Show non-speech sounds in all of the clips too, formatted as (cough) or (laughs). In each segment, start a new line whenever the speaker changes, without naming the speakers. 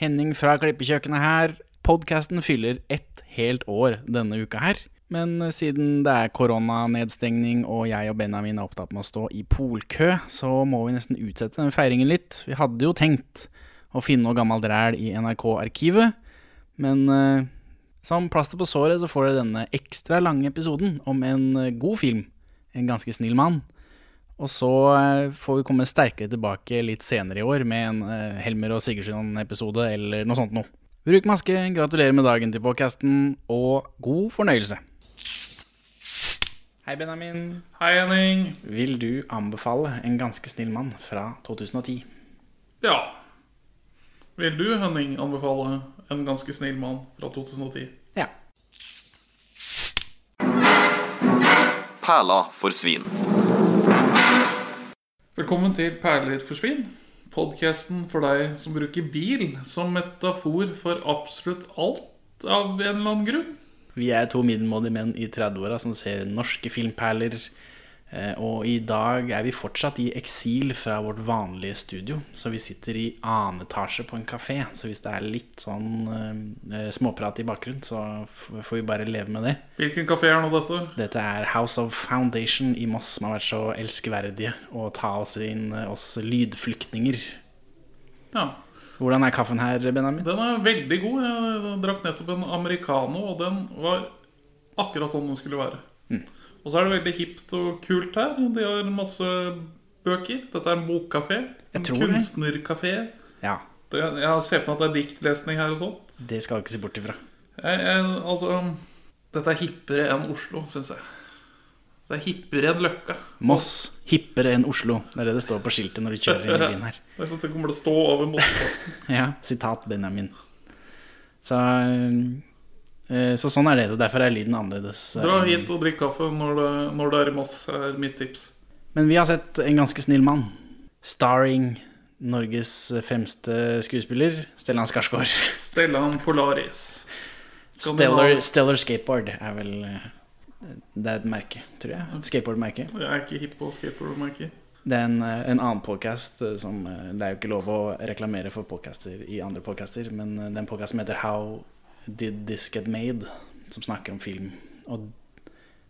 Henning fra Klippekjøkkenet her. Podkasten fyller ett helt år denne uka her. Men eh, siden det er koronanedstengning og jeg og Benjamin er opptatt med å stå i polkø, så må vi nesten utsette den feiringen litt. Vi hadde jo tenkt å finne noe gammelt ræl i NRK-arkivet, men eh, som plaster på såret så får dere denne ekstra lange episoden om en eh, god film. En ganske snill mann. Og så eh, får vi komme sterkere tilbake litt senere i år med en eh, Helmer og Sigurdsson-episode eller noe sånt noe. Bruk maske, gratulerer med dagen til podkasten, og god fornøyelse. Hei, Benjamin.
Hei, Henning.
Vil du anbefale En ganske snill mann fra 2010?
Ja. Vil du, Henning, anbefale en ganske snill mann fra 2010?
Ja.
Perla for svin.
Velkommen til Perler for svin, podkasten for deg som bruker bil som metafor for absolutt alt av en eller annen grunn.
Vi er to middelmådige menn i 30-åra som ser norske filmperler. eh, Og i dag er vi fortsatt i eksil fra vårt vanlige studio. Så vi sitter i annen etasje på en kafé. Så hvis det er litt sånn eh, småprat i bakgrunnen, så f- får vi bare leve med det.
Hvilken kafé er nå dette?
Dette er House of Foundation i Moss, som har vært så elskverdige å ta oss inn, eh, oss lydflyktninger.
Ja.
Hvordan er kaffen her, Benjamin?
Den er veldig god. Jeg drakk nettopp en americano, og den var akkurat sånn den skulle være.
Mm.
Og så er det veldig hipt og kult her. De har masse bøker. Dette er en bokkafé. En
tror det.
kunstnerkafé.
Ja,
Det- Jeg ser på meg at det er diktlesning her og sånt.
det skal du ikke se bort ifra.
Jeg, jeg, altså, um, dette er hippere enn Oslo, syns jeg. Det er hippere enn Løkka.
Moss, hippere enn Oslo. Det er det det står på skiltet når du kjører inn i byen her.
Det er sånn at det kommer til å stå over motorparten.
Ja, sitat Benjamin. Så, eh, så sånn er det. og Derfor er lyden annerledes.
Dra hit og drikk kaffe når det, når det er i Moss, er mitt tips.
Men vi har sett En ganske snill mann. Starring Norges fremste skuespiller, Stellan Skarsgård.
Stellan Polaris.
Stellar,
Skandinav-
Stellar Skateboard er vel eh, Det er et merke, tror jeg. Et skateboardmerke.
Jeg er ikke hipp på skateboard, merker jeg.
Det er en, eh, en annen podkast som eh, Det er jo ikke lov å reklamere for podcaster i andre podcaster, men eh, det er en podkast som heter How Did This Get Made? Som snakker om film. Og,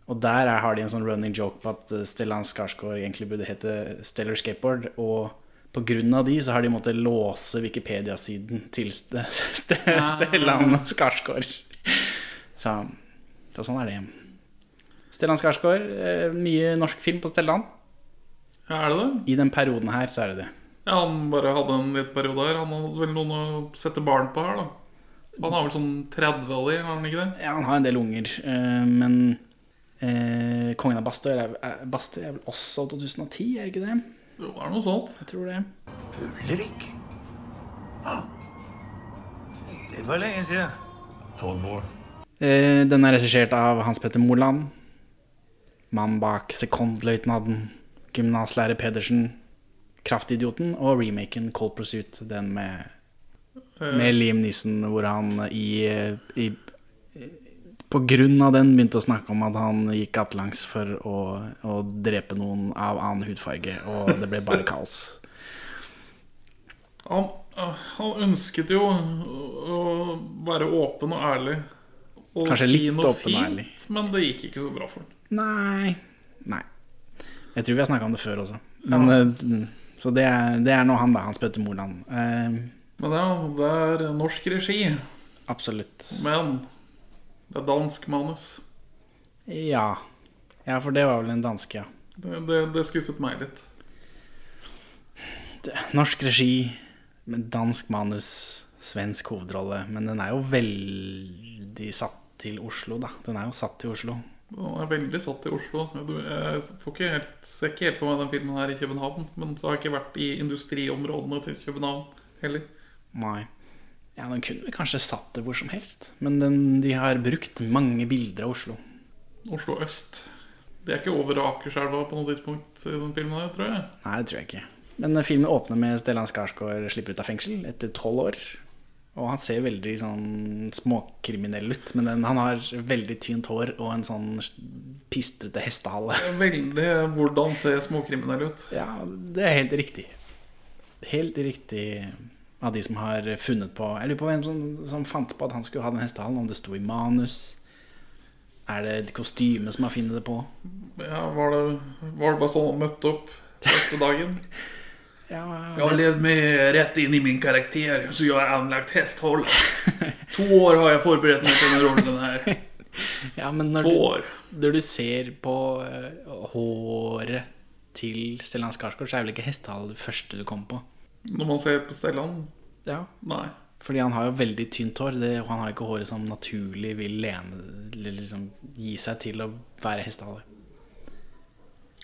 og der er, har de en sånn running joke på at eh, Stellan Skarsgård egentlig burde hete Stellar Skateboard. Og på grunn av de så har de måttet låse Wikipedia-siden til St (laughs) St Stellan Skarsgård. Så, så sånn er det. Stellan Skarsgård, eh, mye norsk film på Stellan.
Ja, er det det?
I den perioden her så er det det.
Ja, han bare hadde en liten periode her. Han hadde vel noen å sette barn på her, da. Han har vel sånn 30 av de, har han ikke det?
Ja, han har en del unger, eh, men eh, Kongen av Bastøy er, er, Bastøy er vel også 2010, er ikke det?
Jo, det er noe sånt.
Jeg tror det.
Ulrik? Ah. Det var lenge siden. Tolv år.
Eh, den er regissert av Hans Petter Moland. Mannen bak Sekondløytnaden, gymnaslærer Pedersen, Kraftidioten og remaken Cold Pursuit, den med,
Eh.
med Liam Neeson, hvor han i, i På grunn av den begynte å snakke om at han gikk gatelangs for å, å drepe noen av annen hudfarge, og det ble bare kaos.
Han, han ønsket jo å å være åpen og ærlig. Og
Kanskje litt åpen og ærlig.
men det gikk ikke så bra for han.
Nei. Nei. Jeg tror vi har snakka om det før også. Men, eh, Så det er, det er nå han, da. Hans Petter Moland. Eh,
Men ja, det er norsk regi,
absolutt.
men det er dansk manus.
Ja. Ja, for det var vel en danske, ja.
Det, det, det skuffet meg litt.
Norsk regi, men dansk manus, svensk hovedrolle. Men den er jo veldig satt til Oslo, da. Den er jo satt til Oslo.
Han er veldig satt i Oslo. Du, Jeg får ikke helt, ser ikke helt for meg den filmen her i København. Men så har jeg ikke vært i industriområdene til København heller.
Nei. Ja, den kunne vi kanskje satt det hvor som helst. Men den, de har brukt mange bilder av Oslo.
Oslo øst. Det er ikke over Akerselva på noe tidspunkt i den filmen her, tror jeg.
Nei, det tror jeg ikke. Men eh, filmen åpner med Stellan Skarsgård slipper ut av fengsel etter tolv år. Og han ser veldig sånn småkriminell ut, men den, han har veldig tynt hår og en sånn pistrete hestehale. (laughs)
Veldig hvordan ser småkriminell ut.
Ja, det er helt riktig. Helt riktig Av de som har funnet på Jeg lurer på hvem som, som fant på at han skulle ha den hestehalen. Om det sto i manus. Er det et kostyme som har funnet det på?
Ja, var det, var det bare sånn han møtte opp første dagen?
Ja,
Jeg har levd meg rett inn i min karakter, så jeg er anlagt hesthold. To år har jeg forberedt meg til denne rollen her.
(laughs) ja men når
To
du,
år.
når du ser på eh, håret til Stellan Skarsgård, så er vel ikke hestehale det første du kommer på?
Når man ser på Stellan
Ja.
Nei.
Fordi han har jo veldig tynt hår. Det, og han har ikke håret som naturlig vil lene eller liksom gi seg til å være hestehale.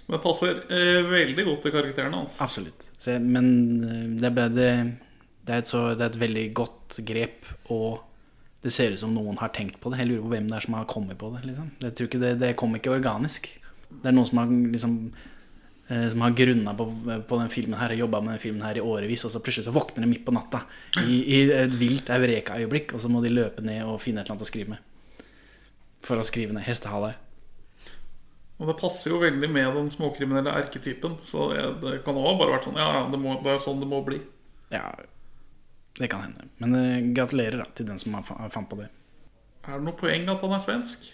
Men det passer eh, veldig godt til karakteren hans.
Absolutt. Så, jeg- men eh, det er, bare- det, det, er et så, det er et veldig godt grep, og det ser ut som noen har tenkt på det. Jeg lurer på hvem det er som har kommet på det. Liksom. Jeg tror ikke det, det kom ikke organisk. Det er noen som har, liksom, eh, som har grunna på, på den filmen her og jobba med den filmen her i årevis, og så plutselig så våkner de midt på natta i, i et vilt eureka-øyeblikk, og så må de løpe ned og finne et eller annet å skrive med. For å skrive ned 'hestehale'.
Og det passer jo veldig med den småkriminelle erketypen. Så det, det kan også bare vært sånn Ja, ja, det, må, det er sånn det må bli.
Ja, det kan hende. Men eh, gratulerer da, til den som har fa- fant på det.
Er det noe poeng at han er svensk?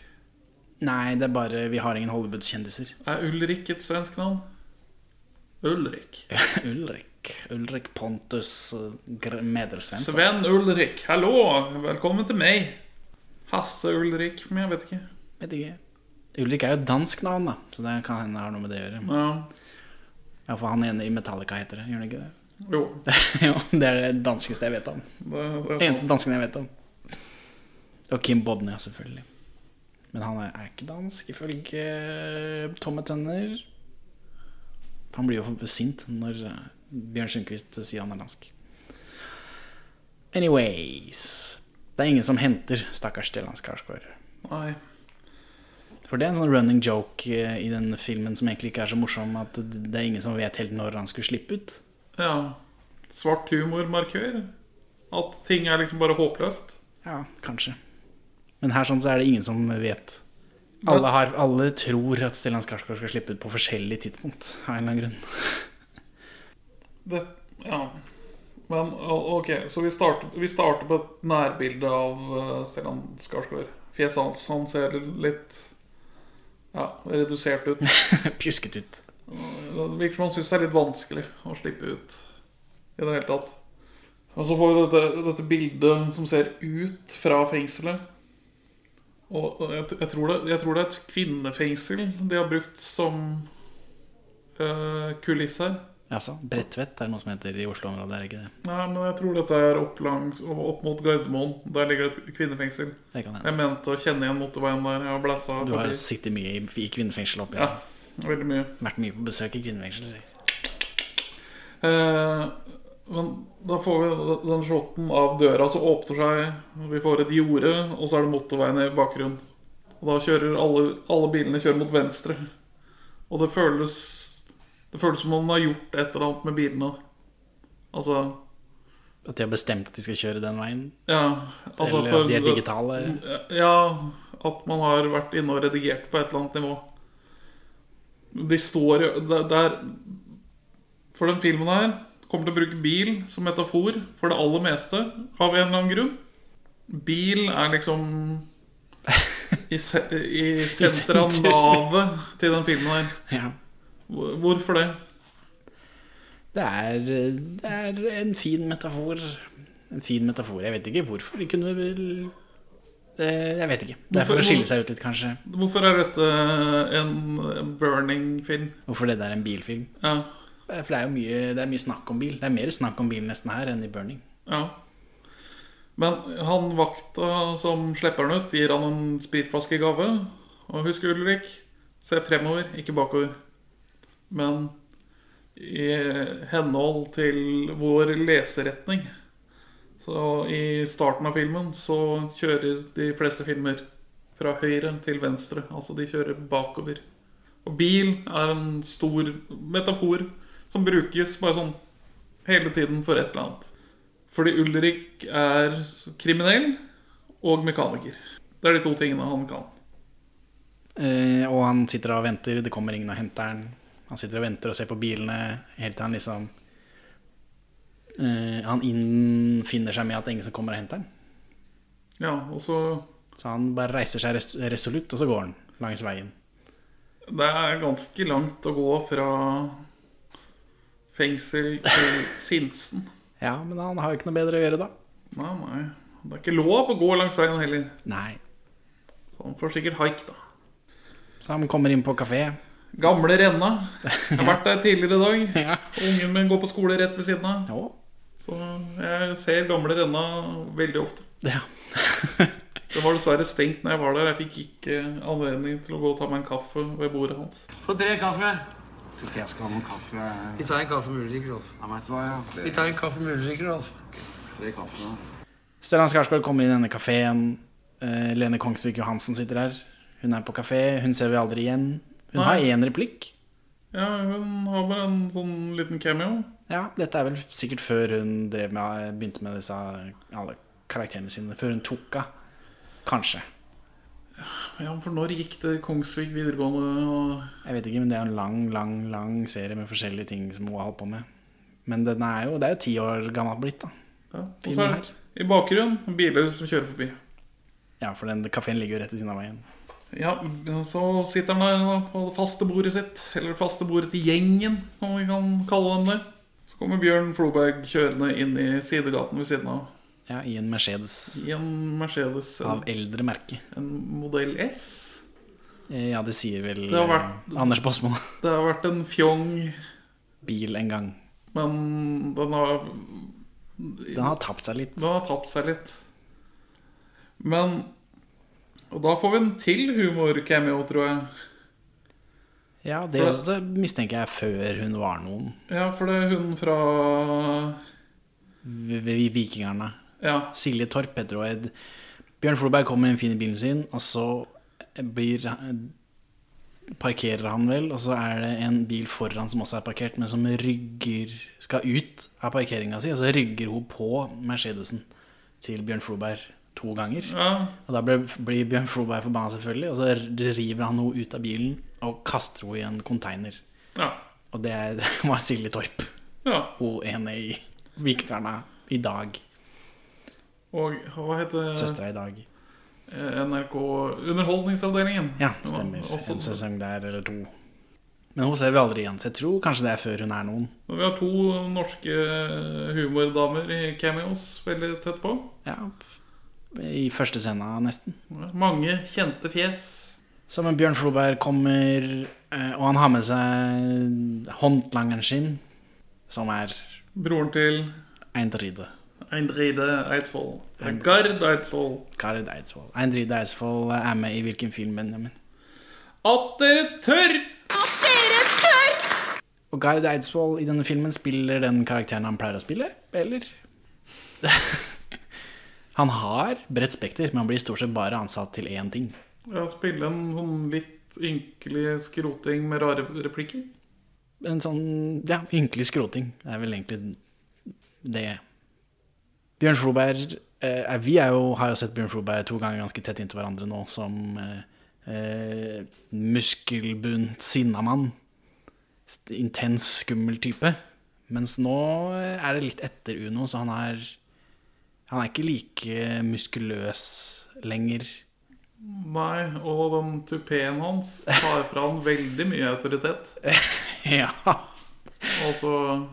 Nei, det er bare vi har ingen Hollywood-kjendiser.
Er Ulrik et svensk navn? Ulrik.
Ulrik. Ulrik Pontus eh, Gr- Medersvensson.
Sven Ulrik. Hallo! Velkommen til meg. Hasse Ulrik, men jeg vet ikke.
Vet ikke. Ulrik er jo et dansk navn, da, så det kan hende det har noe med det å gjøre.
Ja,
Ja, for han ene i Metallica heter det, gjør han ikke det? (laughs)
jo,
jo, det er det danskeste jeg vet om.
det, det er
Eneste
sånn.
dansken jeg vet om. Og Kim Bodnia, selvfølgelig. Men han er- er ikke dansk, ifølge eh, Tomme Tønner. Han blir jo sint når eh, Bjørn Sundquist sier han er dansk. Anyways Det er ingen som henter stakkars Stellan Skarsgård.
Nei.
For det er en sånn running joke eh, i den filmen som egentlig ikke er så morsom, at det er ingen som vet helt når han skulle slippe ut.
Ja. Svart humormarkør. At ting er liksom bare håpløst.
Ja, kanskje. Men her sånn så er det ingen som vet. Alle, har, alle tror at Stellan Skarsgård skal slippe ut på forskjellig tidspunkt. Av en eller annen grunn.
Det, ja. Men o- ok, så vi starter, vi starter på et nærbilde av eh, Stellan Skarsgård. Fjeset hans. Han ser litt ja, redusert ut.
Pjusket ut.
Det virker som han syns det er litt vanskelig å slippe ut i det hele tatt. Og så får vi dette, dette bildet som ser ut fra fengselet. Og og jeg, jeg, tror det, jeg tror det er et kvinnefengsel de har brukt som eh, kulisse her.
Jaså, Bredtvet er det noe som heter i Oslo-området, er det ikke det?
Nei, men jeg tror dette er opp, langs, opp mot Gardermoen. Der ligger det et kvinnefengsel.
Det kan hende.
Jeg mente å kjenne igjen motorveien der. Jeg har blæsa
Du har
forbi.
sittet mye i, i kvinnefengsel opp
Ja,
igjen.
veldig mye.
Vært mye på besøk i kvinnefengsel. sier jeg.
Eh, men da får vi den shoten av døra som åpner seg. Vi får et jorde, og så er det motorveien i bakgrunnen. Og da kjører alle, alle bilene kjører mot venstre. Og det føles Det føles som om man har gjort et eller annet med bilene. Altså
At de har bestemt at de skal kjøre den veien.
Ja. Altså
eller
for- Mm.
at de er digitale.
Ja, at man har vært inne og redigert på et eller annet nivå. De står jo det- det er- For den filmen her kommer til å bruke bil som metafor for det aller meste, av en eller annen grunn. Bil er liksom i, se- i senteret av
sentrum.
navet til den filmen her.
Ja.
Hvor- Hvorfor det?
Det er, det er en fin metafor. En fin metafor. Jeg vet ikke hvorfor de kunne vel eh, Jeg vet ikke. Det er for å skille seg ut litt, kanskje.
Hvorfor er dette en burning-film?
Hvorfor det der er en bilfilm.
Ja,
Eh, For det er jo mye, det er mye snakk om bil. Det er mer snakk om bil nesten her enn i Burning.
Ja. Men han vakta som slipper han ut, gir han en spritflaske i gave. Og husk, Ulrik, se fremover, ikke bakover. Men i henhold til vår leseretning Så i starten av filmen så kjører de fleste filmer fra høyre til venstre. Altså de kjører bakover. Og bil er en stor metafor som brukes bare sånn hele tiden for et eller annet. Fordi Ulrik er kriminell og mekaniker. Det er de to tingene han kan.
Eh, og han sitter og venter, det kommer ingen og henter han. Han sitter og venter og ser på bilene helt til han liksom eh, han innfinner seg med at det er ingen som kommer og henter ham.
Ja, og så
Så han bare reiser seg res resolutt, og så går han langs veien.
Det er ganske langt å gå fra fengsel til Sinsen.
Ja, men han har jo ikke noe bedre å gjøre da.
Nei, nei. Det er ikke lov å gå langs veien heller.
Nei.
Så han får sikkert haik, da.
Så han kommer inn på kafé.
Gamle Renna. Jeg har vært der tidligere i dag.
(laughs) Ja.
Ungen min går på skole rett ved siden av.
Å,
Så jeg ser gamle Renna veldig ofte.
ja. (laughs)
Det var dessverre stengt når jeg var der. Jeg fikk ikke anledning til å gå og ta meg en kaffe ved bordet hans.
Få tre kaffe.
Jeg tror ikke jeg skal ha noen kaffe. Jeg,
Vi tar en kaffe med ulike, Rolf.
jeg vet hva, ja.
Vi
Flere,
tar en kaffe med ulike, Rolf.
flere kaffe nå.
Stellan Skarsgård kommer inn i denne kafeen. Eh, Lene Kongsvik Johansen sitter her. Hun er på kafé. Hun ser vi aldri igjen. Hun
Nei.
har én replikk.
Ja, Hun har bare en sånn liten cameo.
Ja, dette er vel sikkert før hun drev med, eh, begynte med disse alle karakterene sine. Før hun tok av. Kanskje.
Ja, For når gikk det Kongsvik videregående og
Jeg vet ikke, men det er en lang, lang lang serie med forskjellige ting som hun har holdt på med. Men den er jo, det er jo ti år gammel blitt, da.
ja. Og så
Filmen
er
her.
det i bakgrunnen biler som kjører forbi.
Ja, for den kafeen ligger jo rett ved siden av veien.
Ja, Så sitter han der da, på det faste bordet sitt, eller det faste bordet til gjengen, om vi kan kalle dem det. Så kommer Bjørn Floberg kjørende inn i sidegaten ved siden av.
Ja, I en Mercedes
I en Mercedes, en,
av eldre merke.
en modell S.
Eh, Ja, det sier vel
har vært-
eh, Anders Båsmo.
Det har vært en fjong,
Bil en gang.
men den har
Den har tapt seg litt.
Den har tapt seg litt. Men Og da får vi en til humor-cameo, tror jeg.
Ja, det også mistenker jeg er før hun var noen.
Ja, for det er hun fra
V- v- Vikingerne.
Ja.
Silje Torp heter hun. Ed. Bjørn Floberg kommer inn fin i bilen sin, og så blir Parkerer han vel, og så er det en bil foran som også er parkert, men som rygger Skal ut av parkeringa si, og så rygger hun på Mercedesen til Bjørn Floberg to ganger.
ja.
Og da blir, blir Bjørn Floberg forbanna, selvfølgelig, og så river han henne ut av bilen og kaster henne i en container.
Ja.
Og det er- (laughs) det var Silje Torp,
ja.
hun ene i Vikingerne i dag.
Og hva heter
Søstera i dag.
Eh, NRK Underholdningsavdelingen.
Ja, stemmer.
Også,
En sesong der eller to. Men hun ser vi aldri igjen, så jeg tror kanskje det er før hun er noen.
og vi har to norske humordamer i cameos veldig tett på.
Ja, I første scena, nesten.
Mange kjente fjes.
Som en Bjørn Floberg kommer, eh, og han har med seg håndlangeren sin, som er
Broren til
Eindride.
Eindride Eidsvoll. Gard Eidsvoll.
Gard Eidsvoll. Eindride Eidsvoll er med i hvilken film, Benjamin?
At dere tør!
Og Gard Eidsvoll i denne filmen spiller den karakteren han pleier å spille, eller? han har bredt spekter, men han blir stort sett bare ansatt til én ting.
Ja, spille en sånn litt ynkelig skroting med rare replikker.
en sånn ja, ynkelig skroting. Det er vel egentlig det. Bjørn Floberg eh, er- Vi er jo, har jo sett Bjørn Floberg to ganger ganske tett inntil hverandre nå som eh, eh, muskelbunt sinnamann. St- Intens, skummel type. Mens nå eh, er det litt etter Uno, så han er Han er ikke like muskuløs lenger. (laughs)
Nei, og den tupeen hans tar fra han veldig mye autoritet.
ja.
Altså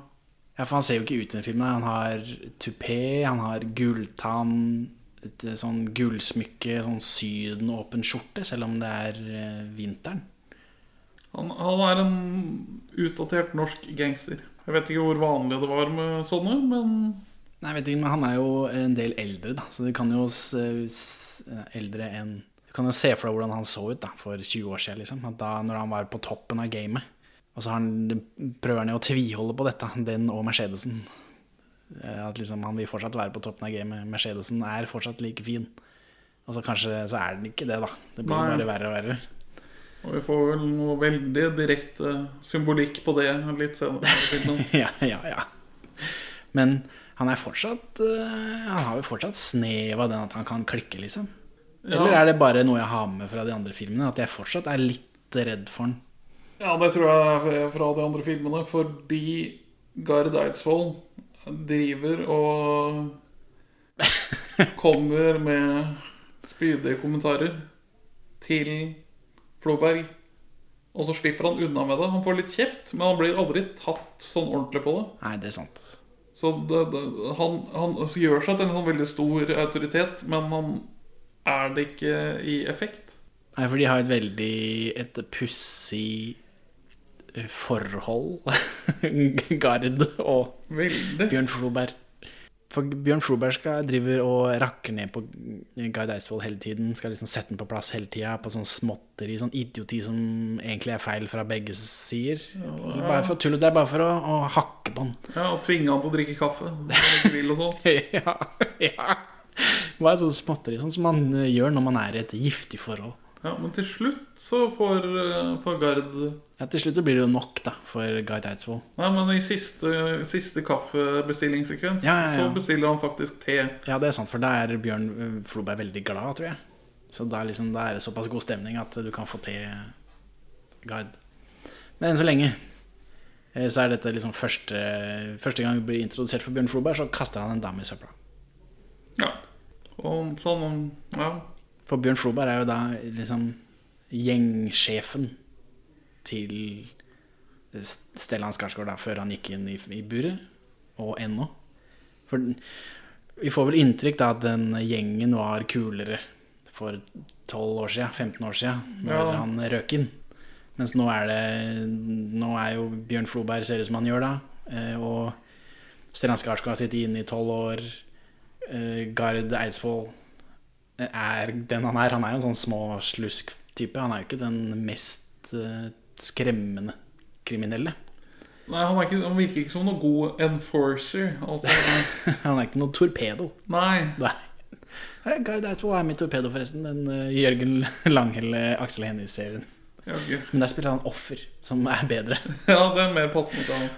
Ja, for han ser jo ikke ut i den filmen. Han har tupé, han har gulltann, et eh, sånn gullsmykke, sånn sydenåpen skjorte, selv om det er eh, vinteren.
han, han er en utdatert norsk gangster. Jeg vet ikke hvor vanlig det var med sånne, men
Nei, jeg vet ikke, men han er jo en del eldre, da, så du kan jo s- s- Eldre enn Du kan jo se for deg hvordan han så ut da, for 20 år siden, liksom. At da, når han var på toppen av gamet. Og så har han, prøver han jo å tviholde på dette, den og Mercedesen. Eh, At liksom, han vil fortsatt være på toppen av gamet. Mercedesen er fortsatt like fin. Og så kanskje så er den ikke det, da. Det blir
Nei.
bare verre og verre.
Og vi får vel noe veldig direkte symbolikk på det litt senere. i filmen.
(laughs) ja, ja, ja. Men han er fortsatt eh, Han har jo fortsatt snev av den at han kan klikke, liksom. Eller
Ja.
er det bare noe jeg har med fra de andre filmene? At jeg fortsatt er litt redd for den?
Ja, det tror jeg er fra de andre filmene, fordi Gard Eidsvoll driver og kommer med spydige kommentarer til Floberg. Og så slipper han unna med det. Han får litt kjeft, men han blir aldri tatt sånn ordentlig på det.
Nei, det er sant.
Så det, det, han, han gjør seg til en sånn veldig stor autoritet, men han er det ikke i effekt.
Nei, for de har et veldig et pussig eh, forhold, (laughs) Gard og
Veldig.
Bjørn Floberg. For Bjørn Floberg skal, driver og rakker ned på Gard Eidsvoll hele tiden. Skal liksom sette den på plass hele tida, på sånn småtteri, sånn idioti som egentlig er feil fra begge sider. Det er Bare for tull, det er bare for å, å hakke på den.
Ja, og tvinge han til å drikke kaffe. Grill og sånn.
(laughs) ja, ja. Bare sånn småtteri, sånn som man eh, gjør når man er i et giftig forhold.
Ja, men til slutt så får, eh, får Gard Nei,
Ja, til slutt så blir det jo nok da, for Gard Eidsvoll.
men i siste, siste kaffebestillingssekvens
Ja, ja, ja.
så bestiller han faktisk te.
Ja, det er sant, for da er Bjørn eh, Floberg veldig glad, tror jeg. Så da, er liksom, da er det såpass god stemning at du kan få til Gard. Men enn så lenge eh, så er dette liksom første, første gang vi blir introdusert for Bjørn Floberg, så kaster han en dame i søpla.
Ja. Og sånn Ja.
For Bjørn Floberg er jo da liksom gjengsjefen til Stellan Skarsgård da, før han gikk inn i, i buret, og ennå. For den- vi får vel inntrykk da at den gjengen var kulere for 12 år siden, 15 år siden, når
Ja.
han røk inn. Mens nå er det Nå er jo Bjørn Floberg ser ut som han gjør da, eh, og Stellan Skarsgård har sittet inne i 12 år. Eh, Gard Eidsvoll er den han er. Han er jo en sånn småslusk-type. Han er jo ikke den mest eh, skremmende kriminelle. (laughs)
Nei, han, er ikke, han virker ikke som noen god enforcer.
(laughs)
Altså,
Han er ikke noe torpedo.
nei.
Nei. Eh, Gard Eidsvoll er mitt torpedo, forresten. Den eh, Jørgen Langhelle Aksel Hennie-serien.
Ja, gud.
Men der spiller han offer, som er bedre. (laughs)
ja, det er mer passende til han.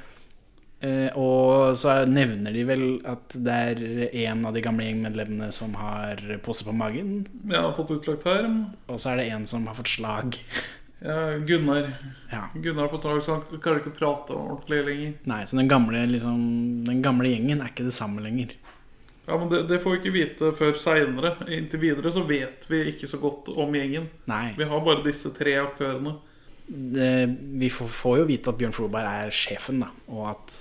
Eh, og så nevner de vel at det er en av de gamle gjengmedlemmene som har pose på magen.
Jeg har fått utlagt tarm.
Og så er det en som har fått slag. (laughs)
Ja, Gunnar.
Ja.
Gunnar på Targ, så han klarer ikke å prate ordentlig lenger.
Nei, så den gamle, liksom, den gamle gjengen er ikke det samme lenger.
Ja, men det, det får vi ikke vite før seinere. Inntil videre så vet vi ikke så godt om gjengen.
Nei.
Vi har bare disse tre aktørene.
det, Eh, vi får, får jo vite at Bjørn Floberg er sjefen, da, og at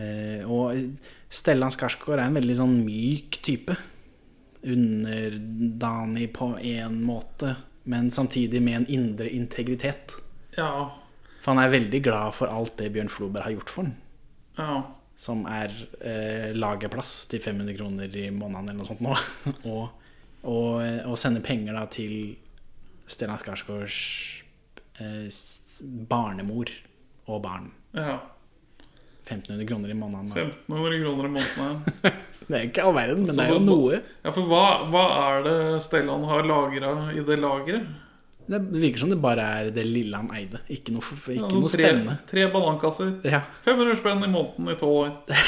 eh, Og Stellan Skarsgård er en veldig sånn myk type. Underdanig på en måte, men samtidig med en indre integritet.
Ja.
For han er veldig glad for alt det Bjørn Floberg har gjort for han.
ja.
Som er eh, lagerplass til 500 kroner i måneden eller noe sånt nå. (laughs) og, og, eh, og sende penger da til Stellan Skarsgårds eh, s- barnemor og barn.
ja.
1500 kroner i måneden. da.
1500 kroner i måneden. her.
Det er ikke all verden, men det er jo
Så-
noe.
Ja, for hva, hva er det Stellan har lagra i det lageret?
Det virker som det bare er det lille han eide. Ikke noe, f- ikke
Ja,
noe
Altså, tre,
spennende.
tre banankasser.
Ja. (laughs)
500 spenn i måneden i tolv år.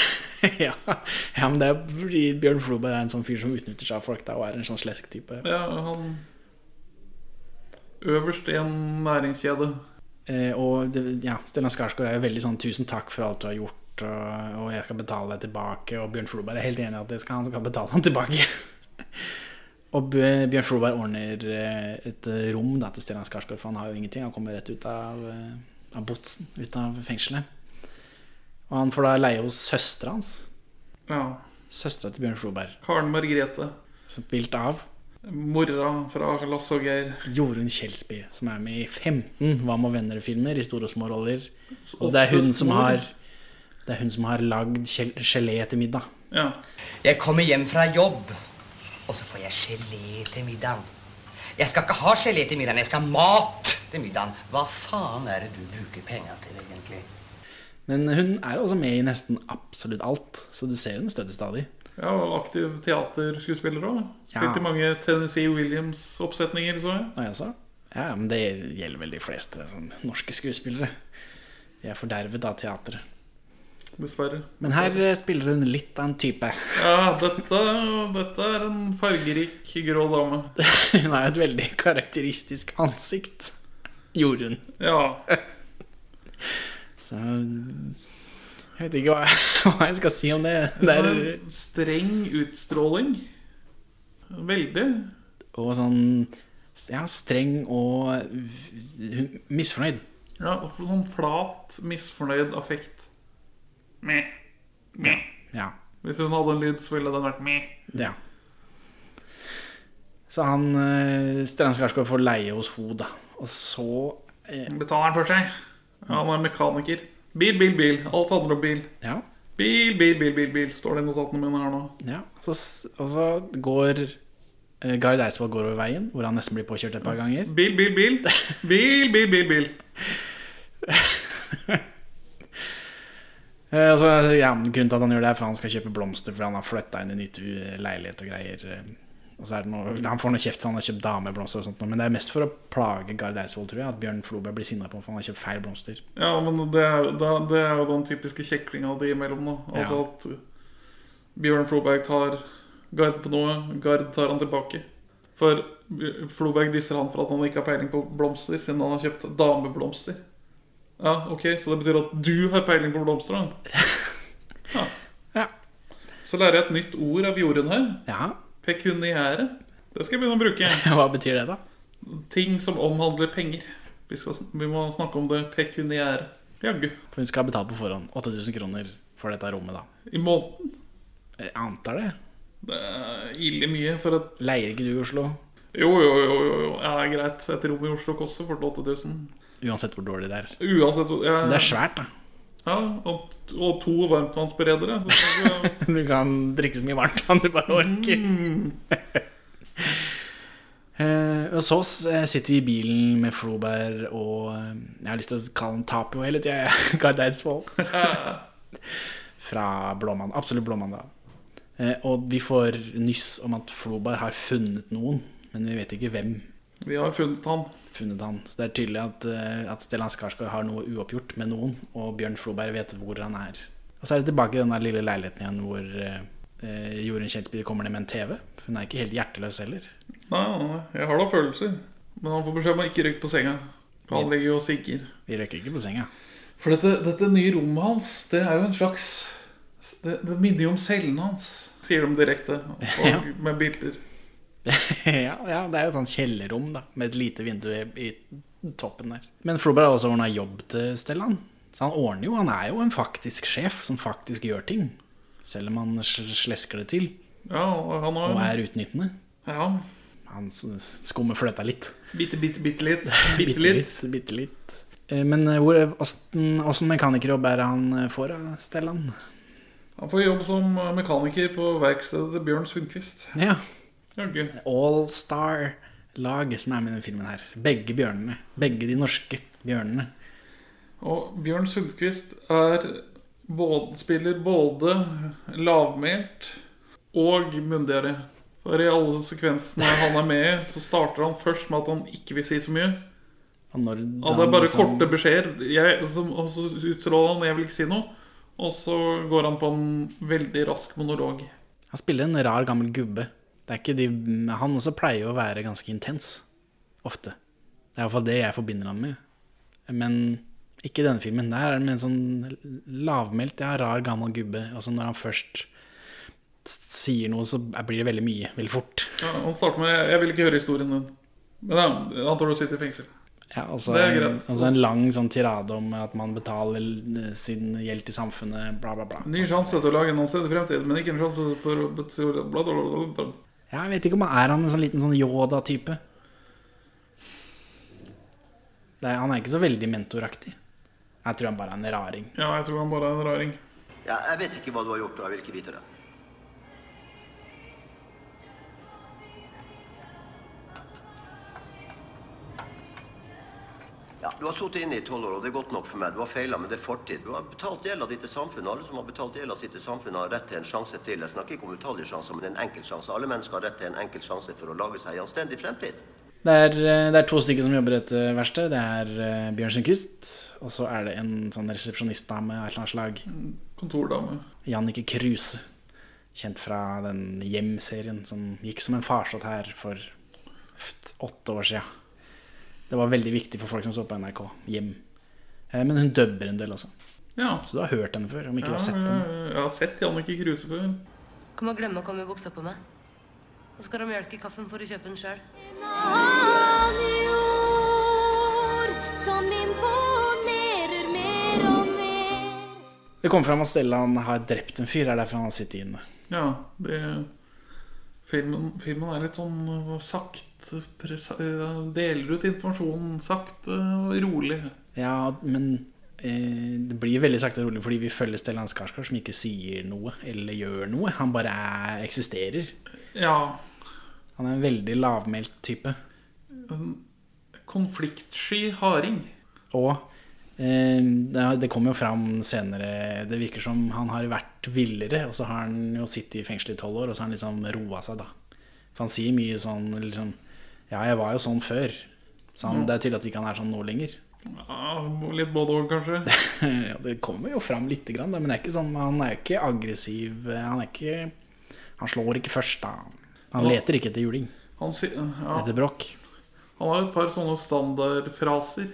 ja. ja, men det er fordi Bjørn Floberg er en sånn fyr som utnytter seg av folk da, og er en sånn slesk type.
Ja, han Øverst i en næringskjede.
Eh, og det, ja, Stellan Skarsgård er jo veldig sånn 'tusen takk for alt du har gjort', og, og 'jeg skal betale deg tilbake', og Bjørn Floberg er helt enig i at det skal han skal betale han tilbake. (laughs) og Bj- Bjørn Floberg ordner eh, et eh, rom da, til Stellan Skarsgård, for han har jo ingenting. Han kommer rett ut av, eh, av botsen, ut av fengselet. Og han får da leie hos søstera hans.
Ja.
Søstera til Bjørn Floberg,
Karen Margrethe.
spilt av
Mora fra Lasse og Geir.
Jorunn Kjelsby, som er med i 15 Hva med venner-filmer i store og små roller. Og det er hun som har Det er hun som har lagd gel- gelé til middag.
Ja.
Jeg kommer hjem fra jobb, og så får jeg gelé til middagen. Jeg skal ikke ha gelé til middagen, jeg skal ha mat til middagen. Hva faen er det du bruker penga til, egentlig?
Men hun er også med i nesten absolutt alt, så du ser henne støtte stadig.
Ja, og aktiv teaterskuespiller òg.
Ja.
Spilt i mange Tennessee Williams-oppsetninger, så jeg.
Og jeg sa ja, men det gjelder vel de fleste sånn, norske skuespillere. De er fordervet av teatret.
Dessverre.
Men her eh, spiller hun litt av en type. (laughs)
Ja, dette, dette er en fargerik grå dame.
Hun har jo et veldig karakteristisk ansikt. (laughs) Jorunn.
Ja.
Så, Eh, Jeg vet ikke hva jeg, hva (laughs) jeg skal si om det. Det er
En streng utstråling. Veldig.
og sånn ja, streng og uh, misfornøyd.
Ja, og sånn flat, misfornøyd affekt. Meh. Meh.
Ja.
Hvis hun hadde en lyd, så ville den vært meh.
ja. Så han eh, Strand Skarsgård får leie hos ho, da. Og så eh,
Betaler den for seg. Ja, han er mekaniker. Bil, bil, bil. Alt handler om bil.
Ja.
Bil, bil, bil, bil, bil. Står det i notatene mine her nå.
ja. Så, s- og så går eh, Gard Eidsvoll går over veien, hvor han nesten blir påkjørt et par ganger.
Bil, bil, bil.
(laughs)
Bil, bil, bil, bil.
Eh, og så, ja, grunnen til at han gjør det, er for han skal kjøpe blomster fordi han har flytta inn i nytt hu- leilighet og greier. eh. Og så er det noe, han får noe kjeft for han har kjøpt dameblomster og sånt, noe, men det er mest for å plage Gard Eidsvoll, tror jeg. At Bjørn Floberg blir sinna på ham for han har kjøpt feil blomster.
Ja, men det er, jo- da- det er jo den typiske kjeklinga de imellom, da. Altså
Ja.
at Bjørn Floberg tar Gard på noe, Gard tar han tilbake. For Bj- Floberg disser han for at han ikke har peiling på blomster, siden han har kjøpt dameblomster. Ja, ok, Så det betyr at du har peiling på blomster, da? Ja.
Ja.
Så lærer jeg et nytt ord av Jorunn her.
Ja, (laughs)
Pekuniære. Det skal jeg begynne å bruke.
hva betyr det, da?
Ting som omhandler penger. Vi, skal, sn- vi må snakke om det pekuniære. Jaggu.
For hun skal betale på forhånd 8000 kroner for dette rommet, da.
I måneden.
Jeg antar det.
Det er Eh, ille mye for et
Leier ikke du i Oslo?
Jo, jo, jo, jo, jo. Ja, greit. Et rom i Oslo koster fort 8000.
Uansett hvor dårlig det er.
Uansett hvor- ja,
Men Det er svært, da.
Ja, og, og to varmtvannsberedere. Så skal du-
(laughs) Du kan drikke så mye varmt som du bare orker. (laughs) Eh, og så s- eh, sitter vi i bilen med Floberg og eh, Jeg har lyst til å kalle han Tapio hele tida. (laughs) Gard Eidsvoll. Fra Blåmann. Absolutt Blåmann, da. Eh, og vi får nyss om at Floberg har funnet noen, men vi vet ikke hvem.
(laughs) Vi har funnet han.
funnet han. Så det er tydelig at, eh, at Stellan Skarsgård har noe uoppgjort med noen, og Bjørn Floberg vet hvor han er. Og så er det tilbake i den der lille leiligheten igjen hvor eh, eh, Jorunn Kjeltby kommer ned med en TV. for Hun er ikke helt hjerteløs heller.
Nei, nei, nei, jeg har da følelser. Men han får beskjed om å ikke rykke på senga. For Han ligger jo og sigger.
Vi røyker ikke på senga. (laughs)
For dette, dette nye rommet hans, det er jo en slags Det, det minner jo om cellen hans, sier de direkte. (laughs) Og
Ja.
med bilder.
ja, ja, det er jo et sånt kjellerrom da, med et lite vindu i, i toppen der. Men Floberg har også ordna jobb til Stellan. Så han ordner jo, han er jo en faktisk sjef som faktisk gjør ting. Selv om han sl- slesker det til
Ja, og han
og
har
er utnyttende.
Ja.
Han s- skummer fløta litt.
Bitte, bitte, bitte (laughs) litt. Bitte
Bitte
litt.
litt. Bitte litt. Eh, Men eh, hvor, åssen, åssen mekanikerjobb er det han eh, får av Stellan?
Han får jobb som eh, mekaniker på verkstedet til Bjørn Sundquist.
Ja.
Jaggu.
Allstar-lag som er med i denne filmen her. Begge bjørnene. Begge de norske bjørnene.
Og Bjørn Sundquist er både, spiller både lavmælt og mundigere. For i alle sekvensene han er med i, så starter han først med at han ikke vil si så mye.
Og når liksom
Ja, det er bare korte beskjeder. Jeg, og så- og så utstråler han 'jeg vil ikke si noe', og så går han på en veldig rask monolog.
Han spiller en rar, gammel gubbe. Det er ikke de, han også pleier jo å være ganske intens. Ofte. Det er iallfall det jeg forbinder han med. Men ikke i denne filmen. Der er han en sånn lavmælt, ja, rar, gammel gubbe. Altså når han først s- sier noe, så er- blir det veldig mye. Veldig fort.
Ja, han starter med 'jeg vil ikke høre historien din'. Men ja, han tror du sitter i fengsel.
Ja, altså,
Det er
en-
greit.
altså en lang sånn tirade om at man betaler eh, sin gjeld til samfunnet, bla, bla, bla.
Ny sjanse til å lage en anstendig fremtid, men ikke en sjanse på å- bla, bla, bla, bla, bla.
Ja, jeg vet ikke om han er han en sånn liten sånn Yoda-type. Det er- Han er ikke så veldig mentoraktig. Jeg tror han bare er en raring.
Ja, jeg tror han bare er en raring.
Ja, jeg vet ikke hva du har gjort, og jeg vil ikke vite det. Ja, Du har sittet inne i tolv år, og det er godt nok for meg. Du har feila, men det er fortid. Du har betalt gjelda di til samfunnet. Alle som har betalt gjelda si til samfunnet, har rett til en sjanse til. Jeg snakker ikke om utallige sjanser, men en enkel sjanse. Alle mennesker har rett til en enkel sjanse for å lage seg en anstendig fremtid.
Det er, eh, det er to stykker som jobber i dette verkstedet. Det er eh, Bjørn Sundquist, og så er det en sånn resepsjonistdame av et eller annet slag.
Kontordame.
Jannicke Kruse. Kjent fra den Hjem-serien som gikk som en farsott her for f- åtte år sia. Det var veldig viktig for folk som så på NRK. Hjem. Eh, Men hun dubber en del også.
Ja.
Så du har hørt henne før, om ikke du
Ja,
har sett
jeg,
henne.
jeg har sett Jannicke Kruse før.
Kom og glemme å komme i buksa på meg. Og så skal du mjølke kaffen for å kjøpe den sjøl.
Han gjorde som imponerer mer og mer.
Det kom fram at Stellan har drept en fyr. Det er derfor han har sittet inne.
Ja, det Filmen, filmen er litt sånn øh, sakte presa- øh, Deler ut informasjon sakte og rolig.
Ja, men eh, det blir veldig sakte og rolig fordi vi følger Stellan Skarsgård, som ikke sier noe eller gjør noe. Han bare er, eksisterer.
Ja.
Han er en veldig lavmælt type.
Konfliktsky harding.
Og eh, det det kommer jo fram senere Det virker som han har vært villere, og så har han jo sittet i fengsel i tolv år, og så har han liksom roa seg, da. For han sier mye sånn liksom Ja, jeg var jo sånn før. Så han, det er tydelig at ikke han er sånn nå lenger.
Ja, litt både og, kanskje.
ja, det kommer jo fram lite grann, da, men det er ikke sånn, han er jo ikke aggressiv. Han er ikke Han slår ikke først, da. Han leter ikke etter juling,
Han, si, ja,
etter bråk. (laughs)
han har et par sånne standardfraser.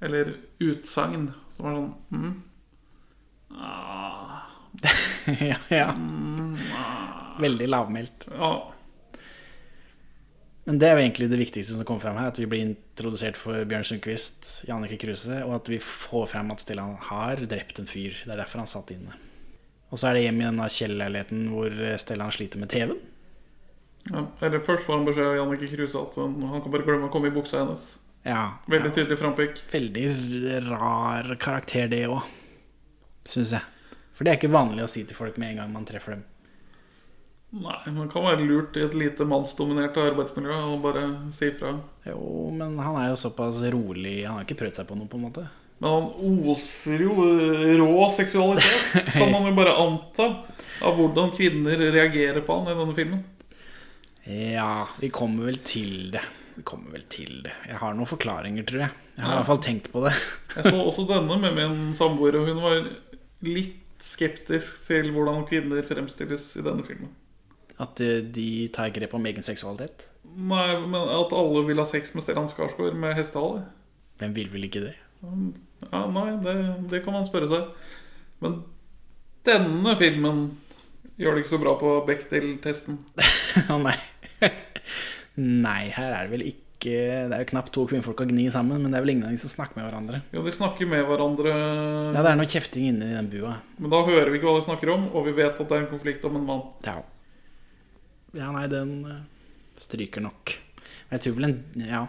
Eller utsagn som er sånn mm. ah,
ja, ja. Veldig lavmælt.
Ja.
Men det er jo egentlig det viktigste som kommer fram her. At vi blir introdusert for Bjørn Sundquist, Jannicke Kruse, og at vi får frem at Stellan har drept en fyr. Det er derfor han satt inne. Og så er det hjem i denne kjellerleiligheten hvor Stellan sliter med TV-en.
ja. Eller først får han beskjed av Jannicke Kruse at hun- han kan bare glemme å komme i buksa hennes.
Ja,
Veldig tydelig frampekk.
Veldig rar karakter, det òg, syns jeg. For det er ikke vanlig å si til folk med en gang man treffer dem.
Nei, men det kan være lurt i et lite mannsdominert arbeidsmiljø å bare si ifra.
Jo, men han er jo såpass rolig. Han har ikke prøvd seg på noe, på en måte.
Men han oser jo eh, rå seksualitet, kan man jo bare anta, av hvordan kvinner reagerer på han i denne filmen.
Ja, vi kommer vel til det. Vi kommer vel til det. Jeg har noen forklaringer, tror jeg. Jeg har i hvert fall tenkt på det. (laughs)
Jeg så også denne med min samboer, og hun var litt skeptisk til hvordan kvinner fremstilles i denne filmen.
At eh, de tar grep om egen seksualitet.
Nei, men At alle vil ha sex med Stellan Skarsgård med hestehale?
Hvem vil vel ikke det? (laughs)
Ja, nei, det, det kan man spørre seg. Men denne filmen gjør det ikke så bra på Bechdel-testen.
Å nei. (laughs) Nei, her er det vel ikke Det er jo knapt to kvinnfolk å gni sammen, men det er vel ingen av de som snakker med hverandre.
Jo, de snakker med hverandre,
Ja, det er noe kjefting inne i den bua.
men da hører vi ikke hva de snakker om, og vi vet at det er en konflikt om en mann.
Ja. Ja, nei, den eh, stryker nok. Men Jeg tror vel en Ja.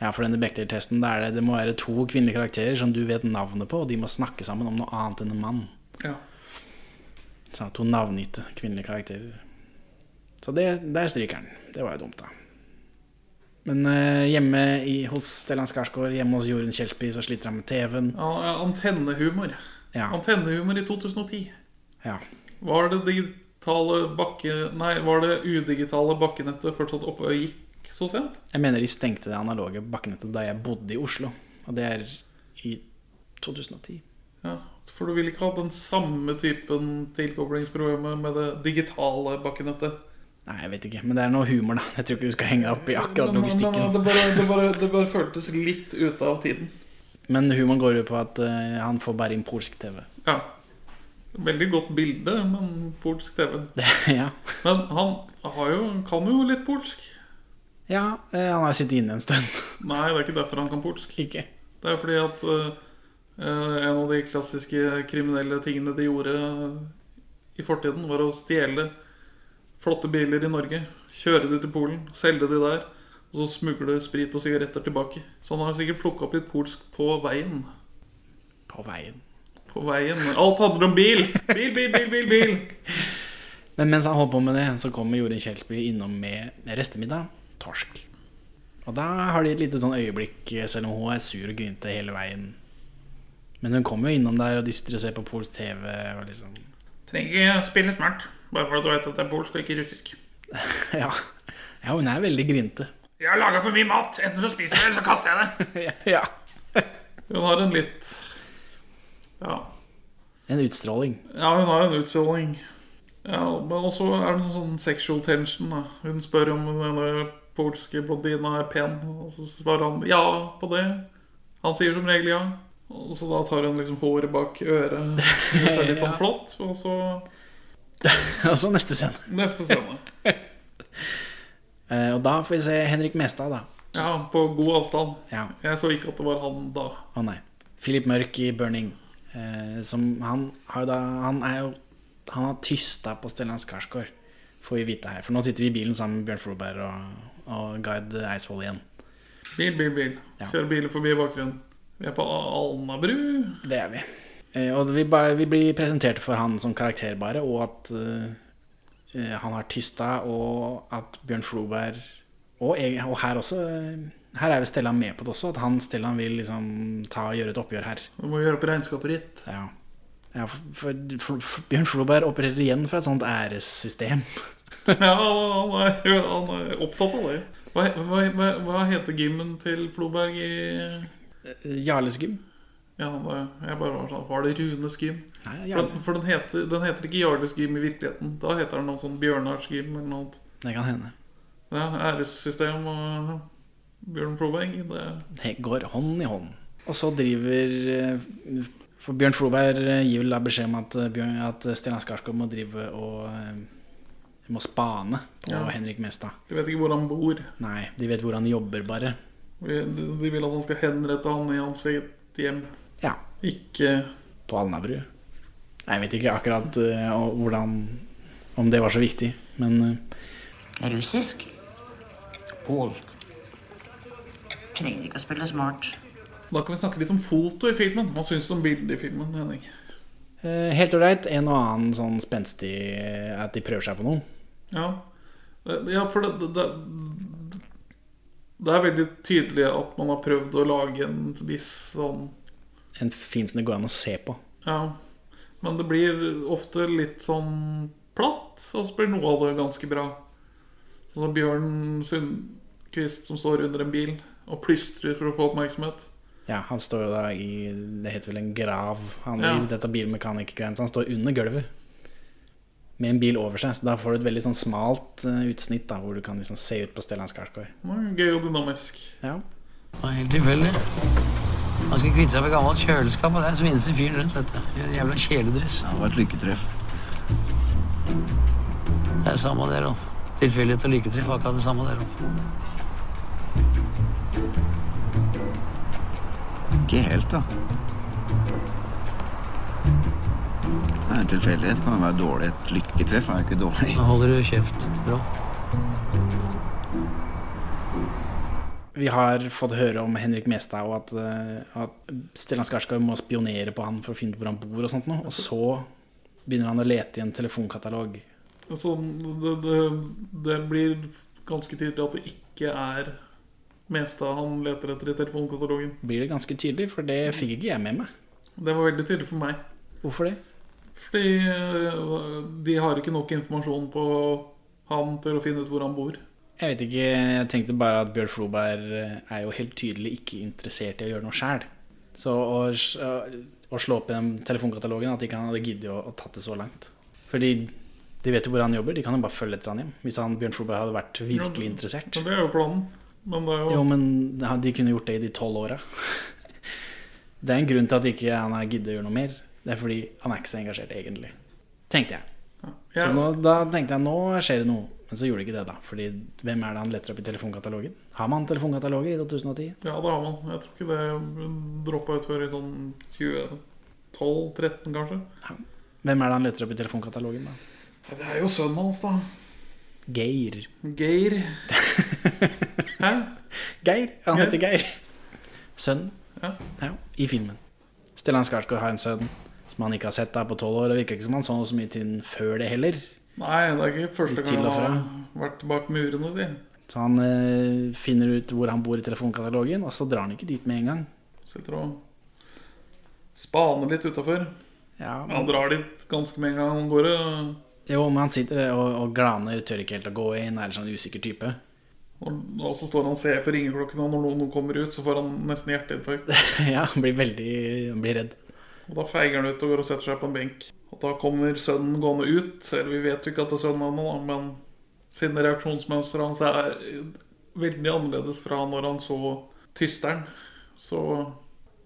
Ja, for denne Bechdel-testen, da er det, det må være to kvinnelige karakterer som du vet navnet på, og de må snakke sammen om noe annet enn en mann.
Ja.
Så to navngitte kvinnelige karakterer. Så det, der stryker den. Det var jo dumt, da. Men eh, hjemme i, hos Stellan Skarsgård, hjemme hos Jorunn Kjelsby, så sliter han med TV-en.
Ja, Antennehumor.
Ja.
Antennehumor i 2010.
Ja.
Var det digitale bakke... Nei, var det udigitale bakkenettet fortsatt oppe og gikk så sent?
Jeg mener de stengte det analoge bakkenettet da jeg bodde i Oslo, og det er i 2010.
Ja, for du vil ikke ha den samme typen tilkoblingsproblemer med det digitale bakkenettet.
Nei, jeg vet ikke, men det er noe humor, da. Jeg tror ikke du skal henge deg opp i akkurat
Men- men- men
logistikken.
Det bare, det, bare, det bare føltes litt ute av tiden.
Men humoren går jo på at eh, han får bare inn polsk TV.
Ja. Veldig godt bilde, men polsk TV.
(laughs) Det, ja.
Men han har jo, kan jo litt polsk.
ja, eh, han har jo sittet inne en stund. (laughs)
Nei, det er ikke derfor han kan polsk.
ikke?
Det er fordi at eh, eh, en av de klassiske kriminelle tingene de gjorde eh, i fortiden, var å stjele flotte biler i Norge, kjøre de til Polen, selge de der, og så smugle sprit og sigaretter tilbake. Så han har sikkert plukka opp litt polsk på veien.
På veien.
På veien. Alt handler om bil! Bil, bil, bil, bil! bil.
Men mens han holder på med det, så kommer Jorunn Kjelsby innom med restemiddag. Torsk. Og da har de et lite sånn øyeblikk, selv om hun er sur og grinte hele veien. Men hun kommer jo innom der, og de sitter og ser på polsk TV. Og liksom (laughs)
Trenger ikke spille smart, bare for at du vet at det er polsk og ikke russisk.
ja. ja, hun er veldig grinte. (laughs)
Jeg har laga for mye mat. Enten så spiser jeg det, eller så kaster jeg det.
ja.
Hun har en litt Ja.
En utstråling. (laughs)
Ja, hun har en utstråling. Ja, men også er det noe sånn sexual tension. da Hun spør om denne polske blondina er pen, og så svarer han ja på det. Han sier som regel ja. Og Så da tar hun liksom håret bak øret. Gjør seg litt sånn flott. Og så
Og så neste scene.
neste scene.
Eh, og da får vi se Henrik Mestad, da.
Ja, på god avstand.
Ja.
Jeg så ikke at det var han da.
Å nei. Philip Mørk i 'Burning'. Eh, som han har jo da Han er jo Han har tysta på Stellan Skarsgård, får vi vite her. For nå sitter vi i bilen sammen med Bjørn Floberg og, og Guide Eidsvoll igjen.
Bil, bil, bil.
Ja.
Kjører biler forbi i bakgrunnen. Vi er på A- Alnabru.
Det er vi. Eh, og vi, ba, vi blir presentert for han som karakter, bare, og at eh, han har tysta, og at Bjørn Floberg og, eg- og her også eh, Her er vel Stellan med på det også, at han Stellan vil liksom ta og gjøre et oppgjør her.
Du må gjøre opp regnskapet ditt.
Ja, ja for, for, for, for Bjørn Floberg opererer igjen fra et sånt æressystem.
Ja, han er, han er opptatt av det. Hva, hva, hva, hva heter gymmen til Floberg i
Jarles gym?
Ja, han er, jeg bare var sånn Var det Runes gym?
Nei,
For,
Jarle.
den- for den, heter, den heter ikke Jarles gym i virkeligheten. Da heter den noe sånn Bjørnars gym eller noe annet.
Det kan hende.
Ja, æressystem og Bjørn Floberg. Det
Det går hånd i hånd. Og så driver eh, For Bjørn Floberg eh, gir vel da beskjed om at, eh, Bjørn- at Stellan Skarsgård må drive og eh, må spane på
Ja.
Henrik Mestad.
de vet ikke hvor han bor.
Nei, de vet hvor han jobber, bare.
De de vil at han skal henrette han i hans eget hjem.
Ja,
Ikke
på Alnabru. Nei, Jeg vet ikke akkurat eh, og- hvordan Om det var så viktig, men eh,
Russisk?
Polsk.
Trenger ikke å spille smart.
Da kan vi snakke litt om foto i filmen. Hva syns du om bildet i filmen? Henning?
Eh, Helt ålreit. En og annen sånn spenstig eh, at de prøver seg på noe.
Ja, Eh, ja for det, det, det, det er veldig tydelig at man har prøvd å lage en viss sånn
En film som det går an å se på.
Ja. Men det blir ofte litt sånn platt, og så blir noe av det ganske bra. Sånn som Bjørn Sundquist som står under en bil og plystrer for å få oppmerksomhet.
Ja, Han står jo da i Det heter vel en grav. Han
Ja.
i dette bilmekanikergreiene, så han står under gulvet. Med en bil over seg, så da får du et veldig sånn smalt eh, utsnitt da, hvor du kan liksom se ut på Stellan Skarsgård.
Det var Gøy og dynamisk.
Ja.
Det er helt tilfeldig. Han skal kvitte seg med gammelt kjøleskap, og der svinnes det fyren rundt. vet du. I en Jævla kjeledress.
Det var et lykketreff.
Det er samme der òg. Tilfeldighet og lyketreff var akkurat det samme der òg.
Ikke helt, da. Nei, en tilfeldighet kan jo være dårlig. Et lykketreff er jo ikke dårlig.
Nå holder du kjeft. Bra.
Vi har fått høre om Henrik Mestad og at, eh, at Stellan Skarsgård må spionere på han for å finne ut hvor han bor og sånt noe. Og så begynner han å lete i en telefonkatalog.
Så det, det, det blir ganske tydelig at det ikke er Mestad han leter etter i telefonkatalogen.
Blir det ganske tydelig, for det fikk ikke jeg med meg.
Det var veldig tydelig for meg.
Hvorfor det?
Fordi øh, de har ikke nok informasjon på han til å finne ut hvor han bor.
Jeg vet ikke, jeg tenkte bare at Bjørn Floberg er jo helt tydelig ikke interessert i å gjøre noe sjæl. Så å, å slå opp i den telefonkatalogen at ikke han hadde giddet å, å tatt det så langt. Fordi de vet jo hvor han jobber, de kan jo bare følge etter han hjem. Hvis han, Bjørn Floberg hadde vært virkelig interessert.
Men det er jo planen. Men det er jo,
Jo, men ja, de kunne gjort det i de tolv åra. (laughs) Det er en grunn til at ikke han har giddet å gjøre noe mer. Det er fordi han er ikke så engasjert egentlig. Tenkte jeg. Så
jeg,
nå, da tenkte jeg nå skjer det noe. Men så gjorde det ikke det, da. Fordi hvem er det han letter opp i telefonkatalogen? Har man telefonkataloger i 2010?
Ja, det har man. Jeg tror ikke det droppa ut før i sånn 2012-13, kanskje.
Hvem er det han letter opp i telefonkatalogen, da?
Ja, Det er jo sønnen hans, da.
Geir. (laughs)
Geir. Hæ?
Geir? Han heter Geir. Sønnen.
Ja.
Ja, i filmen. Stellan Skarsgård har en sønn som han ikke har sett da på tolv år. Og virker ikke som han så så mye til den før det heller.
Nei, det er ikke første
Til
gang
og
han har
fra.
vært bak murene, si.
Så han eh, finner ut hvor han bor i telefonkatalogen, og så drar han ikke dit med en gang.
Sitter og spaner litt utafor.
Ja,
Han drar dit ganske med en gang han går. og-
Jo, men han sitter og, og glaner, tør ikke helt å gå inn, er en sånn usikker type.
Og og så står han og ser på ringeklokken, og når noen kommer ut, så får han nesten hjerteinfarkt.
(laughs) ja, han blir veldig han blir redd.
Og da feiger han ut og går og setter seg på en benk. Og da kommer sønnen gående ut. Eller vi vet jo ikke at det er sønnen hans, da, men siden reaksjonsmønsteret hans er veldig annerledes fra når han så tysteren, så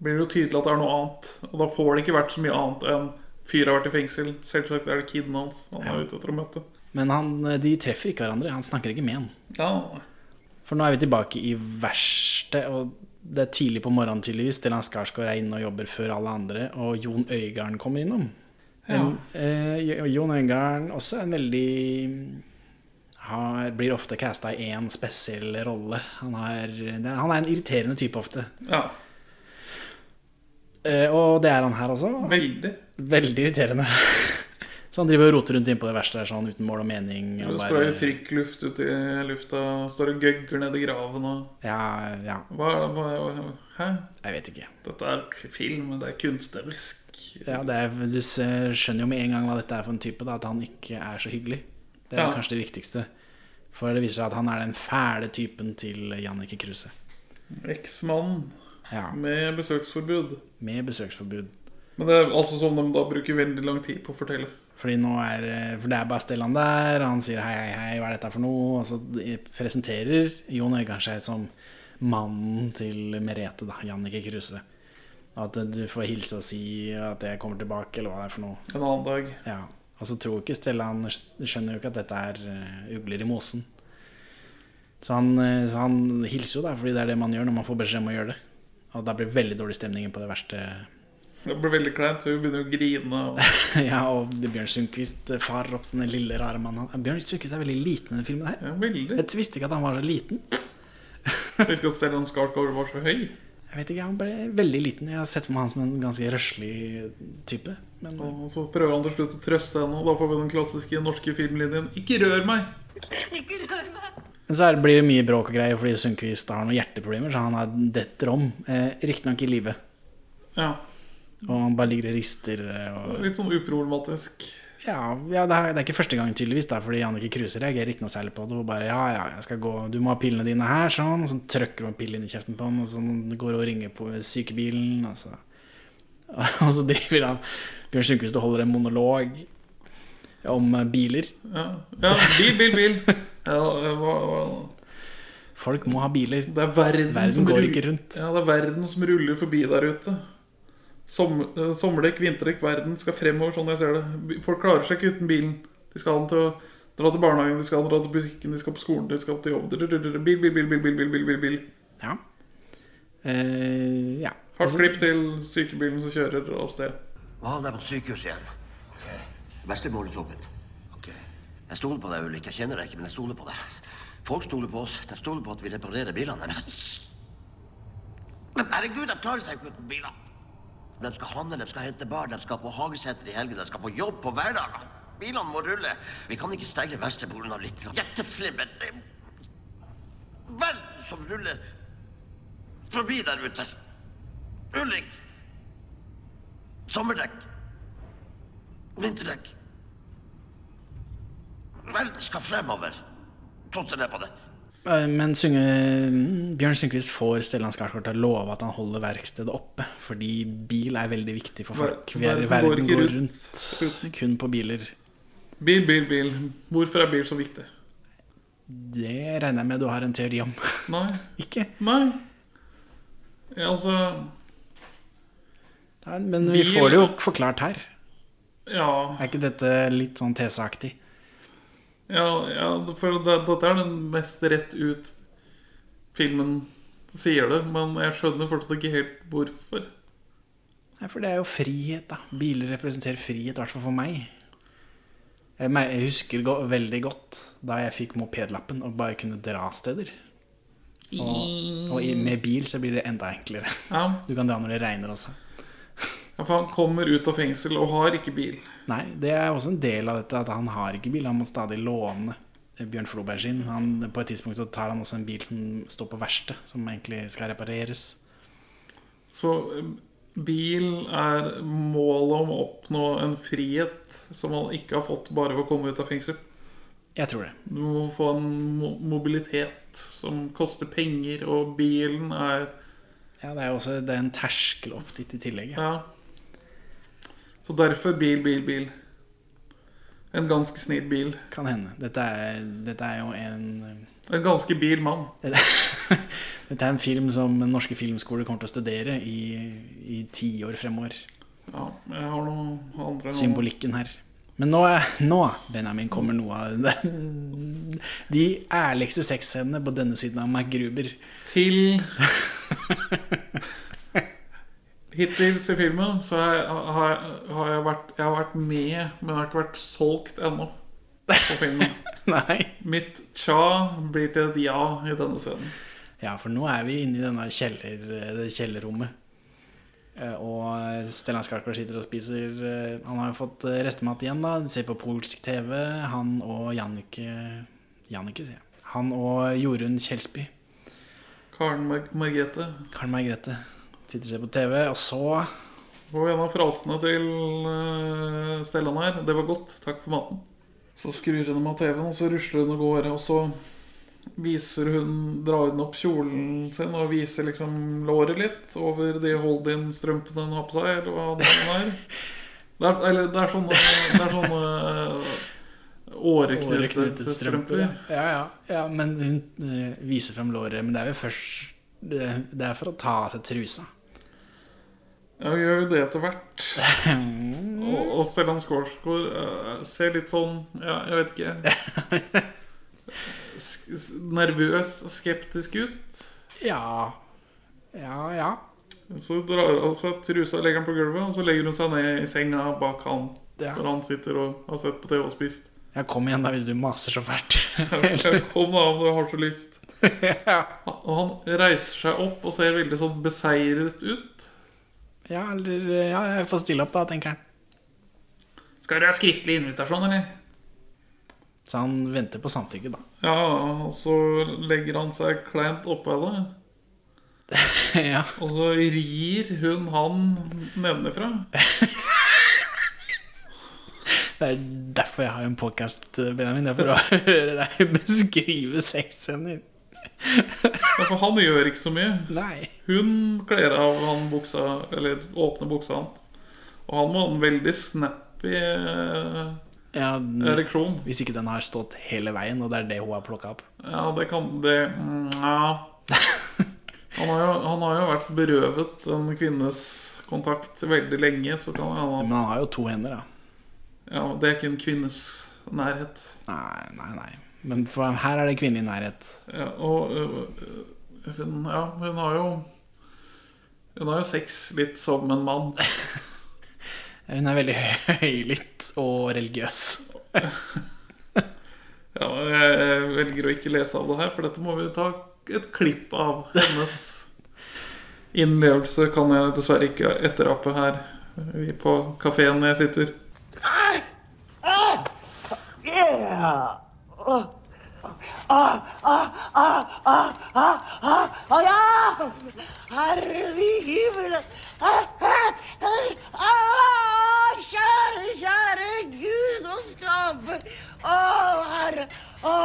blir det jo tydelig at det er noe annet. Og da får det ikke vært så mye annet enn fyret har vært i fengsel. Selvsagt er det kiden hans han er ute etter å møte.
Men han, de treffer ikke hverandre. Han snakker ikke med han.
Ja,
For nå er vi tilbake i verkstedet, og det er tidlig på morgenen tydeligvis. Stellan Skarsgård er inne og jobber før alle andre, og Jon Øigarden kommer innom. En, eh, Jo- Jon Øigarden også er en veldig har, Blir ofte casta i én spesiell rolle. Han er, det er- han er en irriterende type ofte.
Ja.
Eh, og det er han her også.
Veldig.
Veldig irriterende. (laughs) Så han driver og roter rundt innpå det verste der sånn uten mål og mening. Og
Det
bare-
sprayer trykkluft ut i lufta, står og gøgger ned i graven og
ja, ja,
hva, hva, Hæ?
jeg vet ikke.
Dette er ikke film, det er kunstnerisk.
Ja, det er, du ser, skjønner jo med en gang hva dette er for en type, da, at han ikke er så hyggelig. Det er
Ja.
kanskje det viktigste. For det viser seg at han er den fæle typen til Jannicke Kruse.
Eksmann
Ja.
med besøksforbud.
Med besøksforbud.
Men det er altså som de da bruker veldig lang tid på å fortelle.
Fordi nå er, eh, for det er bare Stellan der, og han sier hei, hei, hei, hva er dette for noe? Og så de- presenterer Jon Øigarden seg som mannen til Merete, da, Jannicke Kruse. Og At eh, du får hilse og si at jeg kommer tilbake, eller hva det er for noe.
En annen dag.
Ja, og så tror ikke Stellan skjønner jo ikke at dette er eh, ugler i mosen. Så han, eh, så han hilser jo da, fordi det er det man gjør når man får beskjed om å gjøre det. Og da blir det veldig dårlig stemning på det verste. (laughs)
Det blir veldig kleint. Hun begynner å grine. Og...
ja, og det Bjørn Sundquist eh, farer opp sånne lille rare mannen. han- Bjørn Sundquist er veldig liten i denne filmen her.
Ja, veldig.
Jeg visste ikke at han var så liten. (laughs)
Jeg vet ikke at Stellan Skarsgård var så høy.
Jeg vet ikke, han ble veldig liten. Jeg har sett for meg han som en ganske røslig type. Men
Og så prøver han til slutt å trøste henne, og da får vi den klassiske norske filmlinjen 'Ikke rør meg'.
Ikke rør meg.
Men så er det, blir det mye bråk og greier fordi Sundquist har noen hjerteproblemer, så han er detter om. Eh, Riktignok i live.
Ja.
Og han bare ligger og rister. eh, Og,
Litt sånn uproblematisk.
ja, ja det, er, det er ikke første gang, tydeligvis, da, fordi Jannicke Kruse reagerer ikke noe særlig på det. Hun bare ja, ja, jeg skal gå, du må ha pillene dine her, sånn. Og så trykker hun en pille inn i kjeften på ham, og så går hun og ringer på sykebilen, og så (laughs) Og så driver han Bjørn Sundquist og holder en monolog om eh, biler.
Ja, ja bil, bil, bil. Ja, hva, hva...
Folk må ha biler.
Det er verden,
Verden
som
går
rull-
ikke rundt.
Ja, det er verden som ruller forbi der ute. Som, eh, sommerdekk, vinterdekk, verden skal fremover, sånn jeg ser det. Bi- Folk klarer seg ikke uten bilen. De skal ha den til å dra til barnehagen, de skal ha den til å dra til butikken, de skal på skolen, de skal til jobb. Bil, bil, bil, bil, bil, bil, bil, bil, bil, bil.
Ja. Eh, ja.
Hardt klipp til sykebilen som kjører av sted.
Hva, han er på sykehuset igjen. Det Eh, verste er målet åpent. Ok. Jeg stoler på deg, Ulrik. Jeg kjenner deg ikke, men jeg stoler på deg. Folk stoler på oss. De stoler på at vi reparerer bilene deres. Men herregud, de klarer seg jo ikke uten biler. De skal handle, de skal hente bar, de skal på hageseter i helgen, de skal på jobb på hverdagen. Bilene må rulle. Vi kan ikke stenge verste på grunn av litt hjerteflimmer. Det er verden som ruller forbi der ute. Ulrik. Sommerdekk. Vinterdekk. Verden skal fremover. Tross ned på det.
Eh, Men synge, mm, Bjørn Sundquist får Stellan Skarsgård til å love at han holder verkstedet oppe, fordi bil er veldig viktig for folk.
Ver-
Vi er,
verden går
verden
ikke
går
rundt
rundt kun på biler.
Bil, bil, bil. Hvorfor er bil så viktig?
Det regner jeg med du har en teori om. (laughs)
Nei.
Ikke?
Nei. Ja, altså
Nei, Men vi
Bil-
får det jo forklart her.
Ja.
Er ikke dette litt sånn teseaktig?
Ja, ja for det, dette er den mest rett ut filmen sier det, men jeg skjønner fortsatt ikke helt hvorfor.
Nei, for det er jo frihet, da. Biler representerer frihet, i hvert fall for meg. Jeg mer- jeg husker go veldig godt da jeg fikk mopedlappen og bare kunne dra steder. Og, og i- med bil så blir det enda enklere.
Ja,
Du kan dra når det regner også.
ja, for han kommer ut av fengsel og har ikke bil.
Nei, det er også en del av dette at han har ikke bil. Han må stadig låne Bjørn Floberg sin. Han, på et tidspunkt så tar han også en bil som står på verksted, som egentlig skal repareres.
Så eh, bil er målet om å oppnå en frihet som han ikke har fått bare ved å komme ut av fengsel.
Jeg tror det.
Du må få en mo- mobilitet som koster penger, og bilen er
Ja, det er jo også det er en terskel opp dit i tillegg. ja.
Ja. Så derfor bil, bil, bil. En ganske snill bil.
Kan hende. Dette er, dette er jo en eh,
En ganske bil mann.
(laughs) Dette Dette er en film som den norske filmskoler kommer til å studere i, i tiår fremover.
Ja, jeg har noen andre nå.
Symbolikken her. Men nå, er- nå Benjamin, kommer noe av det. (laughs) De ærligste sexscenene på denne siden av MacGruber. (laughs)
Til Hittils i filmen så har jeg, har, jeg- har jeg, vært, jeg har vært med, men jeg har ikke vært solgt ennå på filmen.
Nei.
Mitt tja blir til et ja i denne scenen.
Ja, for nå er vi inne i denne kjeller, det kjellerrommet. Eh, Og Stellan Skarsgård sitter og spiser eh, Han har jo fått eh, restemat igjen, da. De ser på polsk TV. Han og Jannicke Jannicke, sier jeg. Han og Jorunn Kjelsby.
Karen Mar Margrethe.
Karen Margrethe sitter og ser på TV, og så
Og en av frasene til eh, Stellan her Det var godt, takk for maten. Så skrur hun av TV-en, og så rusler hun av gårde. Og så viser hun, drar hun opp kjolen sin og viser liksom låret litt over de hold-in-strømpene hun har på seg. Eller hva det nå er. Det er, eller, det er sånne, det er sånne eh,
Åreknutet strømper.
åreknutete strømper.
Ja, ja. ja men hun eh, viser fram låret. Men det er jo først Det det er for å ta av seg trusa.
Ja, vi gjør jo det etter (laughs) hvert. Og, og Stellan Skarsgård eh, ser litt sånn Ja, jeg vet (laughs) ikke. Sk s- nervøs og skeptisk ut.
Ja. Ja, ja.
Så drar hun seg trusa og legger den på gulvet, og så legger hun seg ned i senga bak han.
Ja.
Hvor han sitter og har sett på TV og (laughs) spist.
Ja, kom igjen, da, hvis du maser så fælt. (laughs)
Kom da, om du har så lyst. Og han reiser seg opp og ser veldig sånn beseiret ut.
(laughs) Ja, eller ja, jeg får stille opp, da, tenker han.
Skal du ha skriftlig invitasjon, eller?
Så han venter på samtykke, da.
Ja, og så legger han seg kleint oppå henne.
(laughs) ja.
Og så rir hun han nedenfra.
Det er derfor jeg har en podkast, Benjamin. Det er for å (laughs) høre deg beskrive sexscener.
Ja, For han gjør ikke så mye.
Nei.
Hun kler av han buksa, eller åpner buksa hans. Og han må ha en veldig snappy eh,
Ja, den-
ereksjon.
Hvis ikke den har stått hele veien, og det er det hun har plukka opp. (laughs)
Ja, det kan det mm, Ja. Han har, jo, han har jo vært berøvet en kvinnes kontakt veldig lenge, så kan han
Men han har jo to hender, da.
Ja, det er ikke en kvinnes nærhet.
Nei, nei, nei. Men for her er det kvinnelig nærhet.
Ja, og øh, øh, hun, ja, hun har jo Hun har jo sex litt som en mann.
Hun er veldig (laughs) høylytt og religiøs.
Ja, jeg jeg velger å ikke lese av det her, for dette må vi ta et klipp av. Hennes innlevelse kan jeg dessverre ikke etterape her øh, på kafeen jeg sitter.
Yeah. Ah, ah, ah, ah, ah, ah, ah, ja! Herre i himmelen! Ah, ah, ah, kjære, kjære Gud og skaper! Å, Herre! Å,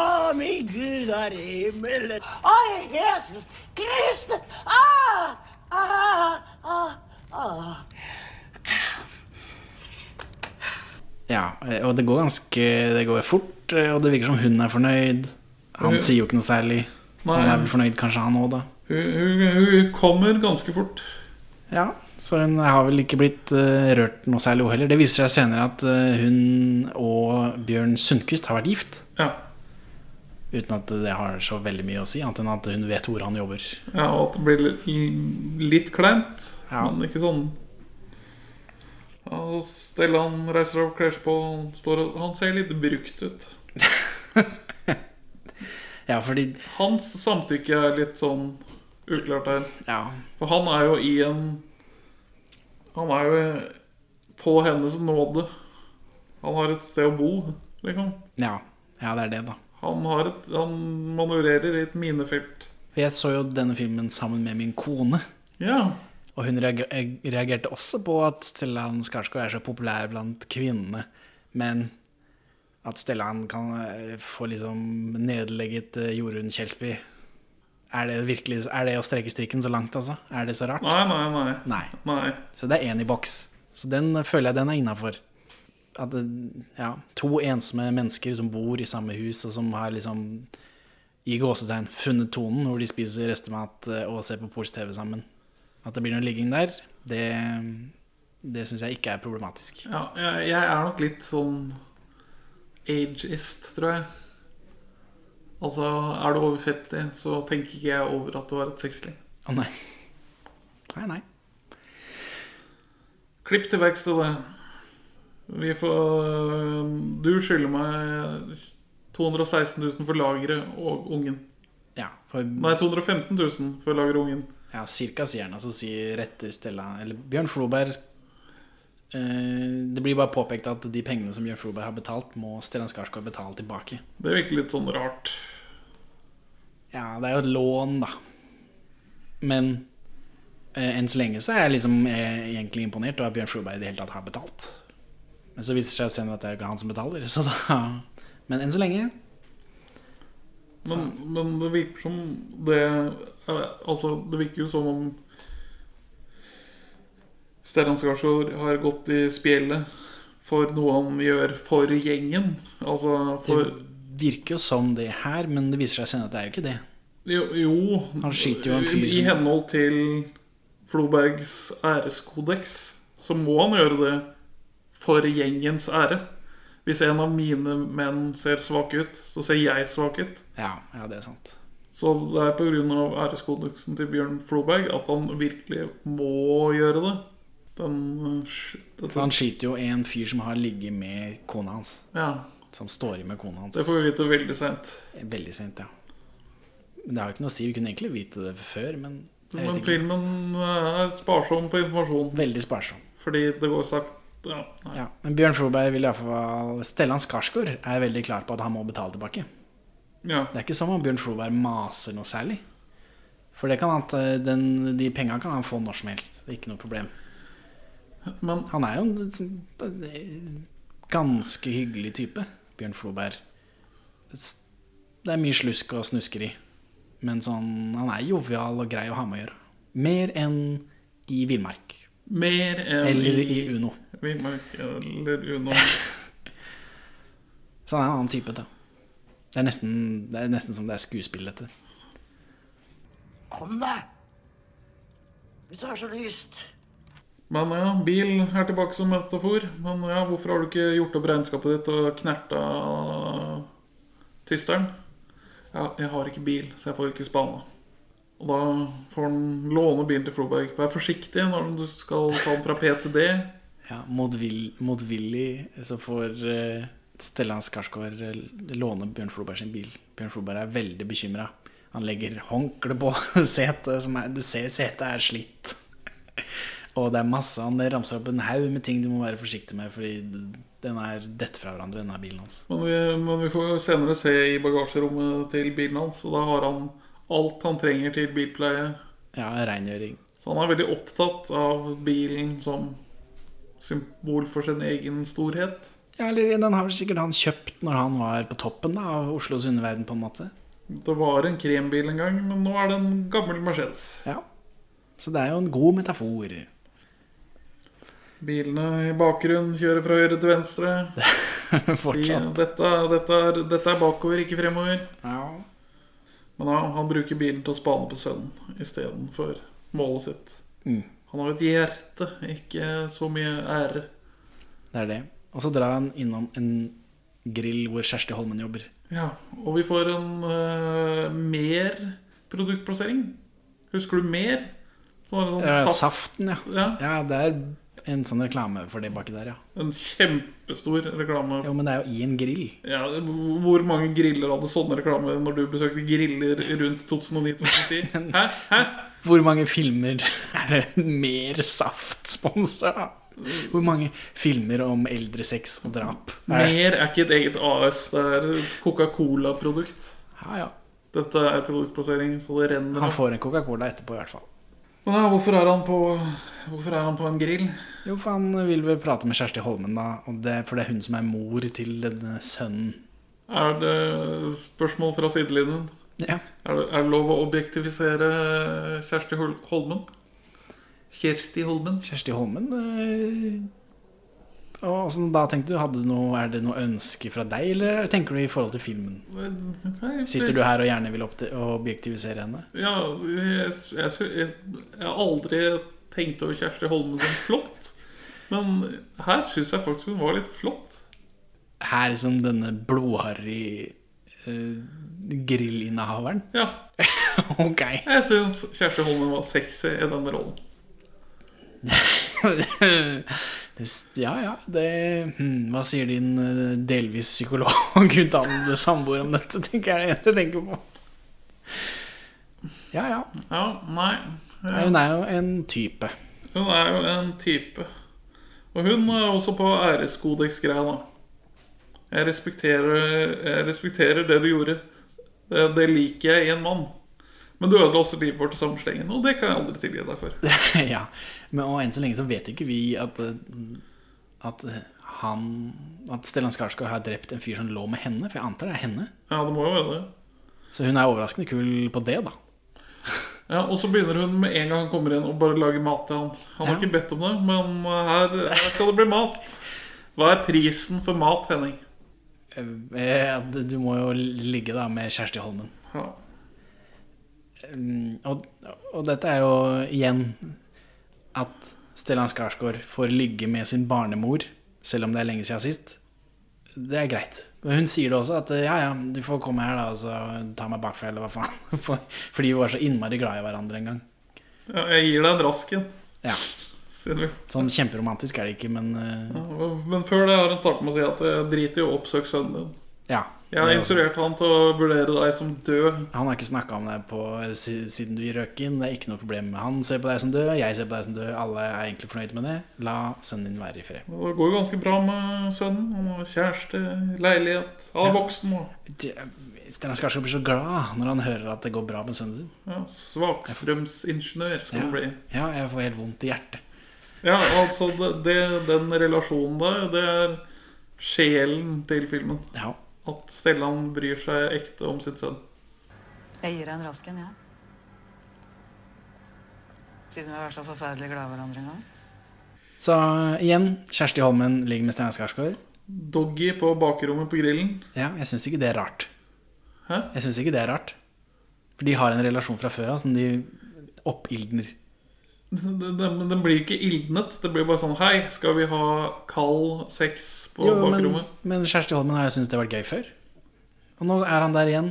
min Gud er i himmelen! Å, Jesus Kristus! Ah, ah, ah, ah.
Ja, eh, og det går ganske Det går fort, eh, og det virker som hun er fornøyd. Han
Hun-
sier jo ikke noe særlig. Så han
Nei.
er vel fornøyd kanskje, han òg, da.
Hun, hun, hun kommer ganske fort.
Ja, så hun har vel ikke blitt eh, rørt noe særlig hun heller. Det viser seg senere at eh, hun og Bjørn Sundquist har vært gift.
Ja.
Uten at det har så veldig mye å si, annet enn at hun vet hvor han jobber.
Ja, og at det blir li- litt kleint, men ikke sånn ja, så Stellan reiser opp, kler seg på, han, står og, han ser litt brukt ut.
Ja, fordi
Hans samtykke er litt sånn uklart her.
Ja.
For han er jo i en Han er jo på hennes nåde. Han har et sted å bo, liksom.
Ja, ja det er det, da.
Han, har et, han manøvrerer i et minefelt.
For jeg så jo denne filmen sammen med min kone.
Ja.
Og hun reager- eh, reagerte også på at Stellan Skarsgård er så populær blant kvinnene. Men at Stellan kan eh, få liksom nedlegget eh, Jorunn Kjelsby er det, virkelig, er det å strekke strikken så langt, altså? Er det så rart?
Nei, nei, nei.
Nei.
Nei.
Så det er én i boks. Så den eh, føler jeg den er innafor. At eh, ja, to ensomme mennesker som bor i samme hus, og som har liksom i gåsetegn funnet tonen hvor de spiser restemat eh, og ser på Pols-TV sammen. At det blir noe ligging der, det, det syns jeg ikke er problematisk.
Ja, jeg, jeg er nok litt sånn ageist, tror jeg. Altså, er du over 50, så tenker ikke jeg over at du har et sexliv.
Å nei. Nei, nei.
Klipp til verkstedet. Vi får eh, Du skylder meg 216 000 for lageret og ungen.
Ja, for-
Nei, 215 000 for lageret og ungen.
Ja, cirka sier han, altså sier retter Stella Eller Bjørn Floberg eh, Det blir bare påpekt at de pengene som Bjørn Floberg har betalt, må Stellan Skarsgård betale tilbake.
Det virker litt sånn rart.
Ja, det er jo et lån, da. Men eh, enn så lenge så er jeg liksom eh, egentlig imponert over at Bjørn Floberg i det hele tatt har betalt. Men så viser det seg senere at det er ikke han som betaler, så da (laughs) Men enn så lenge
Men, men det virker som det eh, Altså, det virker jo som om Stellan Skarsgård har gått i spjeldet for noe han gjør for gjengen. Altså for
Det virker jo som det her, men det viser seg senere at det er jo ikke det.
Jo, jo.
Han skyter jo en fyr
I
som-
henhold til Flobergs æreskodeks så må han gjøre det for gjengens ære. Hvis en av mine menn ser svak ut, så ser jeg svak ut.
Ja, ja det er sant.
Så det er pga. æreskodeksen til Bjørn Floberg at han virkelig må gjøre det. Den, eh, sk- dette-
For han skyter jo en fyr som har ligget med kona hans.
Ja.
Som står i med kona hans.
Det får vi vite veldig seint.
Veldig sent, ja. Men Det har jo ikke noe å si. Vi kunne egentlig vite det før, men jeg vet
Men
ikke.
filmen er sparsom på informasjon.
Veldig sparsom.
Fordi det går sakte. Ja, nei.
Ja. Men Bjørn Floberg vil iallfall Stellan Skarsgård er veldig klar på at han må betale tilbake.
Ja.
Det er ikke som om Bjørn Floberg maser noe særlig. For det kan han, at eh, den, de penga kan han få når som helst. Det er ikke noe problem.
Men
han er jo en sånn- ganske hyggelig type, Bjørn Floberg. Det er mye slusk og snuskeri. Men sånn, han er jovial og grei å ha med å gjøre. Mer enn i Villmark.
Mer enn
Eller i Uno.
Villmark eller Uno.
Så han er en annen type, da. Det er nesten, det er nesten som det er skuespill, dette.
Kom deg! Hvis du har så lyst.
Men ja, bil er tilbake som metafor. Men ja, hvorfor har du ikke gjort opp regnskapet ditt og knerta tysteren? Ja, jeg har ikke bil, så jeg får ikke spana. Og da får han låne bilen til Floberg. Vær forsiktig når du skal ta den fra P til D.
Ja, motvill- Motvillig så får eh, Stellan Skarsgård eh, låne Bjørn Floberg sin bil. Bjørn Floberg er veldig bekymra. Han legger håndkle på (laughs) setet. Som er, du ser setet er slitt. (laughs) Og det er masse Han ramser opp en haug med ting du må være forsiktig med, fordi den er detter fra hverandre, denne bilen hans.
Men vi, men vi får jo senere se i bagasjerommet til bilen hans, og da har han alt han trenger til bilpleie.
Ja, rengjøring.
Så han er veldig opptatt av bilen som symbol for sin egen storhet.
Ja, eller Den har vel sikkert han kjøpt når han var på toppen da, av Oslos underverden, på en måte.
Det var en krembil en gang, men nå er det en gammel Mercedes.
Ja. Så det er jo en god metafor.
Bilene i bakgrunnen kjører fra høyre til venstre.
(laughs) Fortsatt.
De- Dette, dette, er, dette er bakover, ikke fremover. Men han, han bruker bilen til å spane på sønnen istedenfor målet sitt.
Mm.
Han har jo et hjerte, ikke så mye ære.
Det er det. Og så drar han innom en grill hvor Kjersti Holmen jobber.
Ja, Og vi får en eh, mer produktplassering. Husker du mer? Som var en sånn
Ja,
saft-
saften, ja.
ja.
Det er en sånn reklame for det baki der, ja.
En kjempestor reklame.
Jo, men det er jo i en grill.
Ja, Hvor mange griller hadde sånne reklame når du besøkte griller rundt 2009-2010? Hæ? Hæ?
Hvor mange filmer er det mer saft-sponsa? Hvor mange filmer om eldre sex og drap? Er det?
Mer er ikke et eget AS, det er et Coca-Cola-produkt.
Ja, ja.
Dette er produktplassering, så det renner
Han
av.
får en Coca-Cola etterpå, i hvert fall.
Men ja, hvorfor er han på Hvorfor er han på en grill?
Jo, for han vil vel prate med Kjersti Holmen, da. Og det, for det er hun som er mor til denne sønnen.
Er det spørsmål fra sidelinjen?
Ja.
Er det, er det lov å objektifisere Kjersti Hol Holmen? Kjersti Holmen?
Kjersti Holmen eh, Og sånn, da tenkte du, hadde du noe, Er det noe ønske fra deg, eller tenker du i forhold til filmen?
Nei,
Sitter du her og gjerne vil opti- objektivisere henne?
Ja, jeg, jeg, jeg, jeg har aldri tenkt over Kjersti Holmen som flott. Men her syns jeg faktisk hun var litt flott.
Her som denne blodharry eh, grillinnehaveren? (laughs)
Ja.
ok. (laughs)
Jeg syns Kjersti Holmen var sexy i denne rollen.
Det- ja, ja. Det, hm, hva sier din eh, delvis psykologutdannede samboer om dette, tenker jeg det eneste jeg tenker på. Ja, ja.
Ja, nei.
Nei, Hun er jo en type.
Hun er jo en type. Og hun er også på æreskodex-greia, da. Jeg respekterer, jeg respekterer det du gjorde. Det, det liker jeg i en mann. Men du ødela også livet vårt i samme slengen, og det kan jeg aldri tilgi deg for.
(laughs) ja. Men og enn så lenge så vet ikke vi at, eh, at eh, han At Stellan Skarsgård har drept en fyr som lå med henne. For jeg antar det er henne.
Ja, det må jo være det.
Så hun er overraskende kul på det, da.
Ja, Og så begynner hun med en gang han kommer inn, og bare lager mat til han. Han har
Ja.
ikke bedt om det, men her, her skal det bli mat. Hva er prisen for mat, Henning?
Eh, at Du må jo ligge da med Kjersti Holmen.
Ja.
Mm, Og, og dette er jo igjen at Stellan Skarsgård får ligge med sin barnemor, selv om det er lenge siden sist. Det er greit. Men hun sier det også, at eh, ja, ja, du får komme her da og så ta meg bakfra, eller hva faen. (laughs) For- Fordi vi var så innmari glad i hverandre en gang.
Ja, jeg gir deg en rask en.
Ja.
Sier du.
Sånn kjemperomantisk er det ikke, men eh,
Ja, Men før det har hun startet med å si at jeg driter i å oppsøke sønnen din.
ja.
Jeg har
Det er
instruert han til å vurdere deg som død.
Han har ikke snakka om deg på, si- siden du røk inn. Det er ikke noe problem. Han ser på deg som død, jeg ser på deg som død. Alle er egentlig fornøyd med det. La sønnen din være i fred.
Det går jo ganske bra med sønnen. Han har kjæreste, leilighet. Han er voksen nå.
Det- Stellan Skarsgård blir så glad når han hører at det går bra med sønnen sin.
Ja, Svakstrømsingeniør skal han bli.
Ja, jeg får helt vondt i hjertet.
Ja, altså det, det, Den relasjonen der, det er sjelen til filmen.
Ja.
At Stellan bryr seg ekte om sitt sønn.
Jeg gir deg en rask en, jeg. Ja. Siden vi har vært så forferdelig glad i hverandre en gang.
Så igjen, Kjersti Holmen ligger med Stellan Skarsgård.
Doggy på bakrommet på grillen.
Ja, jeg syns ikke det er rart.
Hæ?
Jeg syns ikke det er rart. For de har en relasjon fra før av som de oppildner.
Den, den, den blir ikke ildnet. Det blir bare sånn Hei, skal vi ha kald sex på
Jo, men,
bakrommet?
men Kjersti Holmen har jo syntes det har vært gøy før. Og nå er han der igjen.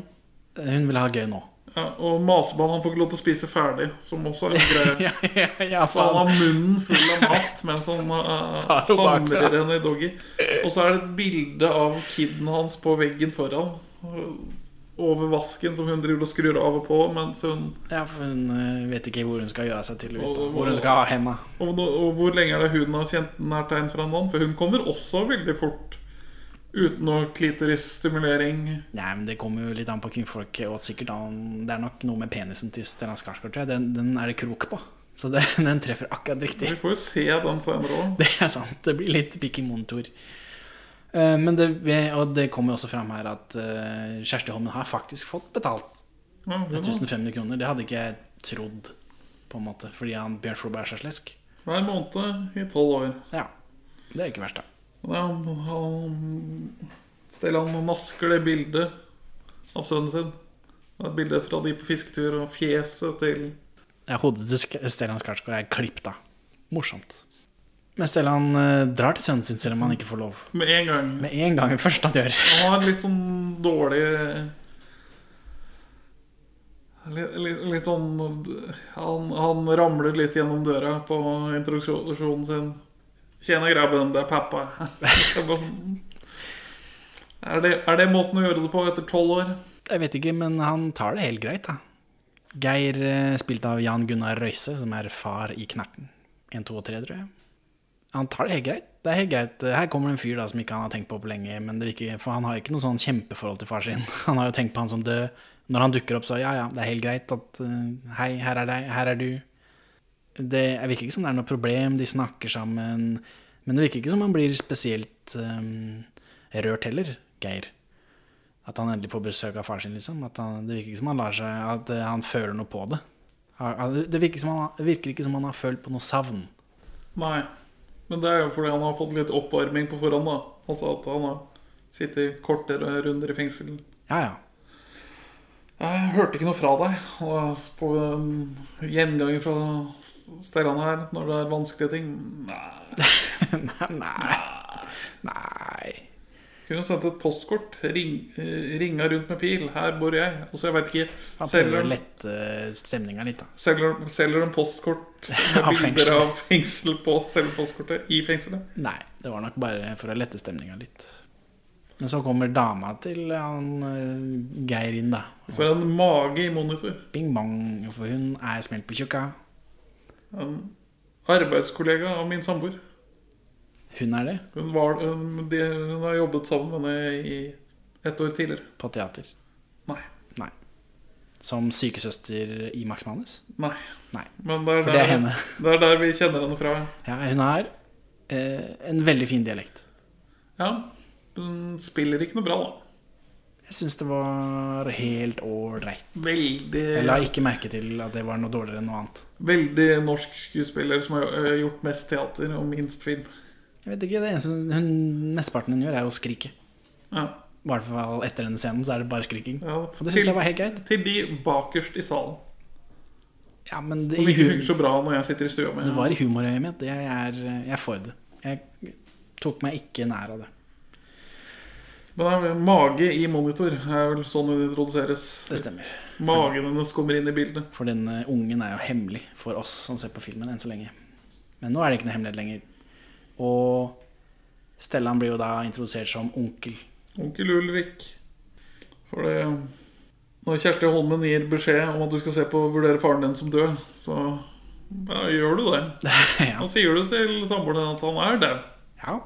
Hun vil ha gøy nå. (laughs)
Ja, og maseball, han får ikke lov til å spise ferdig, som også er en greie. så
faen.
han har munnen full av mat mens han eh,
(laughs) Tar jo bakfra.
hamrer henne i doggy. Og så er det et bilde av kiden hans på veggen foran. eh, Over vasken som hun driver og skrur av og på mens hun
Ja, for hun eh, vet ikke hvor hun skal gjøre av seg, tydeligvis. Da.
Og-
Hvor hun skal ha henda.
og, nå- og hvor lenge er det hun har kjent den her tegn fra en mann? For hun kommer også veldig fort uten noe klitorisstimulering.
Nei, men det kommer jo litt an på kvinnfolket, og sikkert an Det er nok noe med penisen til Stellan Skarsgård, tror jeg. Den, den er det krok på. Så det, (laughs) den treffer akkurat riktig. (laughs)
Vi får jo se den senere òg.
Det er sant. Det blir litt pikk i montor. Eh, Men det, og det kommer jo også fram her at eh, Kjersti Holmen har faktisk fått betalt
Ja, hun har.
1500 kroner. Det hadde ikke jeg trodd, på en måte, fordi han Bjørn Floberg er så slesk.
Hver måned i tolv år.
Ja. Det er jo ikke verst, da.
Ja, han- han Stellan masker det bildet av sønnen sin. Det er Et bilde fra de på fisketur og fjeset til
Ja, hodet til Sk- Stellan Skarsgård er klippet av. Morsomt. Men Stellan eh, drar til sønnen sin selv om han ikke får lov.
Med en gang.
Med en gang først han gjør.
Han har litt sånn dårlig Litt, litt, litt sånn han, han ramler litt gjennom døra på introduksjonen sin. 'Tjena, grabben. Det er pappa.' (laughs) Det er bare sånn. Er det, er det måten å gjøre det på etter tolv år?
Jeg vet ikke, men han tar det helt greit, da. Geir, eh, spilt av Jan Gunnar Røise, som er far i Knerten. 1, 2 og 3, tror jeg. Han tar det helt greit. Det er helt greit. Her kommer det en fyr da som ikke han har tenkt på på lenge, men det virker, for han har ikke noe sånn kjempeforhold til far sin. (laughs) Han har jo tenkt på han som død. Når han dukker opp, så ja, ja, det er helt greit at eh, hei, her er deg, her er du. Det jeg virker ikke som det er noe problem, de snakker sammen. Men det virker ikke som han blir spesielt eh, rørt heller, Geir. At han endelig får besøk av far sin, liksom. At han, det virker ikke som han lar seg At eh, han føler noe på det. Han- han- Det virker, som han, det virker ikke som han har følt på noe savn.
Nei. Men det er jo fordi han har fått litt oppvarming på forhånd. da Altså at han har sittet kortere runder i fengsel.
Ja, ja.
Jeg hørte ikke noe fra deg. Og jeg på um, gjenganger fra Stellan her når det er vanskelige ting Nei.
(laughs) Nei. Nei.
Kunne sendt et postkort. Ring, eh, ringa rundt med pil. Her bor jeg. Altså, jeg vet ikke
Han prøver å lette stemninga litt, da.
selger, selger de (laughs) postkort med
Av
bilder
fengselet.
av fengsel på selve postkortet i fengselet?
Nei, det var nok bare for å lette stemninga litt. Men så kommer dama til han eh, Geir inn, da.
For en mage i monitor.
Bing bong, for hun er smelt på tjukka.
En arbeidskollega av min samboer.
Hun er det,
Hun, var, hun, de, hun har jobbet sammen med henne i et år tidligere.
på teater.
Nei.
Nei. Som sykesøster i Max Manus?
Nei.
Nei.
Men det er,
For
der,
det er henne.
(laughs) det er der vi kjenner henne fra.
Ja, hun har eh, en veldig fin dialekt.
Ja. Hun spiller ikke noe bra, da.
Jeg syns det var helt ålreit.
Veldig
Jeg la ikke merke til at det var noe dårligere enn noe annet.
Veldig norsk skuespiller som har ø, gjort mest teater og minst film.
Jeg vet ikke, det eneste hun, hun, Mesteparten hun gjør, er jo å skrike.
Ja.
I hvert fall etter denne scenen så er det bare skriking.
Ja,
Og det syns jeg var helt greit.
Til de bakerst i salen.
Ja, men det, i
Som ikke
hu-
funker så bra når jeg sitter i stua med
det var i humorøyet mitt. Jeg er, jeg er for det. Jeg tok meg ikke nær av det.
Men det er mage i monitor er vel sånn hun introduseres.
Det stemmer.
Magen hennes kommer inn i bildet.
For den eh, ungen er jo hemmelig for oss som ser på filmen enn så lenge. Men nå er det ikke noe hemmelighet lenger. Og Stellan blir jo da introdusert som (laughs) onkel.
Onkel Ulrik. For det Når Kjersti Holmen gir beskjed om at du skal se på 'Vurdere faren din som død', så ja, gjør du det.
Ja.
Da sier du til samboeren din at han er dau.
Ja.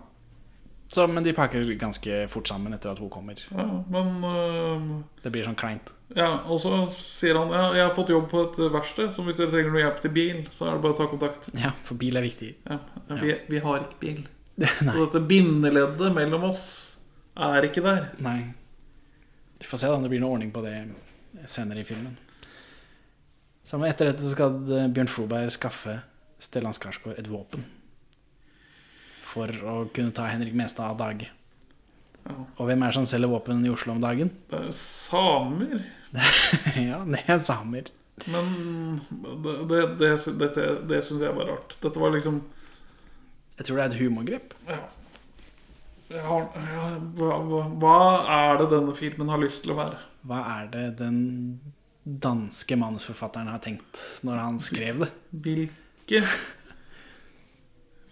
Så, men de pakker ganske fort sammen etter at hun kommer.
Ja, men øhm,
Det blir sånn kleint.
Ja, og så sier han ja, 'Jeg har fått jobb på et verksted, så hvis dere trenger noe hjelp til bil, så er det bare å ta kontakt'.
Ja, for bil er (laughs) viktig.
Ja, vi, vi har ikke bil. Så dette bindeleddet mellom oss er ikke der.
Nei. Vi får se da om det blir noe ordning på det senere i filmen. Så men Etter dette så skal eh, Bjørn Floberg skaffe Stellan Skarsgård et våpen. For å kunne ta Henrik Mestad av dage. Og hvem er det som selger våpen i Oslo om dagen? (laughs)
Det er samer.
ja, det er samer.
Men det, det, det, sy- dette, det syns jeg var rart. Dette var liksom
Jeg tror det er et humorgrep.
Ja. Jeg har, ja hva, hva, hva er det denne filmen har lyst til å være?
Hva er det den danske manusforfatteren har tenkt når han skrev det? (laughs)
Hvilke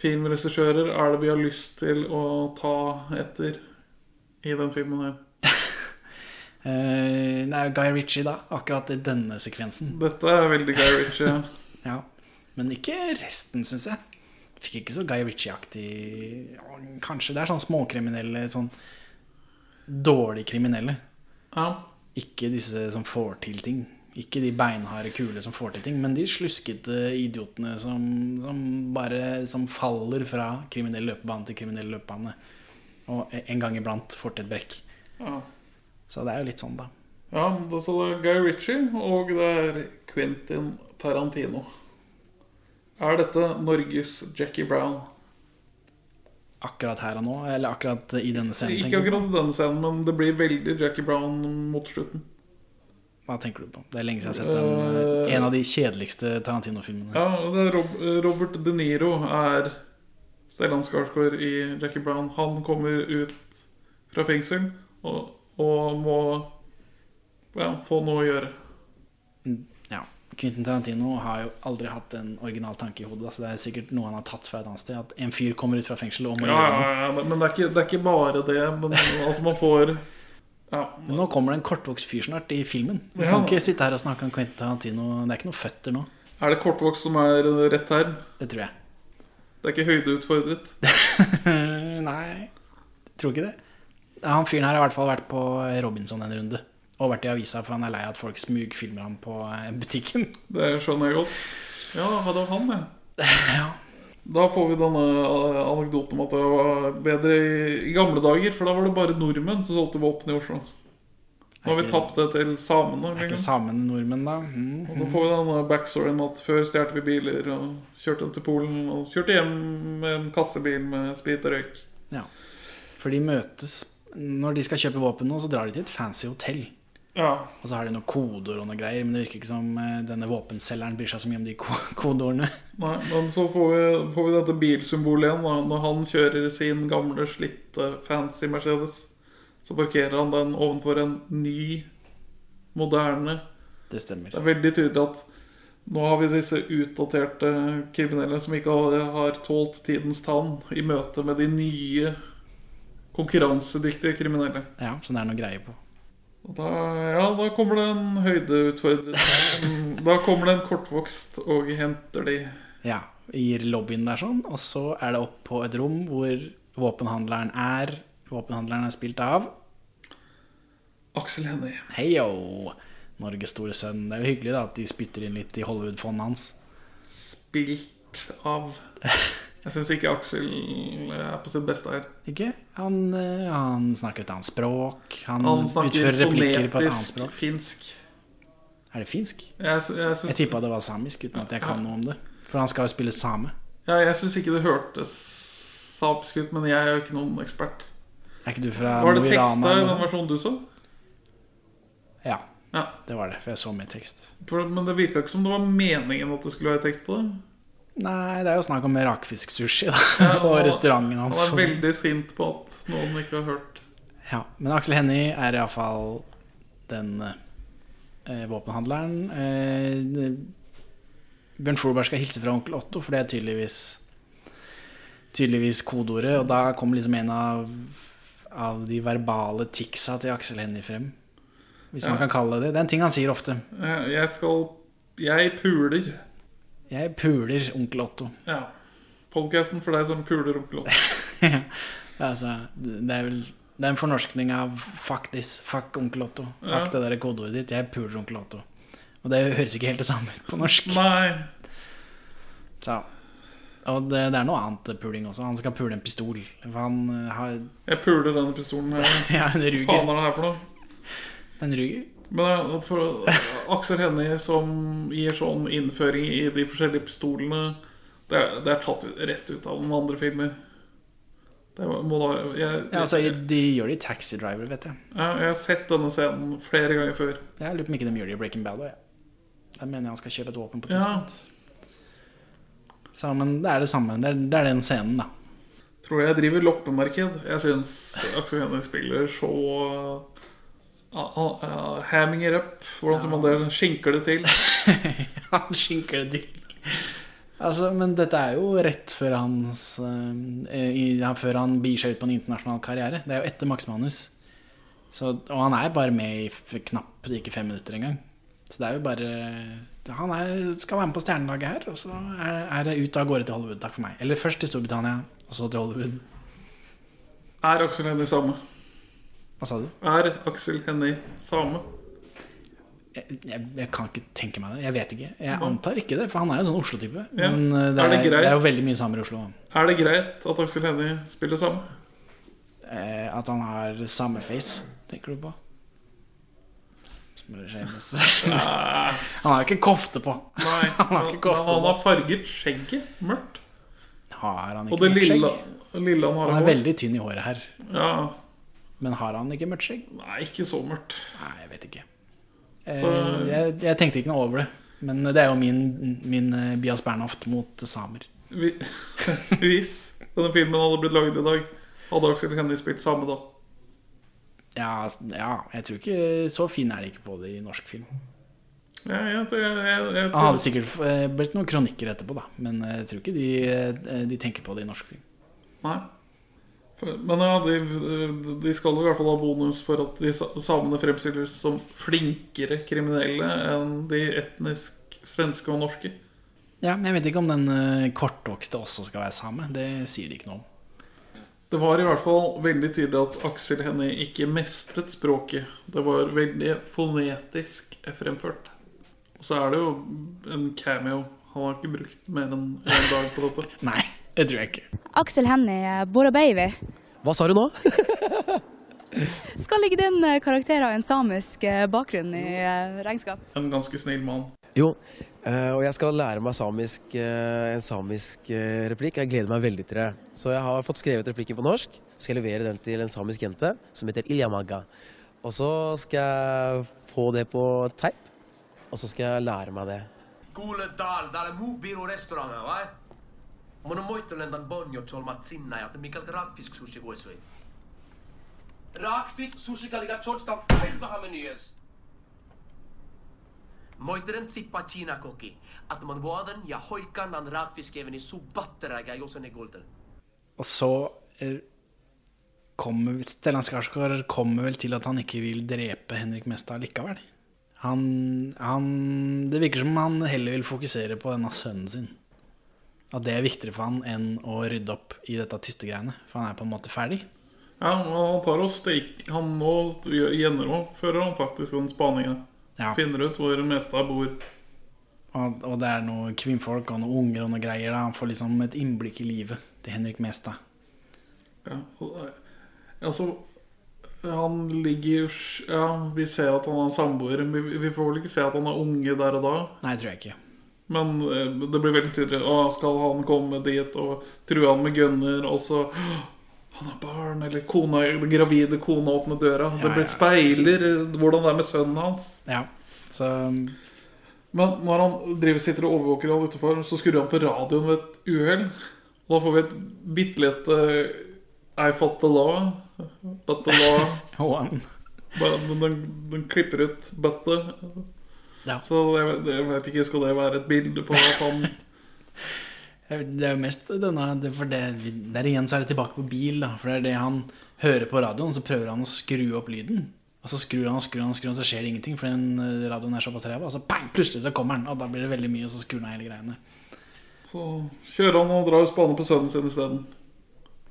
filmregissører er det vi har lyst til å ta etter i den filmen her?
Eh, det er jo Guy Ritchie, da. Akkurat i denne sekvensen.
Dette er veldig Guy
(laughs)
Ritchie.
ja. Men ikke resten, syns jeg. Fikk ikke så Guy Ritchie-aktig Kanskje det er sånn småkriminelle, sånn dårlige kriminelle.
Ja.
Ikke disse som får til ting. Ikke de beinharde kule som får til ting, men de sluskete idiotene som, som bare som faller fra kriminell løpebane til kriminell løpebane. Og en gang iblant får til et brekk.
Ja.
Så det er jo litt sånn, da.
Ja, det, så det er Guy Ritchie, og det er Quentin Tarantino. Er dette Norges Jackie Brown?
Akkurat her og nå, eller akkurat i denne scenen?
Ikke
tenker du på?
akkurat i denne scenen, men det blir veldig Jackie Brown mot slutten.
Hva tenker du på? Det er lenge siden jeg har sett den,
Eh,
en av de kjedeligste Tarantino-filmene.
Ja, og det er Rob Robert De Niro er Stellan Skarsgård i Jackie Brown. Han kommer ut fra fengsel og, og må ja, få noe å gjøre.
Ja. Quentin Tarantino har jo aldri hatt en original tanke i hodet. da, Så det er sikkert noe han har tatt fra et annet sted. At en fyr kommer ut fra fengsel og må
Ja,
gjøre
ja,
noe.
ja, men det er ikke, det er ikke bare det. Men altså, man får ja,
Men nå kommer det en kortvokst fyr snart i filmen. Vi
Ja.
kan ikke sitte her og snakke om Quentin Tarantino. Det er ikke noe føtter nå.
Er det kortvokst som er rett term?
Det tror jeg. (laughs)
Det er ikke høydeutfordret?
Nei, tror ikke det. Ja, Han fyren her har i hvert fall vært på Robinson en runde. Og vært i avisa, for han er lei av at folk smugfilmer ham på eh, butikken. (laughs)
Det skjønner jeg godt. Ja, hva det var han, det. Da får vi denne eh, anekdoten om at det var bedre i, i gamle dager, for da var det bare nordmenn som solgte våpen i Oslo. Nå har vi tapt det til samene. liksom.
Er ikke samene nordmenn, da? Mm.
Og så får vi denne backstoryen med at før stjal vi biler og kjørte til Polen. Og kjørte hjem med en kassebil med sprit og røyk.
Ja. For de møtes Når de skal kjøpe våpen nå, så drar de til et fancy hotell.
Ja.
Og så har de noen kodeord og noe greier, men det virker ikke som eh, denne våpenselgeren bryr seg så mye om de ko- (laughs) kodeordene.
Nei, men så får vi, får vi dette bilsymbolet igjen. Da. Når han kjører sin gamle, slitte, fancy Mercedes, så parkerer han den ovenfor en ny, moderne
Det stemmer.
Det er veldig tydelig at nå har vi disse utdaterte kriminelle som ikke har, har tålt tidens tann, i møte med de nye, konkurransedyktige kriminelle.
Ja, så det er noe greier på.
Og da, ja, da kommer det en høydeutfordrer. da kommer det en kortvokst og henter de.
Ja, I lobbyen der sånn, og så er det opp på et rom hvor våpenhandleren er. Våpenhandleren er spilt av
Aksel Hennie.
Heio! Norges store sønn. Det er jo hyggelig da at de spytter inn litt i Hollywood-fondet hans.
Spilt av Jeg syns ikke Aksel eh, er på sitt beste her.
Ikke? Han, eh, han snakker et annet språk. Han,
Han snakker
Mm, utfører replikker på et annet
fonetisk
språk.
finsk.
Er det finsk?
Jeg, sy- jeg,
Jeg
syns,
tippa det var samisk, uten at jeg kan noe om det. For han skal jo spille same.
ja, jeg syns ikke det hørtes samisk ut, men jeg er jo ikke noen ekspert.
Er ikke du fra
Var det
Mo i Rana
teksta i
eller
den
noe sånt?
versjonen du så?
Ja,
Ja.
det var det. For jeg så mye tekst.
For, men det virka ikke som det var meningen at det skulle være tekst på
(laughs)
det.
Nei, det er jo snakk om rakfisk-sushi, da.
Han
(laughs) Og
var-
restauranten hans.
Han er veldig sint på at noen ikke har hørt.
Ja, men Aksel Hennie er iallfall den eh, våpenhandleren. Eh, Bjørn Froberg skal hilse fra onkel Otto, for det er tydeligvis Tydeligvis kodeordet. Og da kommer liksom en av, av de verbale ticsa til Aksel Hennie frem. Hvis man
Ja.
kan kalle det det. Det er en ting han sier ofte.
Eh, Jeg skal Jeg puler.
Jeg puler onkel Otto.
Ja. Podkasten for deg som puler onkel Otto.
(laughs) Ja, altså, det er vel Det er en fornorskning av fuck this, fuck onkel Otto. Fuck det der kodeordet ditt. Jeg puler onkel Otto. Og det høres ikke helt det samme ut på norsk.
Nei.
Så. Og det, det er noe annet puling også. Han skal pule en pistol. For han eh, har
Jeg puler denne pistolen her.
(laughs) Ja, en ruger.
Hva faen er det her for noe?
en ruger.
Men eh, for Aksel Hennie som gir sånn innføring i de forskjellige pistolene Det er, det er tatt ut- rett ut av noen andre filmer. Det må da jeg,
Ja, altså, de gjør det i Taxi Driver, vet jeg.
Ja, jeg har sett denne scenen flere ganger før.
Jeg lurer på om ikke de gjør det i Breaking Bad òg. Der mener jeg han skal kjøpe et våpen på et
Ja.
tidspunkt. Så, men det er det samme. Det er, det er den scenen, da.
Tror jeg driver loppemarked. Jeg syns Aksel Hennie spiller så uh, uh, uh, Hamming it up. Hvordan som man det skinker det til.
(laughs) Han skinker det til. Altså, men dette er jo rett før, hans, eh, i- ja, før han bier seg ut på en internasjonal karriere. Det er jo etter Max Manus. Så, og han er bare med i f knapt ikke fem minutter engang. Så det er jo bare eh, Han er, skal være med på Stjernelaget her, og så er, er det ut av gårde til Hollywood. Takk for meg. Eller først til Storbritannia, og så til Hollywood.
Er Aksel Hennie same?
Hva sa du?
Er Aksel Hennie same?
Jeg, jeg, jeg kan ikke tenke meg det. Jeg vet ikke. Jeg antar ikke det, for han er jo sånn Oslo-type.
Ja.
Men eh, det
Er
er,
det
det,
greit?
er jo veldig mye samer i Oslo.
Er det greit at Aksel Hennie spiller same?
Eh, at han har samme face, tenker du på? Smører seg med
(laughs) Nei.
Han har ikke kofte på.
Ah. Nei,
(laughs) han har
men
ikke kofte
han
på.
har farget skjegget mørkt.
Har han
Og
ikke
det
mørkt skjegg?
lilla, lilla han har
Han er
hår.
veldig tynn i håret her.
Ja,
Men har han ikke mørkt skjegg?
Nei, ikke så mørkt.
Nei, jeg vet ikke. Eh,
Så-
jeg, jeg tenkte ikke noe over det. Men det er jo min, min eh, Bias Bernhoft mot samer.
Vi, (laughs) hvis denne filmen hadde blitt laget i dag, hadde Aksel Hennie spilt same da.
Ja, s- ja, jeg tror ikke så fin er det ikke på det i norsk film.
Ja, jeg, jeg, jeg, jeg,
Han hadde sikkert eh, blitt noen kronikker etterpå, da. Men eh, jeg tror ikke de, eh, de tenker på det i norsk film.
Nei. For- Men ja, de, de skal jo i hvert fall ha bonus for at de sa- samene fremstilles som flinkere kriminelle enn de etnisk svenske og norske.
Ja, men Jeg vet ikke om den eh, kortvokste også skal være same. Det sier de ikke noe om. (laughs)
Det var i hvert fall veldig tydelig at Aksel Hennie ikke mestret språket. Det var veldig fonetisk fremført. Og så er det jo en cameo. Han har ikke brukt mer enn én dag på dette.
Nei, det tror jeg ikke.
eh, Aksel Hennie, Bora Baby.
Hva sa du nå?
(laughs) Skal ikke den eh, karakteren ha en samisk eh, bakgrunn i eh, regnskap?
En ganske snill mann.
Jo, eh, og jeg skal lære meg samisk, eh, en samisk eh, replikk. Jeg gleder meg veldig til det. Så jeg har fått skrevet replikken på norsk. Så skal jeg levere den til en samisk jente som heter Iljamaga. Og så skal jeg få det på teip, og så skal jeg lære meg det.
Kuule täällä, täällä muu biru restauranga, vai? Mun on moittelen tän bonjot solmat sinna, ja että mikä rakfisk sushi voi syödä. Rakfisk sushi kalika tjotsta pelvahan menyes. Moittelen tsippa Kina koki, att man vuoden ja hoikan an rakfiskeven i subatteräkä josen i gulden.
Og så eh, kommer Stellan Skarsgård kommer vel til at han ikke vil drepe Henrik Mesta likevel. Han, han Det virker som han heller vil fokusere på denne sønnen sin. At det er viktigere for han enn å rydde opp i dette tystegreiene. For han er på en måte ferdig.
Ja, men han tar og steik Han nå gjennomfører han faktisk den spaningen.
Ja.
Finner ut hvor Mestad bor.
Og, og det er noen kvinnfolk og noen unger og noen greier. Da. Han får liksom et innblikk i livet til Henrik Mestad.
Ja, og- altså Han ligger jo- Ja, vi ser at han har samboer. men Vi, vi får vel ikke se at han har unge der og da.
Nei, tror jeg ikke.
Men eh, det blir veldig tydelig. Å, skal han komme dit og true han med gunner? Og så «Åh, Han har barn, eller kona, den gravide kona åpner døra.
Ja,
det blir
ja.
speiler eh, hvordan det er med sønnen hans.
Ja, så... um,
Men når han driver sitter og overvåker han utenfor, så skrur han på radioen ved et uhell. Og da får vi et bitte lite eh, I fought the law, but the law
(laughs) One.
Bare- men den, den klipper ut bøtte. Så jeg, vet- jeg vet ikke, skal det være et bilde på at han
Jeg vet- Det er jo mest denne det- For det, der igjen så er det tilbake på bil, da. For det er det han hører på radioen, så prøver han å skru opp lyden. Og så skrur han og skrur han, og skrur han så skjer det ingenting, for den eh, radioen er såpass ræva. Og så bang, plutselig så kommer han, og da blir det veldig mye, og så skrur han av hele greiene.
Så kjører han og drar og spaner på sønnen sin isteden.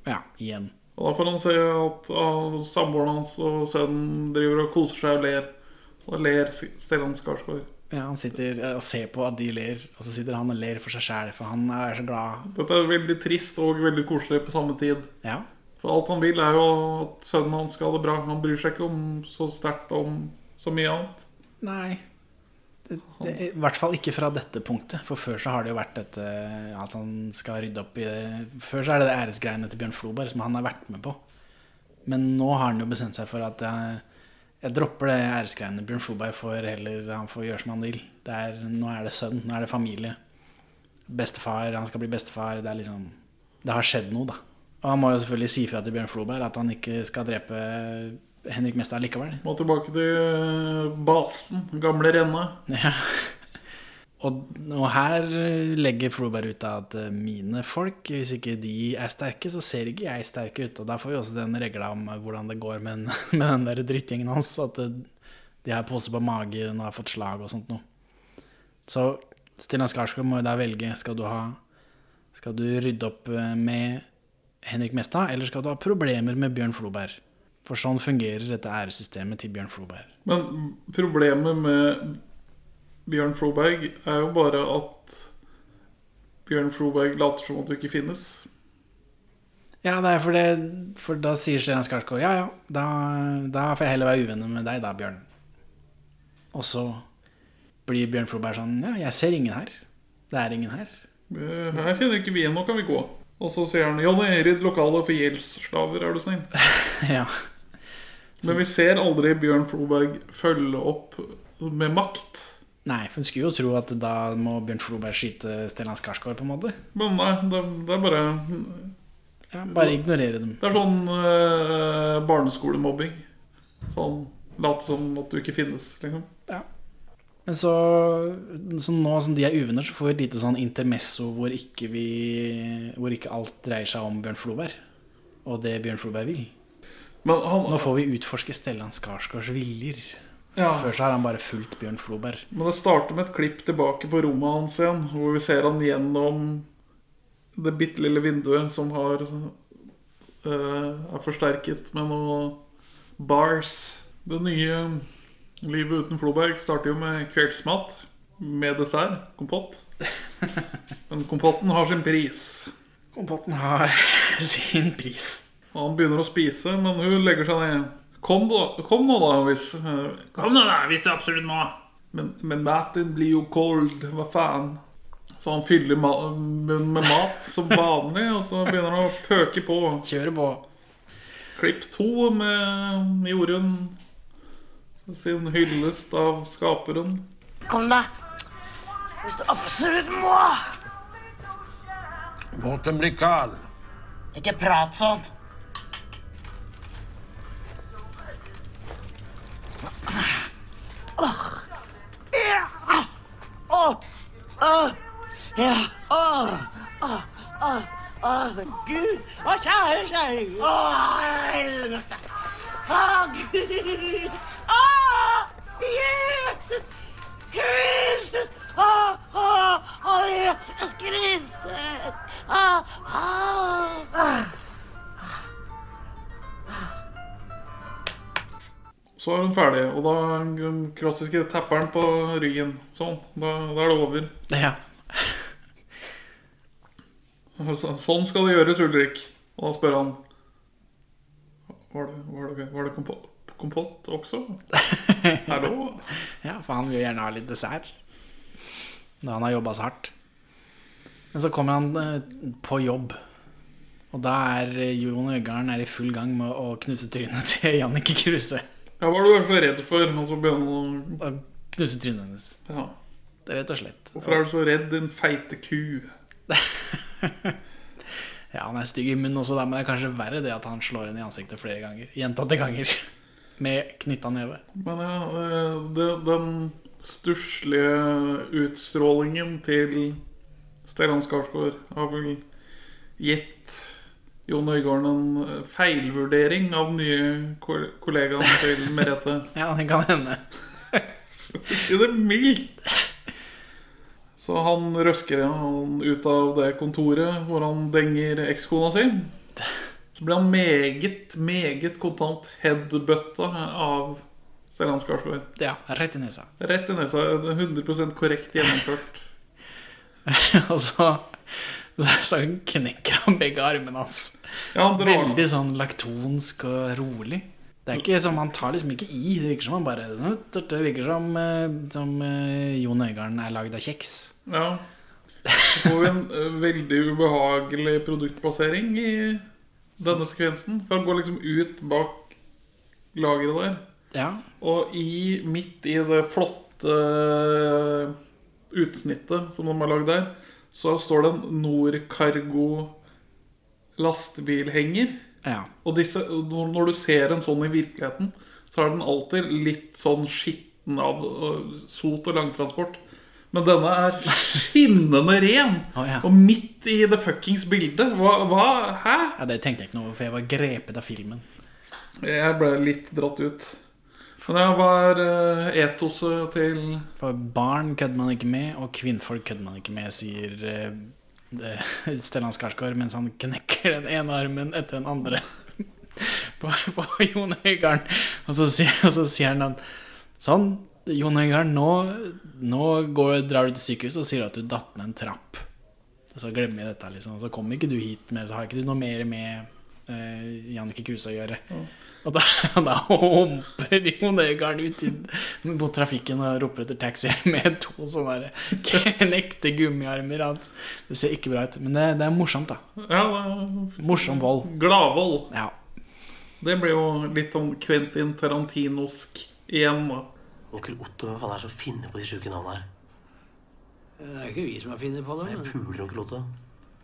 Ja, igjen.
Og da får han se at ah, samboeren hans og sønnen driver og koser seg og ler. Og da ler Stellan Skarsgård.
Ja, Han sitter eh, og ser på at de ler, og så sitter han og ler for seg sjæl, for han er så glad.
Dette er veldig trist og veldig koselig på samme tid.
Ja.
For alt han vil, er jo at sønnen hans skal ha det bra. Han bryr seg ikke om så sterkt om så mye annet.
Nei. Det, I hvert fall ikke fra dette punktet, for før så har det jo vært dette at han skal rydde opp i det Før så er det det æresgreiene til Bjørn Floberg som han har vært med på. Men nå har han jo bestemt seg for at jeg, jeg dropper det æresgreiene. Bjørn Floberg får heller han får gjøre som han vil. Det er, nå er det sønn, nå er det familie. Bestefar, han skal bli bestefar. Det er liksom Det har skjedd noe, da. Og han må jo selvfølgelig si fra til Bjørn Floberg at han ikke skal drepe Henrik Mestad likevel.
Må tilbake til eh, basen. Gamle Renna.
Ja. (laughs) Og, og her eh, legger Floberg ut at eh, mine folk, hvis ikke de er sterke, så ser ikke jeg sterk ut. Og der får vi også den regla om eh, hvordan det går med, den- (laughs) med den der drittgjengen hans. At det- de har pose på magen og har fått slag og sånt noe. Så Stina Skarsgård må jo da velge. Skal du ha Skal du rydde opp eh, med Henrik Mestad, eller skal du ha problemer med Bjørn Floberg? For sånn fungerer dette æresystemet til Bjørn Floberg.
Men problemet med Bjørn Floberg er jo bare at Bjørn Floberg later som at du ikke finnes.
Ja, det er for, det, for da sier Stian Skarsgård ja, ja, da, da får jeg heller være uvenner med deg da, Bjørn. Og så blir Bjørn Floberg sånn ja, jeg ser ingen her. Det er ingen her. (laughs)
Eh, Her kjenner ikke vi igjen, nå kan vi gå. Og så sier han Johnny, rydd lokalet for gjeldsslaver, er du snill.
ja.
Men vi ser aldri Bjørn Floberg følge opp med makt.
Nei, for en skulle jo tro at da må Bjørn Floberg skyte Stellan Skarsgård, på en måte.
Men nei, det, det er bare
bare ignorere dem.
Det er sånn eh, barneskolemobbing. Sånn late som at du ikke finnes, liksom.
Men så, så nå som de er uvenner, så får vi et lite sånn intermesso hvor ikke, vi, hvor ikke alt dreier seg om Bjørn Floberg. Og det Bjørn Floberg vil. nå får vi utforske Stellan Skarsgårds viljer.
Ja.
Før så har han bare fulgt Bjørn Floberg.
Men det starter med et klipp tilbake på rommet hans igjen, hvor vi ser han gjennom det bitte lille vinduet som har eh, er forsterket med noe bars. Det nye livet uten Floberg starter jo med kveldsmat med dessert, kompott. Men kompotten har sin pris.
Kompotten har (laughs) sin pris.
Og han begynner å spise, men hun legger seg ned. Kom, da, kom nå, da, hvis eh, Kom nå, da, hvis du absolutt må. Men, men maten blir jo cold. Hva faen? Så han fyller ma munnen med mat som vanlig, og så begynner han å pøke på.
Kjøre på.
Klipp to med Jorunn sin hyllest av skaperen.
Kom da. Hvis du absolutt må.
Låt den bli kald.
Ikke prat sånn. Åh. Ja. Åh. Åh. Ja. Åh. Åh. Åh. Åh. Gud. Å, kjære, kjære Gud. Åh, helvete. Åh, Gud. Åh, Jesus Kristus. Åh, åh, åh, Jesus Kristus. Åh, åh.
Så er hun ferdig, og da den klassiske tapperen på ryggen. Sånn. Da, da er det over.
Ja.
Så, sånn skal det gjøres, Ulrik. Og da spør han Var det, var det, var det kompott, kompott også? Hallo?
ja, for han vil jo gjerne ha litt dessert. Da han har jobba så hardt. Men så kommer han eh, på jobb. Og da er eh, Jon Øgarden er i full gang med å knuse trynet (laughs) til Jannicke Kruse.
Ja, hva er det du er så redd for? Og så begynner
han å Knuse trynet hennes.
Ja.
Det er rett og slett.
Hvorfor er du så redd, din feite ku?
(laughs) Ja, han er stygg i munnen også, da, men det er kanskje verre det at han slår henne i ansiktet flere ganger. Gjentatte ganger. (laughs) Med knytta neve.
Men ja, eh, det, den stusslige utstrålingen til Stellan Skarsgård har vel gitt Jon Øigarden en eh, feilvurdering av den nye ko- kollegaen til Merete.
ja, det kan hende.
I det mildt! Så han røsker han ut av det kontoret hvor han denger ekskona si. Så blir han meget, meget kontant headbutta av Stellan Skarsgård.
Ja, rett i nesa. (laughs)
Rett i nesa. 100 korrekt gjennomført.
Og så, så knekker han begge armene hans.
Ja, han drar-
Veldig sånn laktonsk og rolig. Det er ikke som Han tar liksom ikke i. Det virker som han bare Det virker som, eh, som eh, Jon Øigarden er lagd av kjeks.
Ja. Så får vi en eh, veldig ubehagelig produktplassering i denne sekvensen. For han går liksom ut bak lageret der.
Ja.
Og i, midt i det flotte eh, utsnittet som de har lagd der, så står det en Norcargo lastebilhenger.
Ja.
Og disse, når når du ser en sånn i virkeligheten, så er den alltid litt sånn skitten av øh, sot og langtransport. Men denne er skinnende ren!
(laughs) Å, ja.
Og midt i det fuckings bildet. Hva, hva? Hæ?
Ja, Det tenkte jeg ikke noe over, for jeg var grepet av filmen.
Jeg ble litt dratt ut. Men ja, hva er eh, etoset til
For barn kødder man ikke med, og kvinnfolk kødder man ikke med, sier eh, (laughs) det- Stellan Skarsgård mens han knekker den ene armen etter den andre (laughs) på, på Jon Øigarden. Og, så sier- og så sier han at sånn, Jon Øigarden, nå, nå går, drar du til sykehuset og sier at du datt ned en trapp. Og så glemmer vi dette, liksom. Og så kommer ikke du hit mer, så har ikke du noe mer med eh, Jannicke Kruse å gjøre. Og da, (laughs) da humper Jon Øigarden ut i, mot trafikken og roper etter taxi (laughs) med to sånne der knekte gummiarmer. At det ser ikke bra ut. Men det, det er morsomt, da.
Ja, det er
Morsom vold.
Gladvold.
Ja.
Det blir jo litt sånn Quentin Tarantinosk igjen, da.
Onkel Otto, hvem faen er det som finner på de sjuke navnene her?
Det er ikke vi som har funnet på det.
Jeg puler onkel Otto.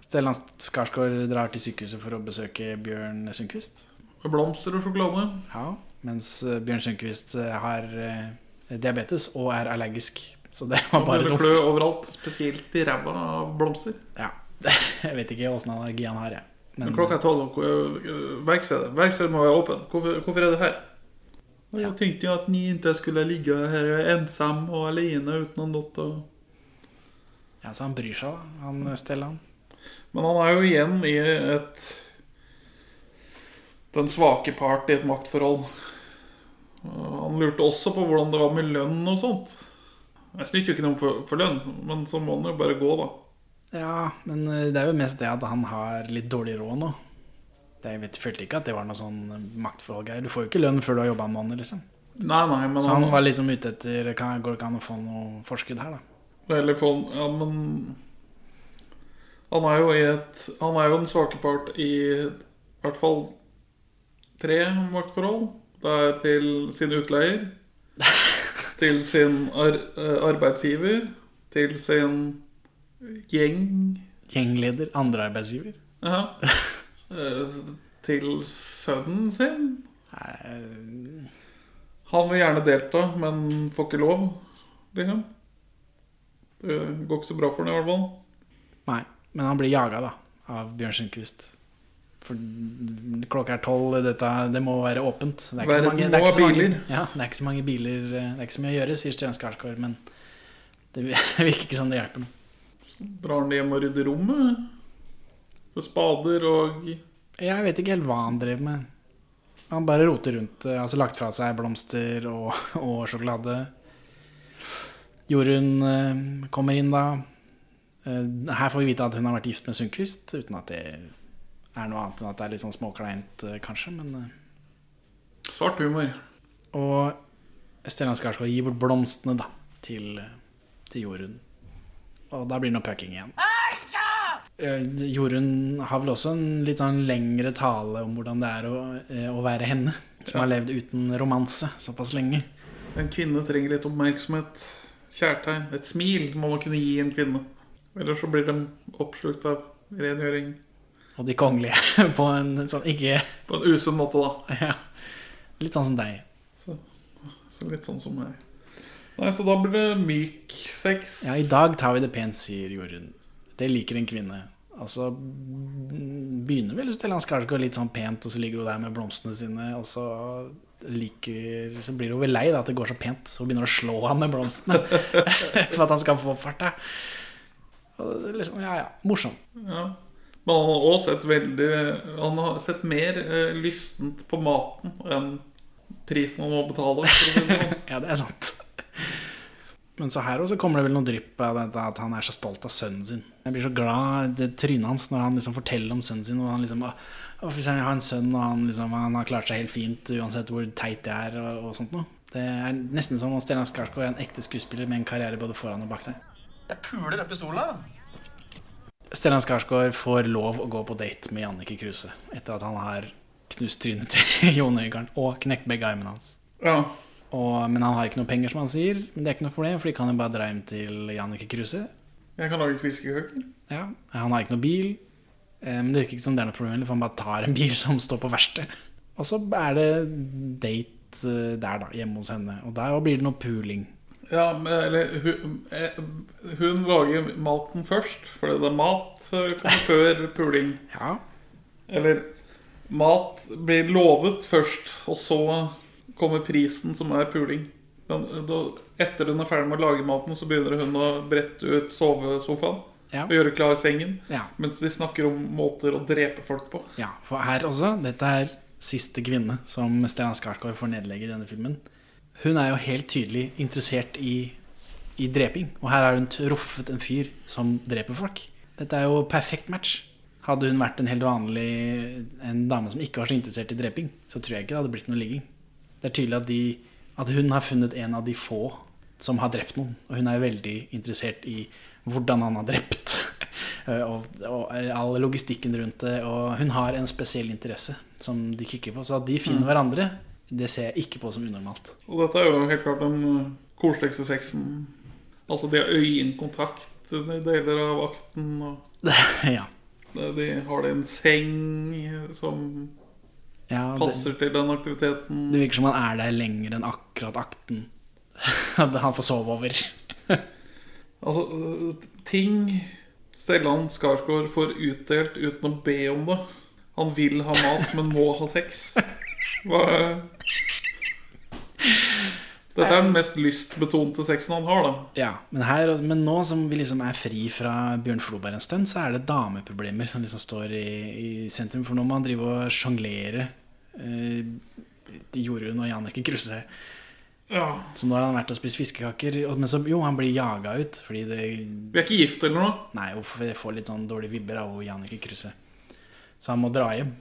Stellan Skarsgård drar til sykehuset for å besøke Bjørn Sundquist.
Med blomster og sjokolade.
Ja, mens eh, Bjørn Sundquist eh, har eh, diabetes og er allergisk. Så det var
Han
bare
ble
dumt.
klø overalt, spesielt i ræva av blomster.
Ja. (laughs) Jeg vet ikke åssen allergi han har, jeg.
Men, klokka er tolv, og øh, verkstedet verkstedet må være åpen. Hvorfor, hvorfor er du her? Og Jeg tenkte at ni ikke skulle ligge her ensam og alene uten noe. Og...
Ja, Så han bryr seg, da. Han eh, Stellan.
Men han er jo igjen i et Den svake part i et maktforhold. Og Han lurte også på hvordan det var med lønn og sånt. Jeg snyter jo ikke noe for, for lønn, men så må han jo bare gå, da.
Ja, men eh, det er jo mest det at han har litt dårlig råd nå. Det, jeg vet, følte ikke at det var noe sånn maktforhold-greier. Du får jo ikke lønn før du har jobba en måned, liksom.
Nei, nei, men
Så han var liksom ute etter kan, Går det ikke an å få noe forskudd her, da?
Eller få Ja, men han er jo i et Han er jo den svake part i i hvert fall tre maktforhold. Det er til sin utleier, til sin ar eh, arbeidsgiver, til sin gjeng
Gjengleder? Andre arbeidsgiver?
ja, eh, Til sønnen sin. Han vil gjerne delta, men får ikke lov, liksom. Det går ikke så bra for ham, i hvert fall.
Nei. Men han blir jaga, da, av Bjørn Sundquist. For klokka er tolv, dette Det må være åpent. Det er ikke, så
Verden
mange, det
må
er ikke,
ha
så, mange,
biler.
ja, det er ikke så mange biler eh, Det er ikke så mye å gjøre, sier Stian Skarsgård, men (laughs) det virker ikke som det hjelper noe.
Drar han hjem og rydder rommet? Med spader og
Jeg vet ikke helt hva han driver med. Han bare roter rundt. eh, Altså lagt fra seg blomster og, (laughs) og sjokolade. Jorunn eh, kommer inn da. Eh, her får vi vite at hun har vært gift med Sundquist, uten at det er noe annet enn at det er litt sånn småkleint, eh, kanskje. Men, eh.
Svart humor.
Og Stellan Skarsgård gir bort blomstene da, til, til Jorunn. Og da blir det noe pucking igjen. Eh, Jorunn har vel også en litt sånn lengre tale om hvordan det er å, eh, å være henne, som har levd uten romanse såpass lenge.
En kvinne trenger litt oppmerksomhet. Kjærtegn. Et smil må man kunne gi en kvinne. Ellers så blir de oppslukt av rengjøring.
Og de kongelige (laughs) på en sånn ikke
På en usunn måte, da.
Ja. Litt sånn som deg.
Så, så litt sånn som meg. Nei, så da blir det myk sex.
Ja, i dag tar vi det pent, sier Jorunn. Det liker en kvinne. Og så begynner vel Stellan Skarsgård litt sånn pent, og så ligger hun der med blomstene sine, og så liker Så blir hun vel lei da at det går så pent, så hun begynner å slå ham med blomstene (laughs) for at han skal få farta. Og det er Liksom, ja, ja. Morsom.
Ja. Men han har også sett veldig Han har sett mer eh, lystent på maten enn prisen han må betale. sånn.
(laughs) ja, det er sant. Men så her også kommer det vel noe drypp av dette at han er så stolt av sønnen sin. Jeg blir så glad i det trynet hans når han liksom forteller om sønnen sin. Og han liksom, «Å, Offiseren, jeg har en sønn, og han, liksom, han har klart seg helt fint uansett hvor teit jeg er. Og, og sånt noe. Det er nesten som om Stellan Skarsgård er en ekte skuespiller med en karriere både foran og bak seg.
Jeg puler den pistolen, da.
Stellan Skarsgård får lov å gå på date med Jannicke Kruse etter at han har knust trynet til (laughs) Jon Øigarden og knekt begge armene hans.
Ja.
Og, men han har ikke noe penger, som han sier. Men det er ikke noe problem, for de kan jo bare dra hjem til Jannicke Kruse.
Jeg kan lage fiskekaker.
Ja. Han har ikke noe bil. eh, Men det virker ikke som det er noe problem, for han bare tar en bil (laughs) som står på verksted. Og så er det date eh, der, da, hjemme hos henne. Og der blir det noe puling.
Ja, men, eller hun, eh, hun lager maten først, fordi det er mat eh,
(laughs)
kommer før puling.
Ja.
Eller mat blir lovet først, og så kommer prisen, som er puling. Men eh, da, etter hun er ferdig med å lage maten, så begynner hun å brette ut sovesofaen.
Ja.
Og gjøre klar sengen.
Ja.
Mens de snakker om måter å drepe folk på.
Ja, for her også, dette er siste kvinne som Stellan Skarsgård får nedlegge i denne filmen. Hun er jo helt tydelig interessert i, i dreping, og her har hun truffet en fyr som dreper folk. Dette er jo perfekt match. Hadde hun vært en helt vanlig En dame som ikke var så interessert i dreping, så tror jeg ikke det hadde blitt noe ligging. Det er tydelig at, de, at hun har funnet en av de få som har drept noen, og hun er veldig interessert i hvordan han har drept. (laughs) Eh, og, og all logistikken rundt det. Og hun har en spesiell interesse som de kikker på. Så at de finner
Mm.
hverandre, det ser jeg ikke på som unormalt. (laughs)
Og dette er jo helt klart den eh, koseligste sexen. Altså, de har øyekontakt under deler av akten. Og
ja.
de de har en seng som
Ja, det-
passer til den aktiviteten.
Det virker som han er der lenger enn akkurat akten. (laughs) At han får sove over.
Altså, eh, ting Stellan Skarsgård får utdelt uten å be om det. Han vil ha mat, men må ha sex. Hva Dette er den mest lystbetonte sexen han har, da.
Ja, men, her, men nå som vi liksom er fri fra Bjørn Floberg en stund, så er det dameproblemer som liksom står i, i sentrum. For nå må han drive og sjonglere eh, Jorunn og Jannicke Kruse.
Ja.
Så nå har han vært og spist fiskekaker. og- Men så, jo, han blir jaga ut fordi det
Vi er ikke gift eller noe?
Nei, hvorfor jeg får litt sånn dårlige vibber av Jannicke Kruse. Så han må dra hjem.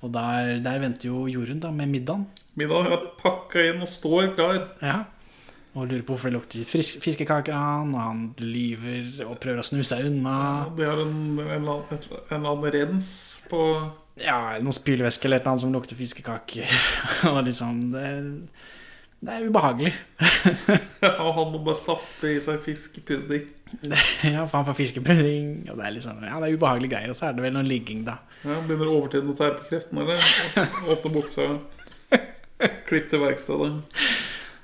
Og der, der venter jo Jorunn da, med middagen.
Middag er pakka inn og står klar.
Ja. Og lurer på hvorfor det lukter frisk, fiskekaker av han, og han lyver og prøver å snu seg unna.
De har en, en, eller annen- et- en eller annen rens på (laughs)
Ja, noen spylvæske eller et eller annet som lukter fiskekaker. (laughs) og liksom det, det er ubehagelig. (laughs)
Og han må bare stappe i seg fiskepudding.
ja, for han får fiskepudding, og det er liksom Ja, det er ubehagelige greier. Og så er det vel noe ligging, da.
Ja, begynner overtiden å tære på kreftene, eller? Åpne buksa. Klipp til verkstedet.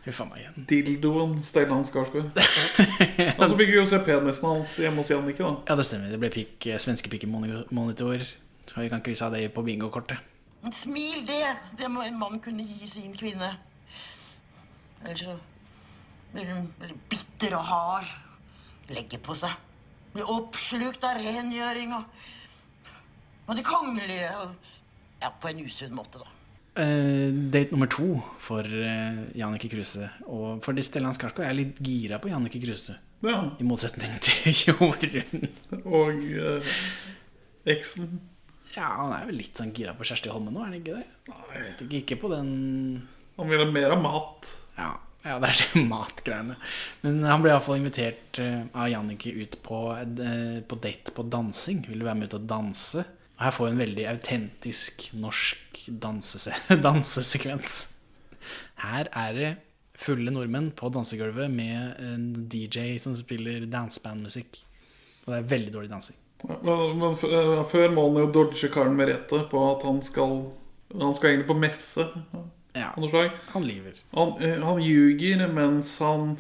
Fy faen meg igjen.
Dildoen Stellan Skarsgård. Og så fikk vi jo se penisen hans hjemme hos Jannicke, da.
Ja, det stemmer. Det ble pikk, eh, svenske pikkemonitor. Så vi kan krysse av det på bingokortet.
Et smil, det, det må en mann kunne gi sin kvinne. Ellers så blir hun veldig bitter og hard. Legger på seg. Blir oppslukt av rengjøring og, og det kongelige. Og, ja, på en usunn måte, da.
Eh, date nummer to for uh, Jannicke Kruse. Og fordi Stellan Skarsgård er litt gira på Jannicke Kruse.
Ja.
I motsetning til (laughs) Jorunn.
Og eh, eksen.
Ja, han er vel litt sånn gira på Kjersti Holme nå, er han ikke det? Nei. Jeg vet ikke, ikke på den
Han vil ha mer av mat.
Ja, ja det er det (laughs) matgreiene. Men han ble iallfall invitert eh, av Jannicke ut på, eh, på date på dansing. Ville være med ut og danse. Og her får vi en veldig autentisk norsk dansese (laughs) dansesekvens. Her er det fulle nordmenn på dansegulvet med en DJ som spiller dansebandmusikk. Og det er veldig dårlig dansing.
Men, men f- eh, før må han jo dodge Karen Merete på at han skal Han skal egentlig på messe.
Ja,
av noe slag.
Han lyver.
Han, eh, han ljuger mens han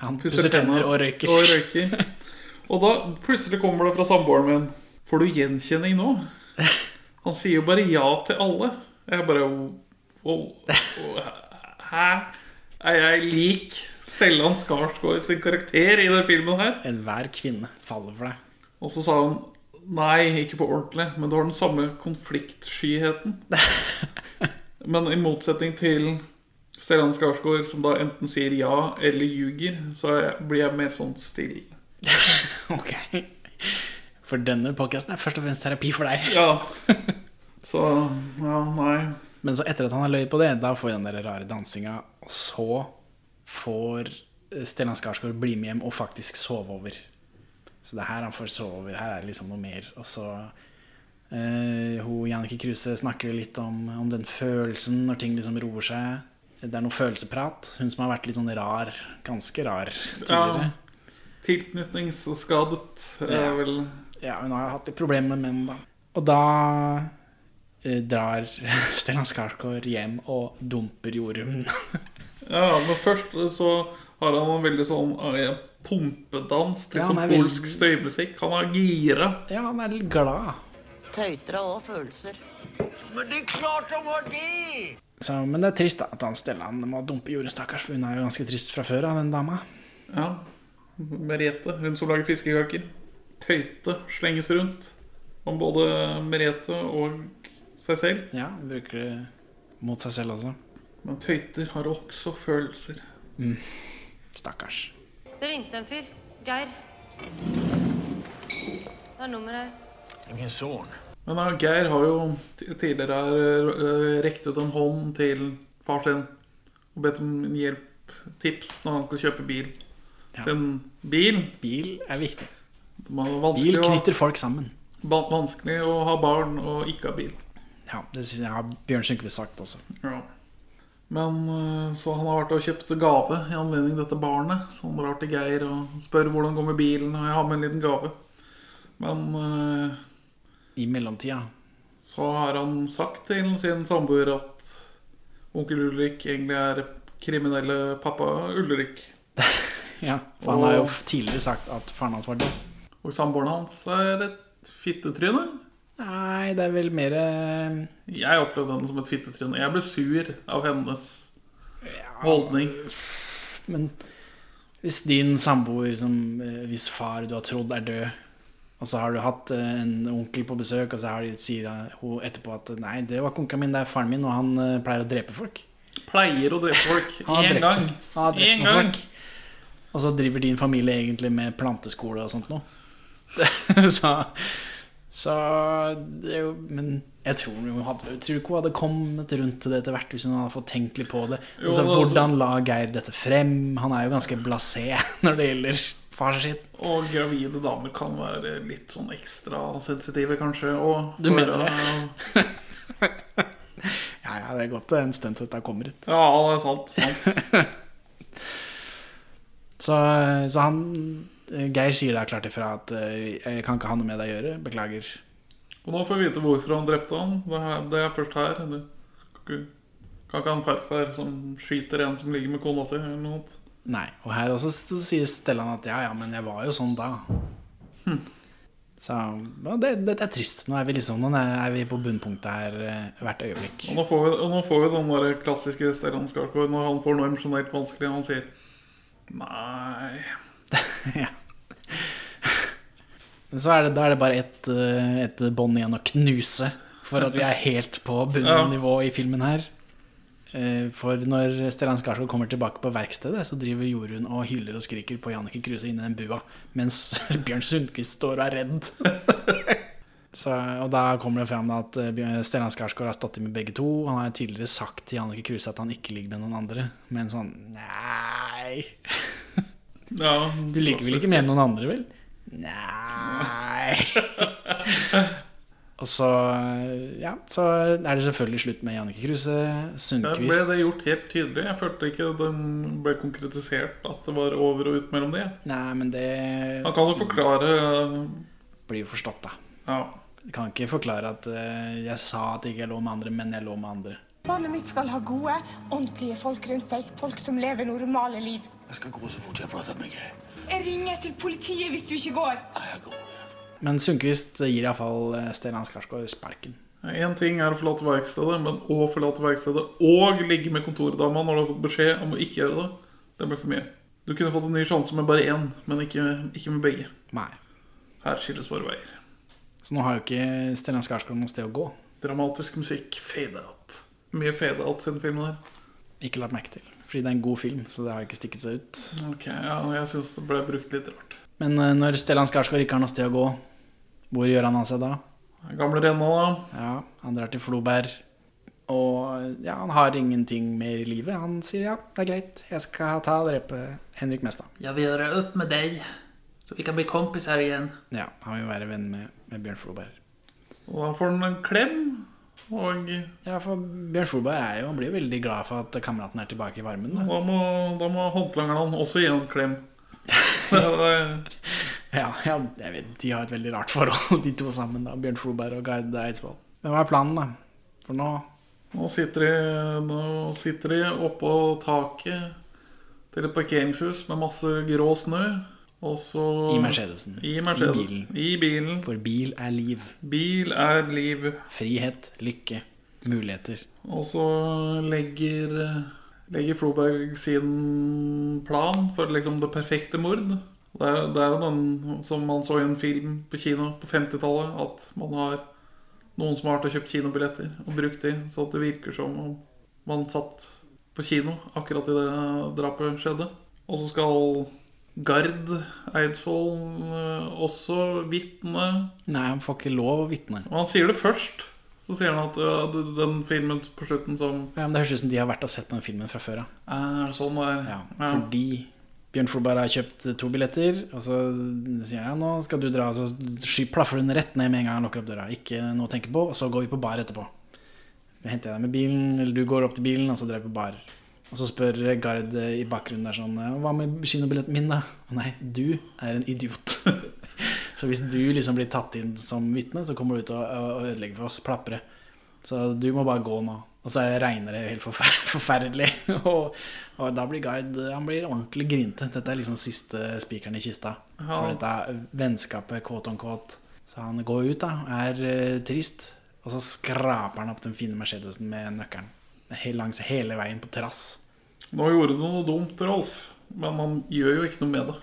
Han pusser tenner og røyker.
Og, røyker. og da plutselig kommer det fra samboeren min Får du gjenkjenning nå? Han sier jo bare ja til alle. Jeg bare «Å, å, Hæ? Er jeg lik Stellan Skarsgård sin karakter i den filmen her?
Enhver kvinne faller for deg. (laughs)
Og så sa hun nei, ikke på ordentlig, men du har den samme konfliktskyheten. men i motsetning til Stellan Skarsgård, som da enten sier ja eller ljuger, så er jeg- blir jeg mer sånn stille.
For denne podkasten er først og fremst terapi for deg.
Ja. Så ja, nei.
Men så etter at han har løyet på det, da får vi den der rare dansinga. Og så får eh, Stellan Skarsgård bli med hjem og faktisk sove over. Så det er her han får sove over. Her er det liksom noe mer. Og så eh, hun, Jannicke Kruse snakker litt om, om den følelsen når ting liksom roer seg. Det er noe følelsesprat. Hun som har vært litt sånn rar, ganske rar tidligere.
Ja, tilknytningsskadet er
Ja.
vel
Ja, hun har hatt litt problemer med menn, da. Og da eh, drar (laughs) Stellan Skarsgård hjem og dumper Jorunn.
Ja, men først så har han en veldig sånn eh, pumpedans til
Ja, han
sånn
er
polsk
veldig-
støymusikk. Han er gira.
(laughs) Ja, han er litt glad.
Tøyter av alle følelser. Men det er klart han har det!
Så, men det er trist da at han Stellan må dumpe Jorunn, stakkars, for hun er jo ganske trist fra før av den dama.
Ja. Merete, hun som lager fiskekaker. Tøyte slenges rundt om både Merete og seg selv.
Ja, hun bruker det mot seg selv også.
Men tøyter har også følelser.
Mm. Stakkars.
Det ringte en fyr. Geir. Hva er nummeret her?
Ingen son.
Men ja, Geir har jo ti- tidligere her, eh, rekt ut en hånd til far sin og bedt om hjelp, tips, når han skal kjøpe bil.
Ja.
Sin bil.
Bil er viktig.
Bil
Bil knytter folk sammen.
Vanskelig å ha barn og ikke ha bil.
Ja, det synes jeg har Bjørn Sundquist sagt også.
Ja. Men eh, så han har vært og kjøpt gave i anledning til dette barnet. Så han drar til Geir og spør hvordan det går med bilen, og jeg har med en liten gave. Men eh,
I mellomtida
så har han sagt til sin samboer at onkel Ulrik egentlig er kriminelle pappa Ulrik.
Ja, for han har jo
Og-
tidligere sagt at faren hans var død.
Og samboeren hans er et fittetryne.
Nei, det er vel mer eh,
Jeg opplevde henne som et fittetryne. Jeg ble sur av hennes holdning.
Men hvis din samboer, som eh, hvis far du har trodd er død, og så har du hatt eh, en onkel på besøk, og så har de, sier eh, hun etterpå at nei, det var ikke onkelen min, det er faren min, og han eh, pleier å drepe folk.
Pleier å drepe folk.
(laughs) Han har
Én
drept-
gang.
Han har drept
Én
noen
gang.
folk. Og (laughs) så driver din familie egentlig med planteskole og sånt noe. så Så det er jo Men jeg tror, hun hadde, jeg tror ikke hun hadde kommet rundt til det etter hvert hvis hun hadde fått tenkt litt på det.
Jo,
altså,
men altså-
hvordan la Geir dette frem? Han er jo ganske blasé (laughs) når det gjelder far sitt.
Og gravide damer kan være litt sånn ekstra sensitive, kanskje. Og
Du
for
mener det?
å-
Ja, ja, det er godt det er en stund til dette kommer ut.
Ja, det er sant. sant.
Så, så han Geir sier da klart ifra at eh, jeg kan ikke ha noe med deg å gjøre. Beklager.
Og nå får vi vite hvorfor han drepte han. Det er, det er først her. Du, kan ikke ha en farfar som skyter en som ligger med kona si, eller noe annet.
Nei. Og her også s- sier Stellan at ja, ja, men jeg var jo sånn da. Så ja, det, dette er trist. Nå er vi liksom Nå er vi på bunnpunktet her eh, hvert øyeblikk.
Og nå får vi, og nå får vi den der klassiske Stellan Skarsgård når han får noe emosjonelt vanskelig, og han sier nei
(laughs) Men så er det, da er det bare ett eh, ett bånd igjen å knuse for at vi er helt på
Ja.
bunnivå i filmen her. Eh, For når Stellan Skarsgård kommer tilbake på verkstedet, så driver Jorunn og hyler og skriker på Jannicke Kruse inni den bua, mens (laughs) Bjørn Sundquist står og er redd. Så, og da kommer det fram da at eh, Bjørn- Stellan Skarsgård har stått i med begge to. Han har tidligere sagt til Jannicke Kruse at han ikke ligger med noen andre, men sånn Nei. du ligger
(laughs)
vel ikke med noen andre, vel? Nei. Og så, ja, så er det selvfølgelig slutt med Jannicke Kruse,
Der ble
Sundquist
det gjort helt tydelig. Jeg følte ikke den ble konkretisert at det var over og ut mellom de.
Nei, men det
Han kan jo forklare
Blir jo forstått, da.
Ja.
Jeg kan ikke forklare at eh, jeg sa at jeg ikke lå med andre, men jeg lå med andre.
Barnet mitt skal ha gode, ordentlige folk rundt seg. Folk som lever normale liv.
Jeg skal gå så fort jeg prater med Geir.
Jeg ringer til politiet hvis du ikke går.
Men Sundquist gir iallfall eh, Stellan Skarsgård sparken.
Én ting er å forlate verkstedet, men å forlate verkstedet og ligge med kontordama når du har fått beskjed om å ikke gjøre det, det ble for mye. Du kunne fått en ny sjanse med bare én, men ikke, ikke med begge.
Nei.
Her skilles våre veier.
Så nå har jo ikke Stellan Skarsgård noe sted å gå.
Dramatisk musikk, fade out. Mye fade out siden filmen her.
Ikke lagt merke til. Fordi det er en god film, så det har ikke stikket seg ut.
Ok, ja, Jeg syns det ble brukt litt rart.
Men eh, når Stellan Skarsgård ikke har noe sted å gå, hvor gjør han av seg da?
Gamle Renna, da.
Ja, han drar til Floberg. Og ja, han har ingenting mer i livet. Han sier ja, det er greit, jeg skal ta og drepe Henrik Mestad.
Jeg vil gjøre opp med deg, så vi kan bli kompiser igjen.
Ja, han vil være venn med, med Bjørn Floberg.
Og da får han en klem, og
Ja, for Bjørn Floberg er jo, han blir jo veldig glad for at kameraten er tilbake i varmen.
da
Da.
må, da må håndlangeren også gi en
(laughs)
klem. Det-
Ja, ja, jeg vet, de har et veldig rart forhold, (laughs) de to sammen. da, Bjørn Floberg og Gard Eidsvoll. Men hva er planen, da? For nå
Nå sitter de, nå sitter de oppå taket til et parkeringshus med masse grå snø. Og så
I Mercedesen.
I Mercedesen. I bilen.
For bil er liv.
Bil er liv.
Frihet, lykke, muligheter.
Og så legger, legger Floberg sin plan for liksom det perfekte mord. Det er, det er jo den som man så i en film på kino på 50-tallet. At man har noen som har vært og kjøpt kinobilletter og brukt de, så at det virker som om man satt på kino akkurat i det drapet skjedde. Og så skal Gard Eidsvoll eh, også vitne.
Nei, han får ikke lov å vitne.
Og han sier det først. Så sier han at ja, du- den filmen på slutten som
Ja, men Det høres ut som de har vært og sett på den filmen fra før av.
Er det sånn der?
Ja,
Ja.
fordi Bjørn Floberg har kjøpt to billetter, og så sier jeg ja, nå skal du dra, og så sky- plaffer hun rett ned med en gang han lukker opp døra. Ikke noe å tenke på, og så går vi på bar etterpå. Så henter jeg deg med bilen, eller du går opp til bilen, og så drar vi på bar. Og så spør Gard eh, i bakgrunnen der sånn «Ja, Hva med kinobilletten min, da? Å nei, du er en idiot. (laughs) så hvis du liksom blir tatt inn som vitne, så kommer du ut og, og og ødelegger for oss. Plapre. Så du må bare gå nå. Og så regner det helt forfer (laughs) forferdelig. og, og da blir Gard Han blir ordentlig grinte. Dette er liksom siste spikeren i kista.
Ja.
For dette er vennskapet kåt on kåt. Så han går ut, da. Er eh, trist. Og så skraper han opp den fine Mercedesen med nøkkelen. Helt langs hele veien på terrass.
Nå gjorde du noe dumt, Rolf, men han gjør jo ikke noe med det.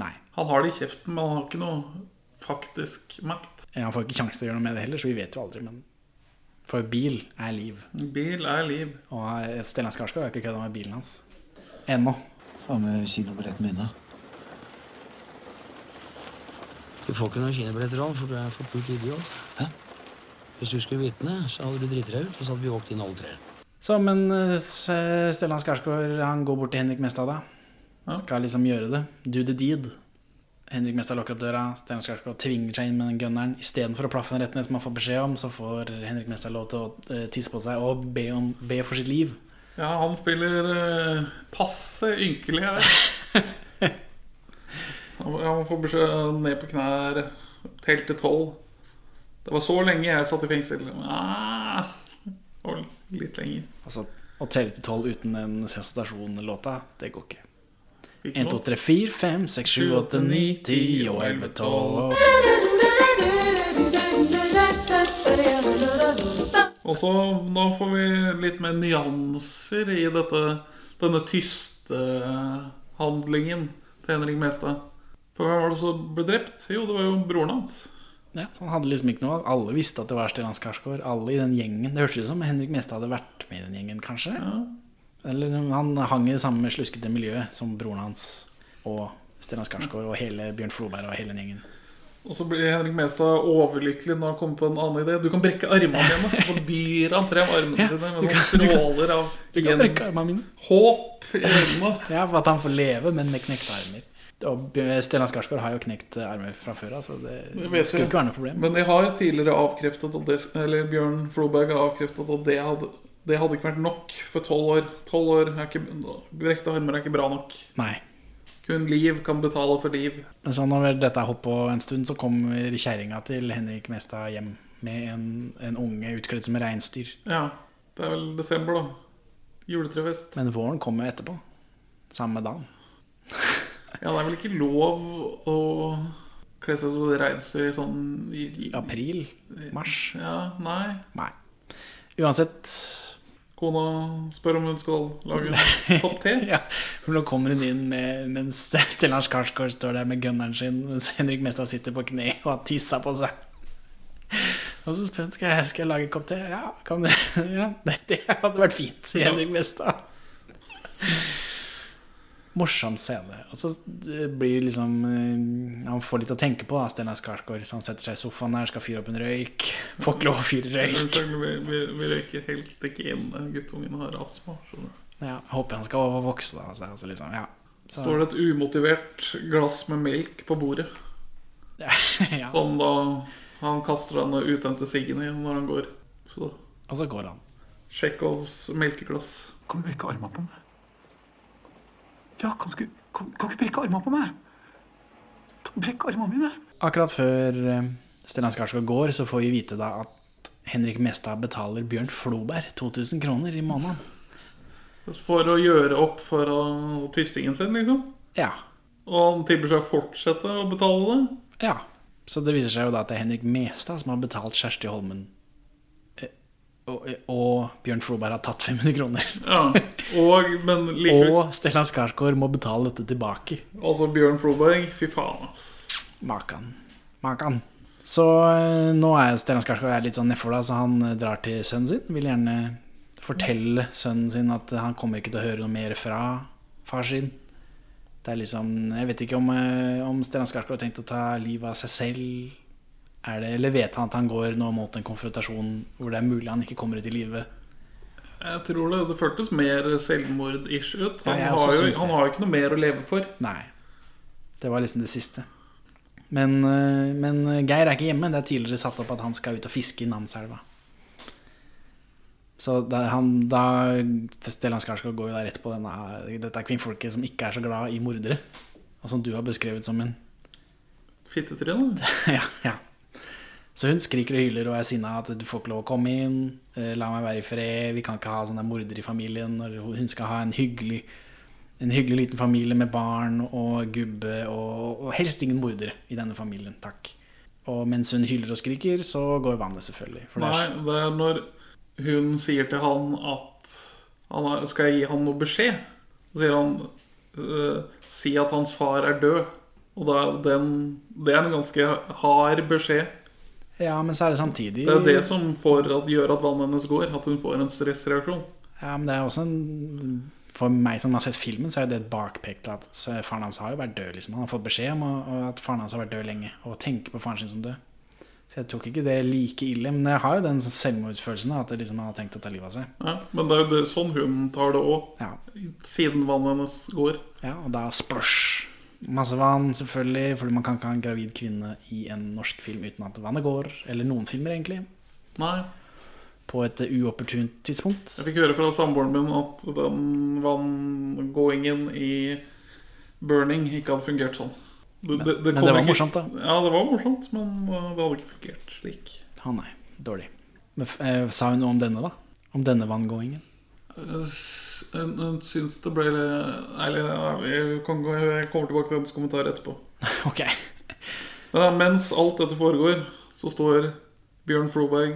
Nei.
Han har det i kjeften, men han har ikke noe faktisk makt.
eh, Han får ikke sjanse til å gjøre noe med det heller, så vi vet jo aldri. Men for bil er liv.
Bil er liv.
Og eh, Stellan Skarsgård har ikke kødda med bilen hans. Ennå.
Hva med kinobilletten min, da?
Du får ikke noen kinabilletter, Ron, for du er en forpult idiot. Hæ? Hvis du skulle vitne, så hadde du driti deg ut, og så hadde vi valgt inn alle tre.
Så, men eh, S- Stellan Skarsgård han går bort til Henrik Mestad, da. Skal liksom gjøre det. Do the deed. Henrik Mestad lukker opp døra. Stellan Skarsgård tvinger seg inn med den gunneren. Istedenfor å plaffe den rett ned, som han får beskjed om, så får Henrik Mestad lov til å eh, tisse på seg og be, om, be for sitt liv.
Ja, han spiller eh, passe ynkelig her.
(laughs)
Han han får beskjed eh, ned på knær, telt til tolv. Det var så lenge jeg satt i fengsel. Ah, det var litt lenger.
Altså, Å telle til tolv uten den sensasjonlåta, det går ikke.
Hvilken
1, 2,
låt?
3, 4, 5, 6, 7, 8, 9, 10 og 11, 12
Og så nå får vi litt mer nyanser i dette, denne tystehandlingen til Henrik Mestad. For hvem var det som ble drept? Jo, det var jo broren hans.
Ja, så han hadde liksom ikke noe av. Alle visste at det var Stellan Skarsgård. Alle i den gjengen. Det hørtes ut som Henrik Mestad hadde vært med i den gjengen, kanskje. Eller liksom, han hang i det samme sluskete miljøet som broren hans og Stellan Skarsgård og hele Bjørn Floberg og hele den gjengen.
Og så blir Henrik Mestad overlykkelig når han kommer på en annen idé. Du kan brekke armene mine! Og så byr han frem armene sine med noen stråler av
Du kan
igjen-
brekke armene mine.
Håp i øynene.
ja, for at han får leve, men med knekte armer. Og Bjørn- Stellan Skarsgård har jo knekt armer fra før av, så det,
Det vet
skulle
jeg.
ikke være noe problem.
Men jeg har tidligere avkreftet at det, Eller Bjørn Floberg har avkreftet at det hadde, det hadde ikke vært nok for tolv år. Tolv år er ikke Brekte armer er ikke bra nok.
Nei.
Kun liv kan betale for liv.
Men så når dette er holdt på en stund, så kommer kjerringa til Henrik Mestad hjem med en, en unge utkledd som reinsdyr.
Ja. Det er vel desember, da. Juletrefest.
Men våren kommer jo etterpå. Samme dagen.
Ja, det er vel ikke lov å kle seg som et reinsdyr i sånn i, i,
April? Mars?
Ja, nei.
Nei. Uansett
Kona spør om hun skal lage
(laughs)
en kopp te.
ja, for Nå kommer hun inn med, mens Stellan Skarsgård står der med gunneren sin, mens Henrik Mestad sitter på kne og har tissa på seg. Og så spør hun skal jeg skal jeg lage en kopp te. Ja, kan du? (laughs) ja det, det hadde vært fint, sier Henrik Mestad. Morsom scene. Og så det blir liksom eh, Han får litt å tenke på, da, Stellan Skarsgård. Så han setter seg i sofaen her, skal fyre opp en røyk. (laughs) Får ikke lov å fyre røyk.
Selvfølgelig, Vi, vi, vi røyker helst ikke inne. Guttungen har astma. skjønner du.
Ja, jeg håper han skal overvokse, da. Altså, altså, liksom, ja. Så-
Står det et umotivert glass med melk på bordet.
(laughs) ja.
Som da han kaster den utente siggen i når han går. Så
Og så går han.
Tsjekhovs melkeglass.
Kan du brekke armene på meg? Ja, kan du, ikke- kan, kan du ikke brekke armene på meg? Ta- Brekk armene mine!
Akkurat før eh, Stellan Skarsgård går, så får vi vite da at Henrik Mestad betaler Bjørn Floberg 2000 kroner i måneden.
For å gjøre opp for uh, tystingen sin, liksom.
Ja.
Og han tilbyr seg å fortsette å betale det.
Ja. Så det viser seg jo da at det er Henrik Mestad som har betalt Kjersti Holmen. Eh, Og, og Bjørn Floberg har tatt 500 kroner.
Ja, og, men likevel
Og Stellan Skarsgård må betale dette tilbake.
Altså Bjørn Floberg, fy faen. ass.
Makan. Makan. Så eh, nå er Stellan Skarsgård er litt sånn nedfor, da, så han eh, drar til sønnen sin. Vil gjerne fortelle sønnen sin at eh, han kommer ikke til å høre noe mer fra far sin. Det er liksom Jeg vet ikke om, eh, om Stellan Skarsgård har tenkt å ta livet av seg selv. Er det, eller vet han at han går nå mot en konfrontasjon hvor det er mulig han ikke kommer ut i live?
Jeg tror det, det føltes mer selvmord-ish ut. Han,
Ja, jeg også
har jo,
syns det.
han har jo ikke noe mer å leve for.
Nei. Det var liksom det siste. Men, eh, men Geir er ikke hjemme. Det er tidligere satt opp at han skal ut og fiske i Namselva. Så da, han, da Stellan Skarsgård går jo da rett på denne, dette kvinnfolket som ikke er så glad i mordere. Og som du har beskrevet som en
Fittetryne.
(laughs) ja, ja. Så hun skriker og hyler og er sinna at du får ikke lov å komme inn. eh, La meg være i fred. Vi kan ikke ha sånne mordere i familien. Når hun hun skal ha en hyggelig, en hyggelig liten familie med barn og gubbe og, og helst ingen mordere i denne familien. Takk. Og mens hun hyler og skriker, så går vannet selvfølgelig. For det
Nei,
er,
det er når hun sier til han at han har, Skal jeg gi han noe beskjed? Så sier han eh, Si at hans far er død. Og da, er den, det er en ganske hard beskjed.
ja, men så er det samtidig
Det er det som får at, gjør at vannet hennes går. At hun får en stressreaksjon.
Ja, men det er også en For meg som har sett filmen, så er jo det et bakpekt til at så faren hans har jo vært død. liksom Han har fått beskjed om å- og at faren hans har vært død lenge, og tenker på faren sin som død. Så jeg tok ikke det like ille, men jeg har jo den selvmordsfølelsen av at det liksom han har tenkt å ta livet av seg.
Ja, men det er jo det, sånn hun tar det òg. Siden vannet hennes går.
Ja, og da splosj. Masse vann, selvfølgelig, fordi man kan ikke ha en gravid kvinne i en norsk film uten at vannet går. Eller noen filmer, egentlig.
Nei.
På et eh, uopportunt tidspunkt.
Jeg fikk høre fra samboeren min at den vanngåingen i burning ikke hadde fungert sånn. Det, det,
Men- men
kom
det var
ikke-
morsomt, da.
Ja, det var morsomt, men uh, det hadde ikke fungert slik.
Å nei, dårlig. Men f- eh, sa hun noe om denne, da? Om denne vanngåingen?
Eh, Hun syns det ble Eller jeg kan gå- jeg kommer tilbake til hennes kommentar etterpå.
(laughs) Ok
Men da, mens alt dette foregår, så står Bjørn Froberg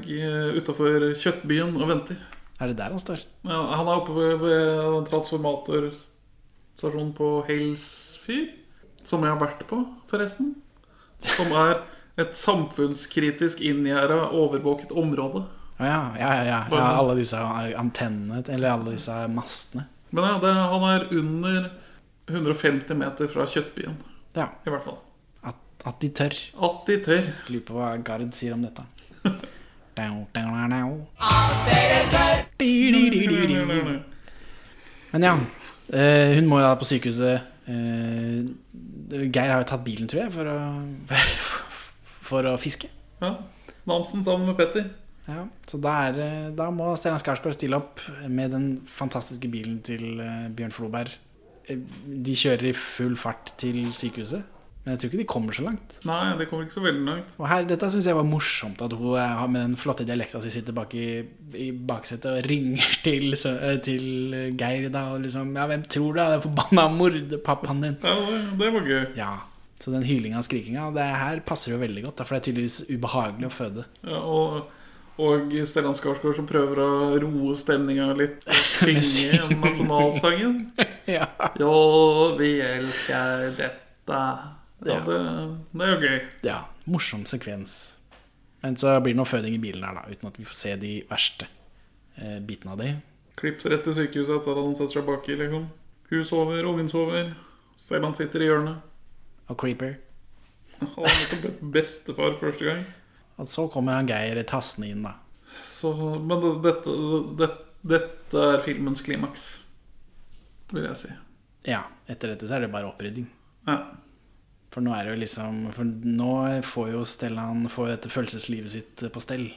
utafor Kjøttbyen og venter.
Er det der han står?
Ja, han er oppe ved, ved en transformatorstasjon på Helsfyr, som jeg har vært på, forresten. Som er et samfunnskritisk inngjerda, overvåket område.
Å ja, ja, ja. ja. ja
Bare-
alle disse eh, antennene, eller alle disse mastene.
Men ja, det, han er under 150 meter fra Kjøttbyen.
Ja.
I hvert fall.
At de tør.
At de tør.
Lurer på hva Gard sier om (laughs) dette. Dau, dau, dau, dau. Men ja, eh, hun må jo da på sykehuset eh, Geir har jo tatt bilen, tror jeg, for å, (laughs) for å fiske.
Ja, Namsen sammen med Petter.
Ja, så da, er, det- da må Stellan Skarsgård stille opp med den fantastiske bilen til eh, Bjørn Floberg. Eh, De kjører i full fart til sykehuset, men jeg tror ikke de kommer så langt.
Nei, det kommer ikke så veldig langt.
Og her, Dette syns jeg var morsomt, at hun eh, har med den flotte dialekta si sitter bak i, i baksetet og ringer (laughs) til, sø- eh, til Geir da, og liksom Ja, hvem tror du er den forbanna morderpappaen din?
Ja, det var gøy.
Ja. Så den hylinga og skrikinga, det her passer jo veldig godt, da, for det er tydeligvis ubehagelig å føde.
Ja, og, og Stellan Skarsgård som prøver å roe stemninga litt. (laughs) Og synge (laughs) nasjonalsangen.
ja.
Jo, vi elsker dette. Ja,
Ja.
det, det er jo gøy.
Ja, morsom sekvens. Men så blir det noe føding i bilen her, da, uten at vi får se de verste eh, bitene av de.
Klipp rett til sykehuset etter at han setter seg baki. Liksom. Hun sover, ungen sover. Stellan sitter i hjørnet. (laughs)
Og Creeper.
Han er nettopp bestefar første gang.
Og så kommer han Geir tassende inn, da.
Så, men det, dette, det, dette er filmens klimaks, vil jeg si.
Ja, etter dette så er det bare opprydding.
Ja.
For nå er det jo liksom For nå får jo Stellan får jo dette følelseslivet sitt på stell.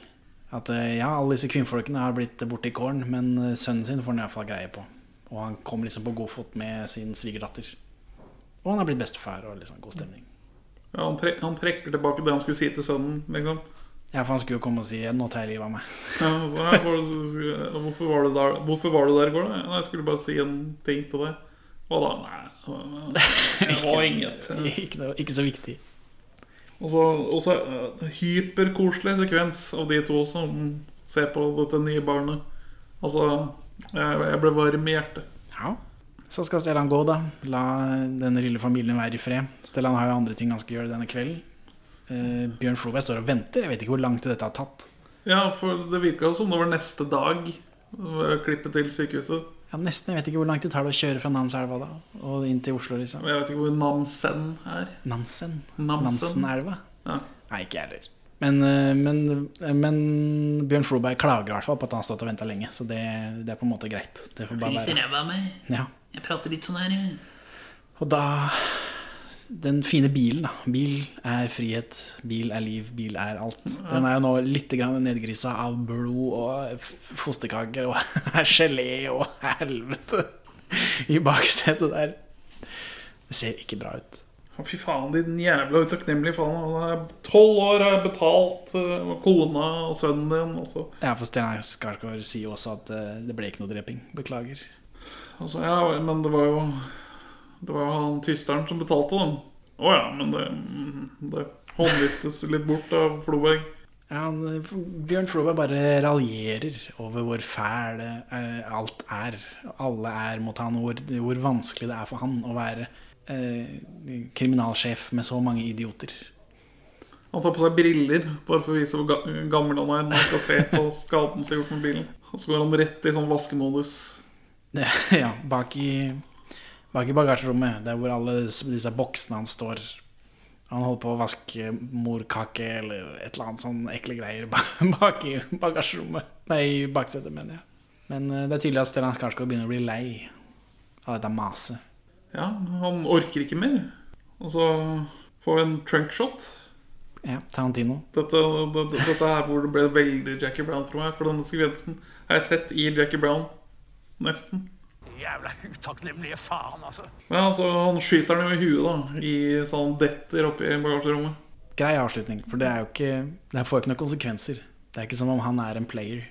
At eh, ja, alle disse kvinnfolkene har blitt borte i kålen, men eh, sønnen sin får han iallfall greie på. Og han kommer liksom på god fot med sin svigerdatter. Og han har blitt bestefar og liksom god stemning.
Ja, han, tre, han trekker tilbake det han skulle si til sønnen. Liksom.
Ja, for han skulle jo komme og si 'nå tar jeg livet av meg'.
Ja, så, her var det, hvorfor, var du der, hvorfor var du der i går, da? Nei, jeg skulle bare si en ting til deg. Hva da? Nei, altså, det var inget.
(laughs) ikke, noe, ikke så viktig.
Og så, og så eh, hyperkoselig sekvens av de to som ser på dette nye barnet. Altså, jeg, jeg ble varm i hjertet.
Ja. Så skal Stellan gå, da. La denne lille familien være i fred. Stellan har jo andre ting han skal gjøre denne kvelden. Eh, Bjørn Floberg står og venter. Jeg vet ikke hvor langt dette har tatt.
Ja, for det virka jo som det var neste dag. eh, Klippet til sykehuset.
Ja, Nesten. Jeg vet ikke hvor langt det tar det å kjøre fra Namselva da og inn til Oslo, liksom.
Jeg vet ikke hvor Namsen er.
Namsen?
Namsen.
Namsenelva?
Ja.
Nei, ikke jeg heller. Men, eh, men, eh, men Bjørn Floberg klager i hvert fall på at han har stått og venta lenge. Så det, det er på en måte greit. Det får bare
Fryser
være.
ræva av meg.
Ja.
Jeg prater litt sånn her.
Og da Den fine bilen, da. Bil er frihet, bil er liv, bil er alt. Den er jo nå litt grann nedgrisa av blod og f- fosterkaker og (laughs) gelé og helvete i baksetet der. Det ser ikke bra ut.
Å, Fy faen, din jævla utakknemlige faen. Han er Tolv år har jeg betalt eh, kona og sønnen din. Og så.
Ja, for Steinar Skarsgård sier jo også at eh, det ble ikke noe dreping. Beklager.
Og så, ja, men det var jo Det var jo han tysteren som betalte dem. Å ja, men det, mm, det håndviftes litt bort av Floberg.
Ja, han, Bjørn Floberg bare raljerer over hvor fæl eh, alt er. Alle er mot han, og hvor, hvor vanskelig det er for han å være eh, kriminalsjef med så mange idioter. (laughs)
Han tar på seg briller bare for å vise hvor ga- gammel han er når han skal se på skaden som er gjort med bilen. Og så går han rett i sånn vaskemodus.
Ja, bak i, bak i bagasjerommet. Der hvor alle disse, disse boksene hans står. Han holder på å vaske morkake eller et eller annet sånn ekle greier (laughs) ba- bak i bagasjerommet. Nei, i baksetet, mener jeg. Men eh, det er tydelig at Stellan Skarsgård begynner å bli lei av dette maset.
Ja, han orker ikke mer. Og så får vi en trunkshot.
Ja, Tarantino.
Dette, det- det- dette er hvor det ble veldig Jackie Brown for meg. For denne sekvensen har jeg sett i Jackie Brown. Nesten.
Jævla utakknemlige faen, altså.
Men altså, han skyter den jo i huet, da. I sånn detter oppi bagasjerommet.
Grei avslutning, for det er jo ikke Det her får jo ikke noen konsekvenser. Det er ikke som om han er en player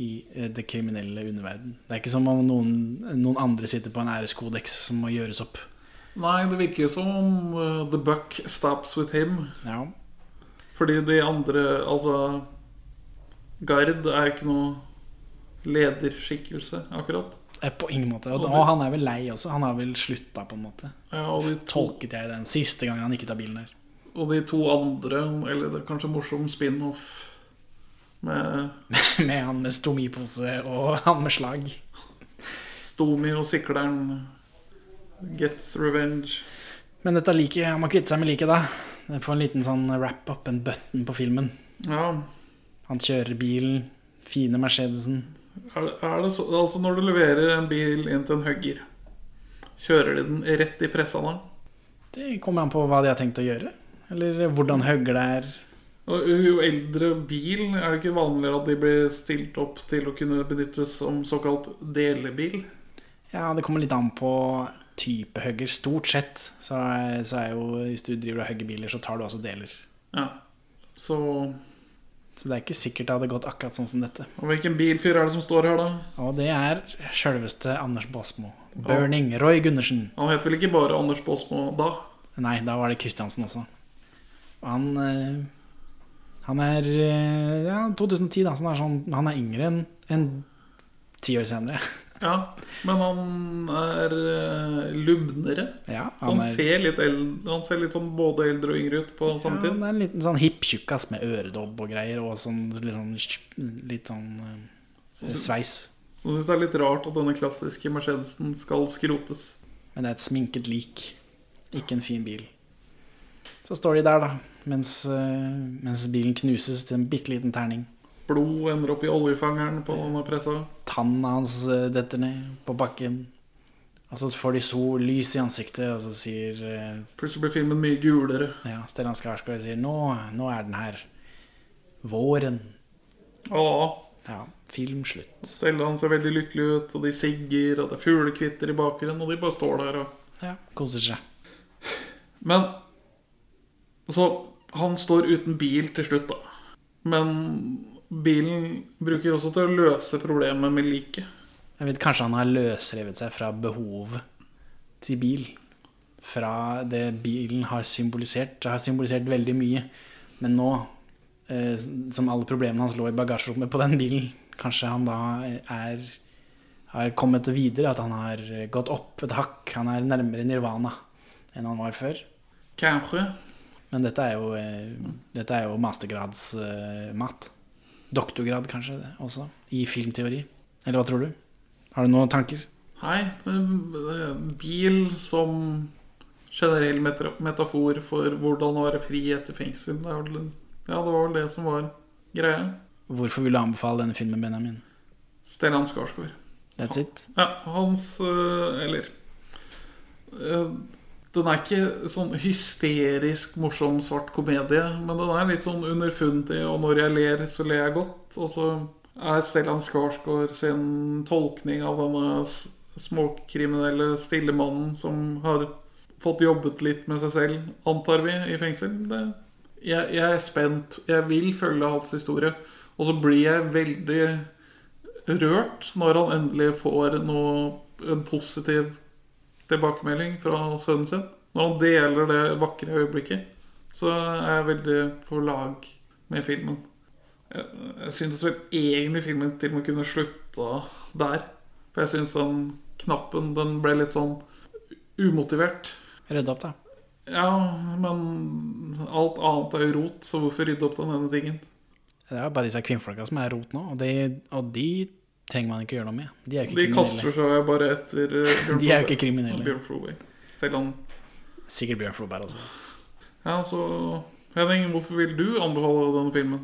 i eh, det kriminelle underverden. Det er ikke som om noen, noen andre sitter på en æreskodeks som må gjøres opp.
Nei, det virker jo som om eh, the buck stops with him.
Ja.
Fordi de andre Altså, Gard er jo ikke noe lederskikkelse, akkurat.
Eh, På ingen måte.
Og
Og,
det-
og han er vel lei også. Han har vel slutta, på en måte.
Ja, og de to-
Tolket jeg den siste gangen han gikk ut av bilen der.
Og de to andre, eller det er kanskje morsom spin-off med
(laughs) Med han med stomipose og han med slag.
Stomi og sikleren gets revenge.
Men dette liket, han må kvitte seg med liket, da. Den får en liten sånn wrap-up, en button på filmen.
Ja.
Han kjører bilen. Fine Mercedesen.
Er, er det så, altså Når du leverer en bil inn til en hugger, kjører de den rett i pressene?
Det kommer an på hva de har tenkt å gjøre. Eller hvordan høgger det er.
Og jo eldre bil, er det ikke vanligere at de blir stilt opp til å kunne benyttes som såkalt delebil?
Ja, det kommer litt an på type høgger. Stort sett så er, så er jo Hvis du driver og hogger biler, så tar du også deler.
Ja. Så
Så det er ikke sikkert det hadde gått akkurat sånn som dette.
Og hvilken bilfyr er det som står her, da?
Og det er sjølveste Anders Baasmo. Burning. Roy Gundersen.
Han het vel ikke bare Anders Baasmo da?
Nei, da var det Kristiansen også. Og han eh, Han er eh, ja, 2010, da, så han er, sånn, han er yngre enn enn ti år senere. (laughs)
Ja, men han er eh, lubnere.
Ja,
han,
han er-
ser litt eld, han ser litt sånn både eldre og yngre ut på samme
Ja,
tid.
han er en liten sånn hipp tjukkas med øredobb og greier, og sånn, litt sånn, tj- litt sånn eh,
Så-
sveis.
Så syns det er litt rart at denne klassiske Mercedesen skal skrotes.
Men det er et sminket lik. Ikke en fin bil. Så står de der, da, mens, eh, mens bilen knuses til en bitte liten terning.
Blod ender opp i oljefangeren på denne pressa.
Tanna hans eh, detter ned på bakken. Og så får de sol, lys i ansiktet, og så sier eh,
Plutselig blir filmen mye gulere.
Ja, Stellan Skarsgård sier nå, nå er den her. Våren.
Ja.
Ja, film slutt.
Stellan ser veldig lykkelig ut, og de sigger, og det er fuglekvitter i bakgrunnen, og de bare står der og
Ja, koser seg.
Men Så han står uten bil til slutt, da. Men bilen bruker også til å løse problemet med liket.
Jeg vet Kanskje han har løsrevet seg fra behov til bil. Fra det bilen har symbolisert. Det har symbolisert veldig mye. Men nå, eh, som alle problemene hans lå i bagasjerommet på den bilen, kanskje han da eh, er har kommet videre, at han har gått opp et hakk. Han er nærmere nirvana enn han var før.
Kanskje.
Men dette er jo, eh, dette er jo mastergradsmat. Doktorgrad, kanskje, det også. I filmteori. Eller hva tror du? Har du noen tanker?
Nei, men, eh, bil som generell meta- metafor for hvordan å være fri etter fengsel. Det er vel, ja, det var vel det som var greia.
Hvorfor vil du anbefale denne filmen, Benjamin?
Stellan Skarsgård.
That's it.
Ja, hans eh, Eller eh, Den er ikke sånn hysterisk morsom svart komedie, men den er litt sånn underfundig, og når jeg ler, så ler jeg godt. Og så er Stellan Skarsgård sin tolkning av denne s- småkriminelle stille mannen som har fått jobbet litt med seg selv, antar vi, i fengsel. Det, jeg, jeg er spent. Jeg vil følge hans historie. Og så blir jeg veldig rørt når han endelig får noe, en positiv tilbakemelding fra sønnen sin. Når han deler det vakre øyeblikket, så er jeg veldig på lag med filmen. Jeg, jeg synes vel egentlig filmen til og med kunne slutta der. For jeg synes den knappen, den ble litt sånn umotivert.
Rydde opp, da.
Ja, men alt annet er jo rot, så hvorfor rydde opp den ene tingen?
Det er jo bare disse kvinnfolka som er rot nå, og de, og de trenger man ikke gjøre noe med. De er jo
De
ikke
kaster
kriminelle.
seg jo bare etter eh, Bjørn
De er jo
Floberg
ikke kriminelle.
og Bjørn Floberg. Stellan.
Sikkert Bjørn Floberg også.
Ja, så Henning, hvorfor vil du anbefale denne filmen?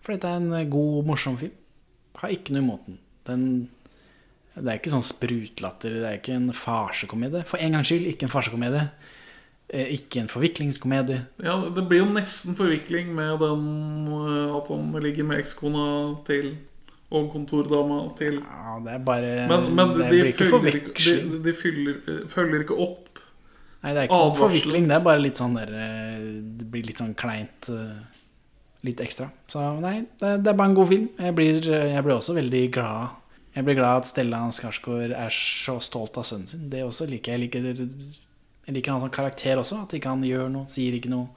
For dette er en eh, god, morsom film. Har ikke noe imot den. den. Det er ikke sånn sprutlatter, det er ikke en farsekomedie. For en gangs skyld, ikke en farsekomedie. Eh, Ikke en forviklingskomedie.
Ja, Det blir jo nesten forvikling med den eh, at han ligger med ekskona til og kontordama til
Ja, det er bare
Men, men
Eh, det
de,
blir ikke
følger ikke, de,
forveksling.
de fyller, eh, følger ikke opp
Nei, det er ikke noe forvikling. Det er bare litt sånn der eh, Det blir litt sånn kleint. eh, Litt ekstra. Så nei, det er det er bare en god film. Jeg blir, eh, jeg blir også veldig glad. Jeg blir glad at Stellan Skarsgård er så stolt av sønnen sin. Det også liker jeg. Jeg liker, jeg liker han som karakter også. At ikke han gjør noe, sier ikke noe.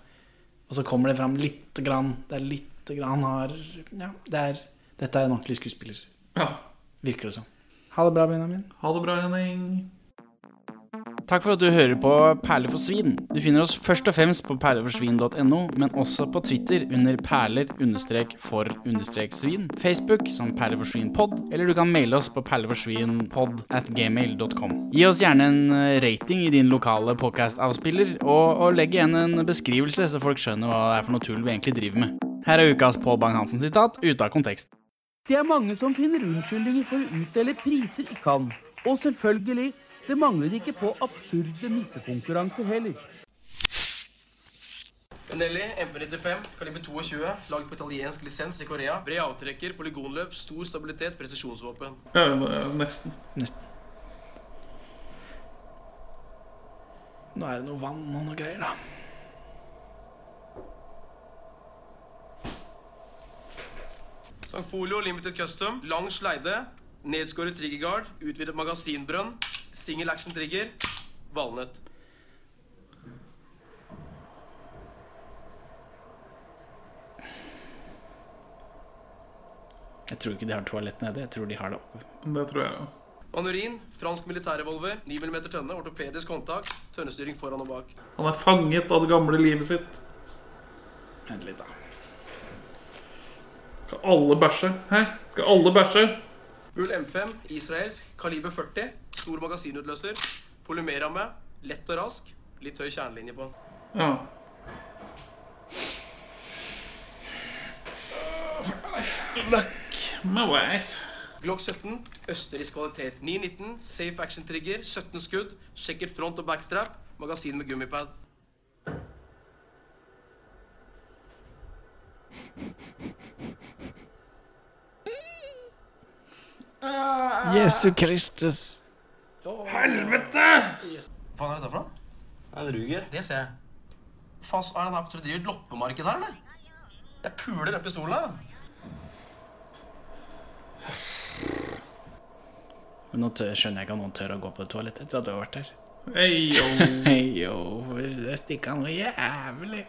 Og så kommer det fram lite grann. Det er lite grann han har Ja, det er, dette er en ordentlig skuespiller.
Ja.
Virker det som. Ha det bra, Benjamin.
Ha det bra, Henning.
Takk for at du hører på Perler for svin. Du finner oss først og fremst på perleforsvin.no, men også på Twitter under perler-for-svin, Facebook som perleforsvinpod, eller du kan maile oss på perleforsvinpod at gmail.com. Gi oss gjerne en eh, rating i din lokale podcast-avspiller, og, og legg igjen en beskrivelse, så folk skjønner hva det er for noe tull vi egentlig driver med. Her er ukas Pål Bang-Hansen-sitat ute av kontekst.
Det er mange som finner unnskyldninger for å utdele priser de kan. Og selvfølgelig, det mangler ikke på absurde missekonkurranser heller.
Nelly, MP95, kaliber 22, laget på italiensk lisens i Korea. Bred avtrekker, polygonløp, stor stabilitet, presisjonsvåpen.
Ja, eh, nesten.
Nå er det noe vann og noe greier, da.
Sangfolio Limited Custom, lang sleide, nedskåret triggerguard, utvidet magasinbrønn, single action trigger, valnøtt.
Jeg tror ikke de har toalett nede, jeg tror de har det oppe.
Det tror jeg jo.
Manurin, fransk militærrevolver, 9 mm tønne, ortopedisk håndtak, tønnestyring foran og bak.
Han er fanget av det gamle livet sitt.
Vent litt, da.
Skal alle bæsje? Hæ? Skal alle bæsje?
Bull M5, israelsk, kaliber 40, stor magasinutløser, polymeramme, lett og rask, litt høy kjernelinje på.
Ja. Fuck my wife.
Glock 17, østerriksk kvalitet, 919, safe action trigger, 17 skudd, sjekker front og backstrap, magasin med gummipad.
Jesu Kristus.
Helvete!
Hva faen er dette for noe? Det er en ruger. Det ser jeg. Hva faen er det her for du driver et loppemarked her, eller? Jeg puler den pistolen, da.
Men nå tør, skjønner jeg ikke at noen tør å gå på toalettet etter at du har vært der. (laughs)
Eyo.
Eyo, for det stikka noe jævlig.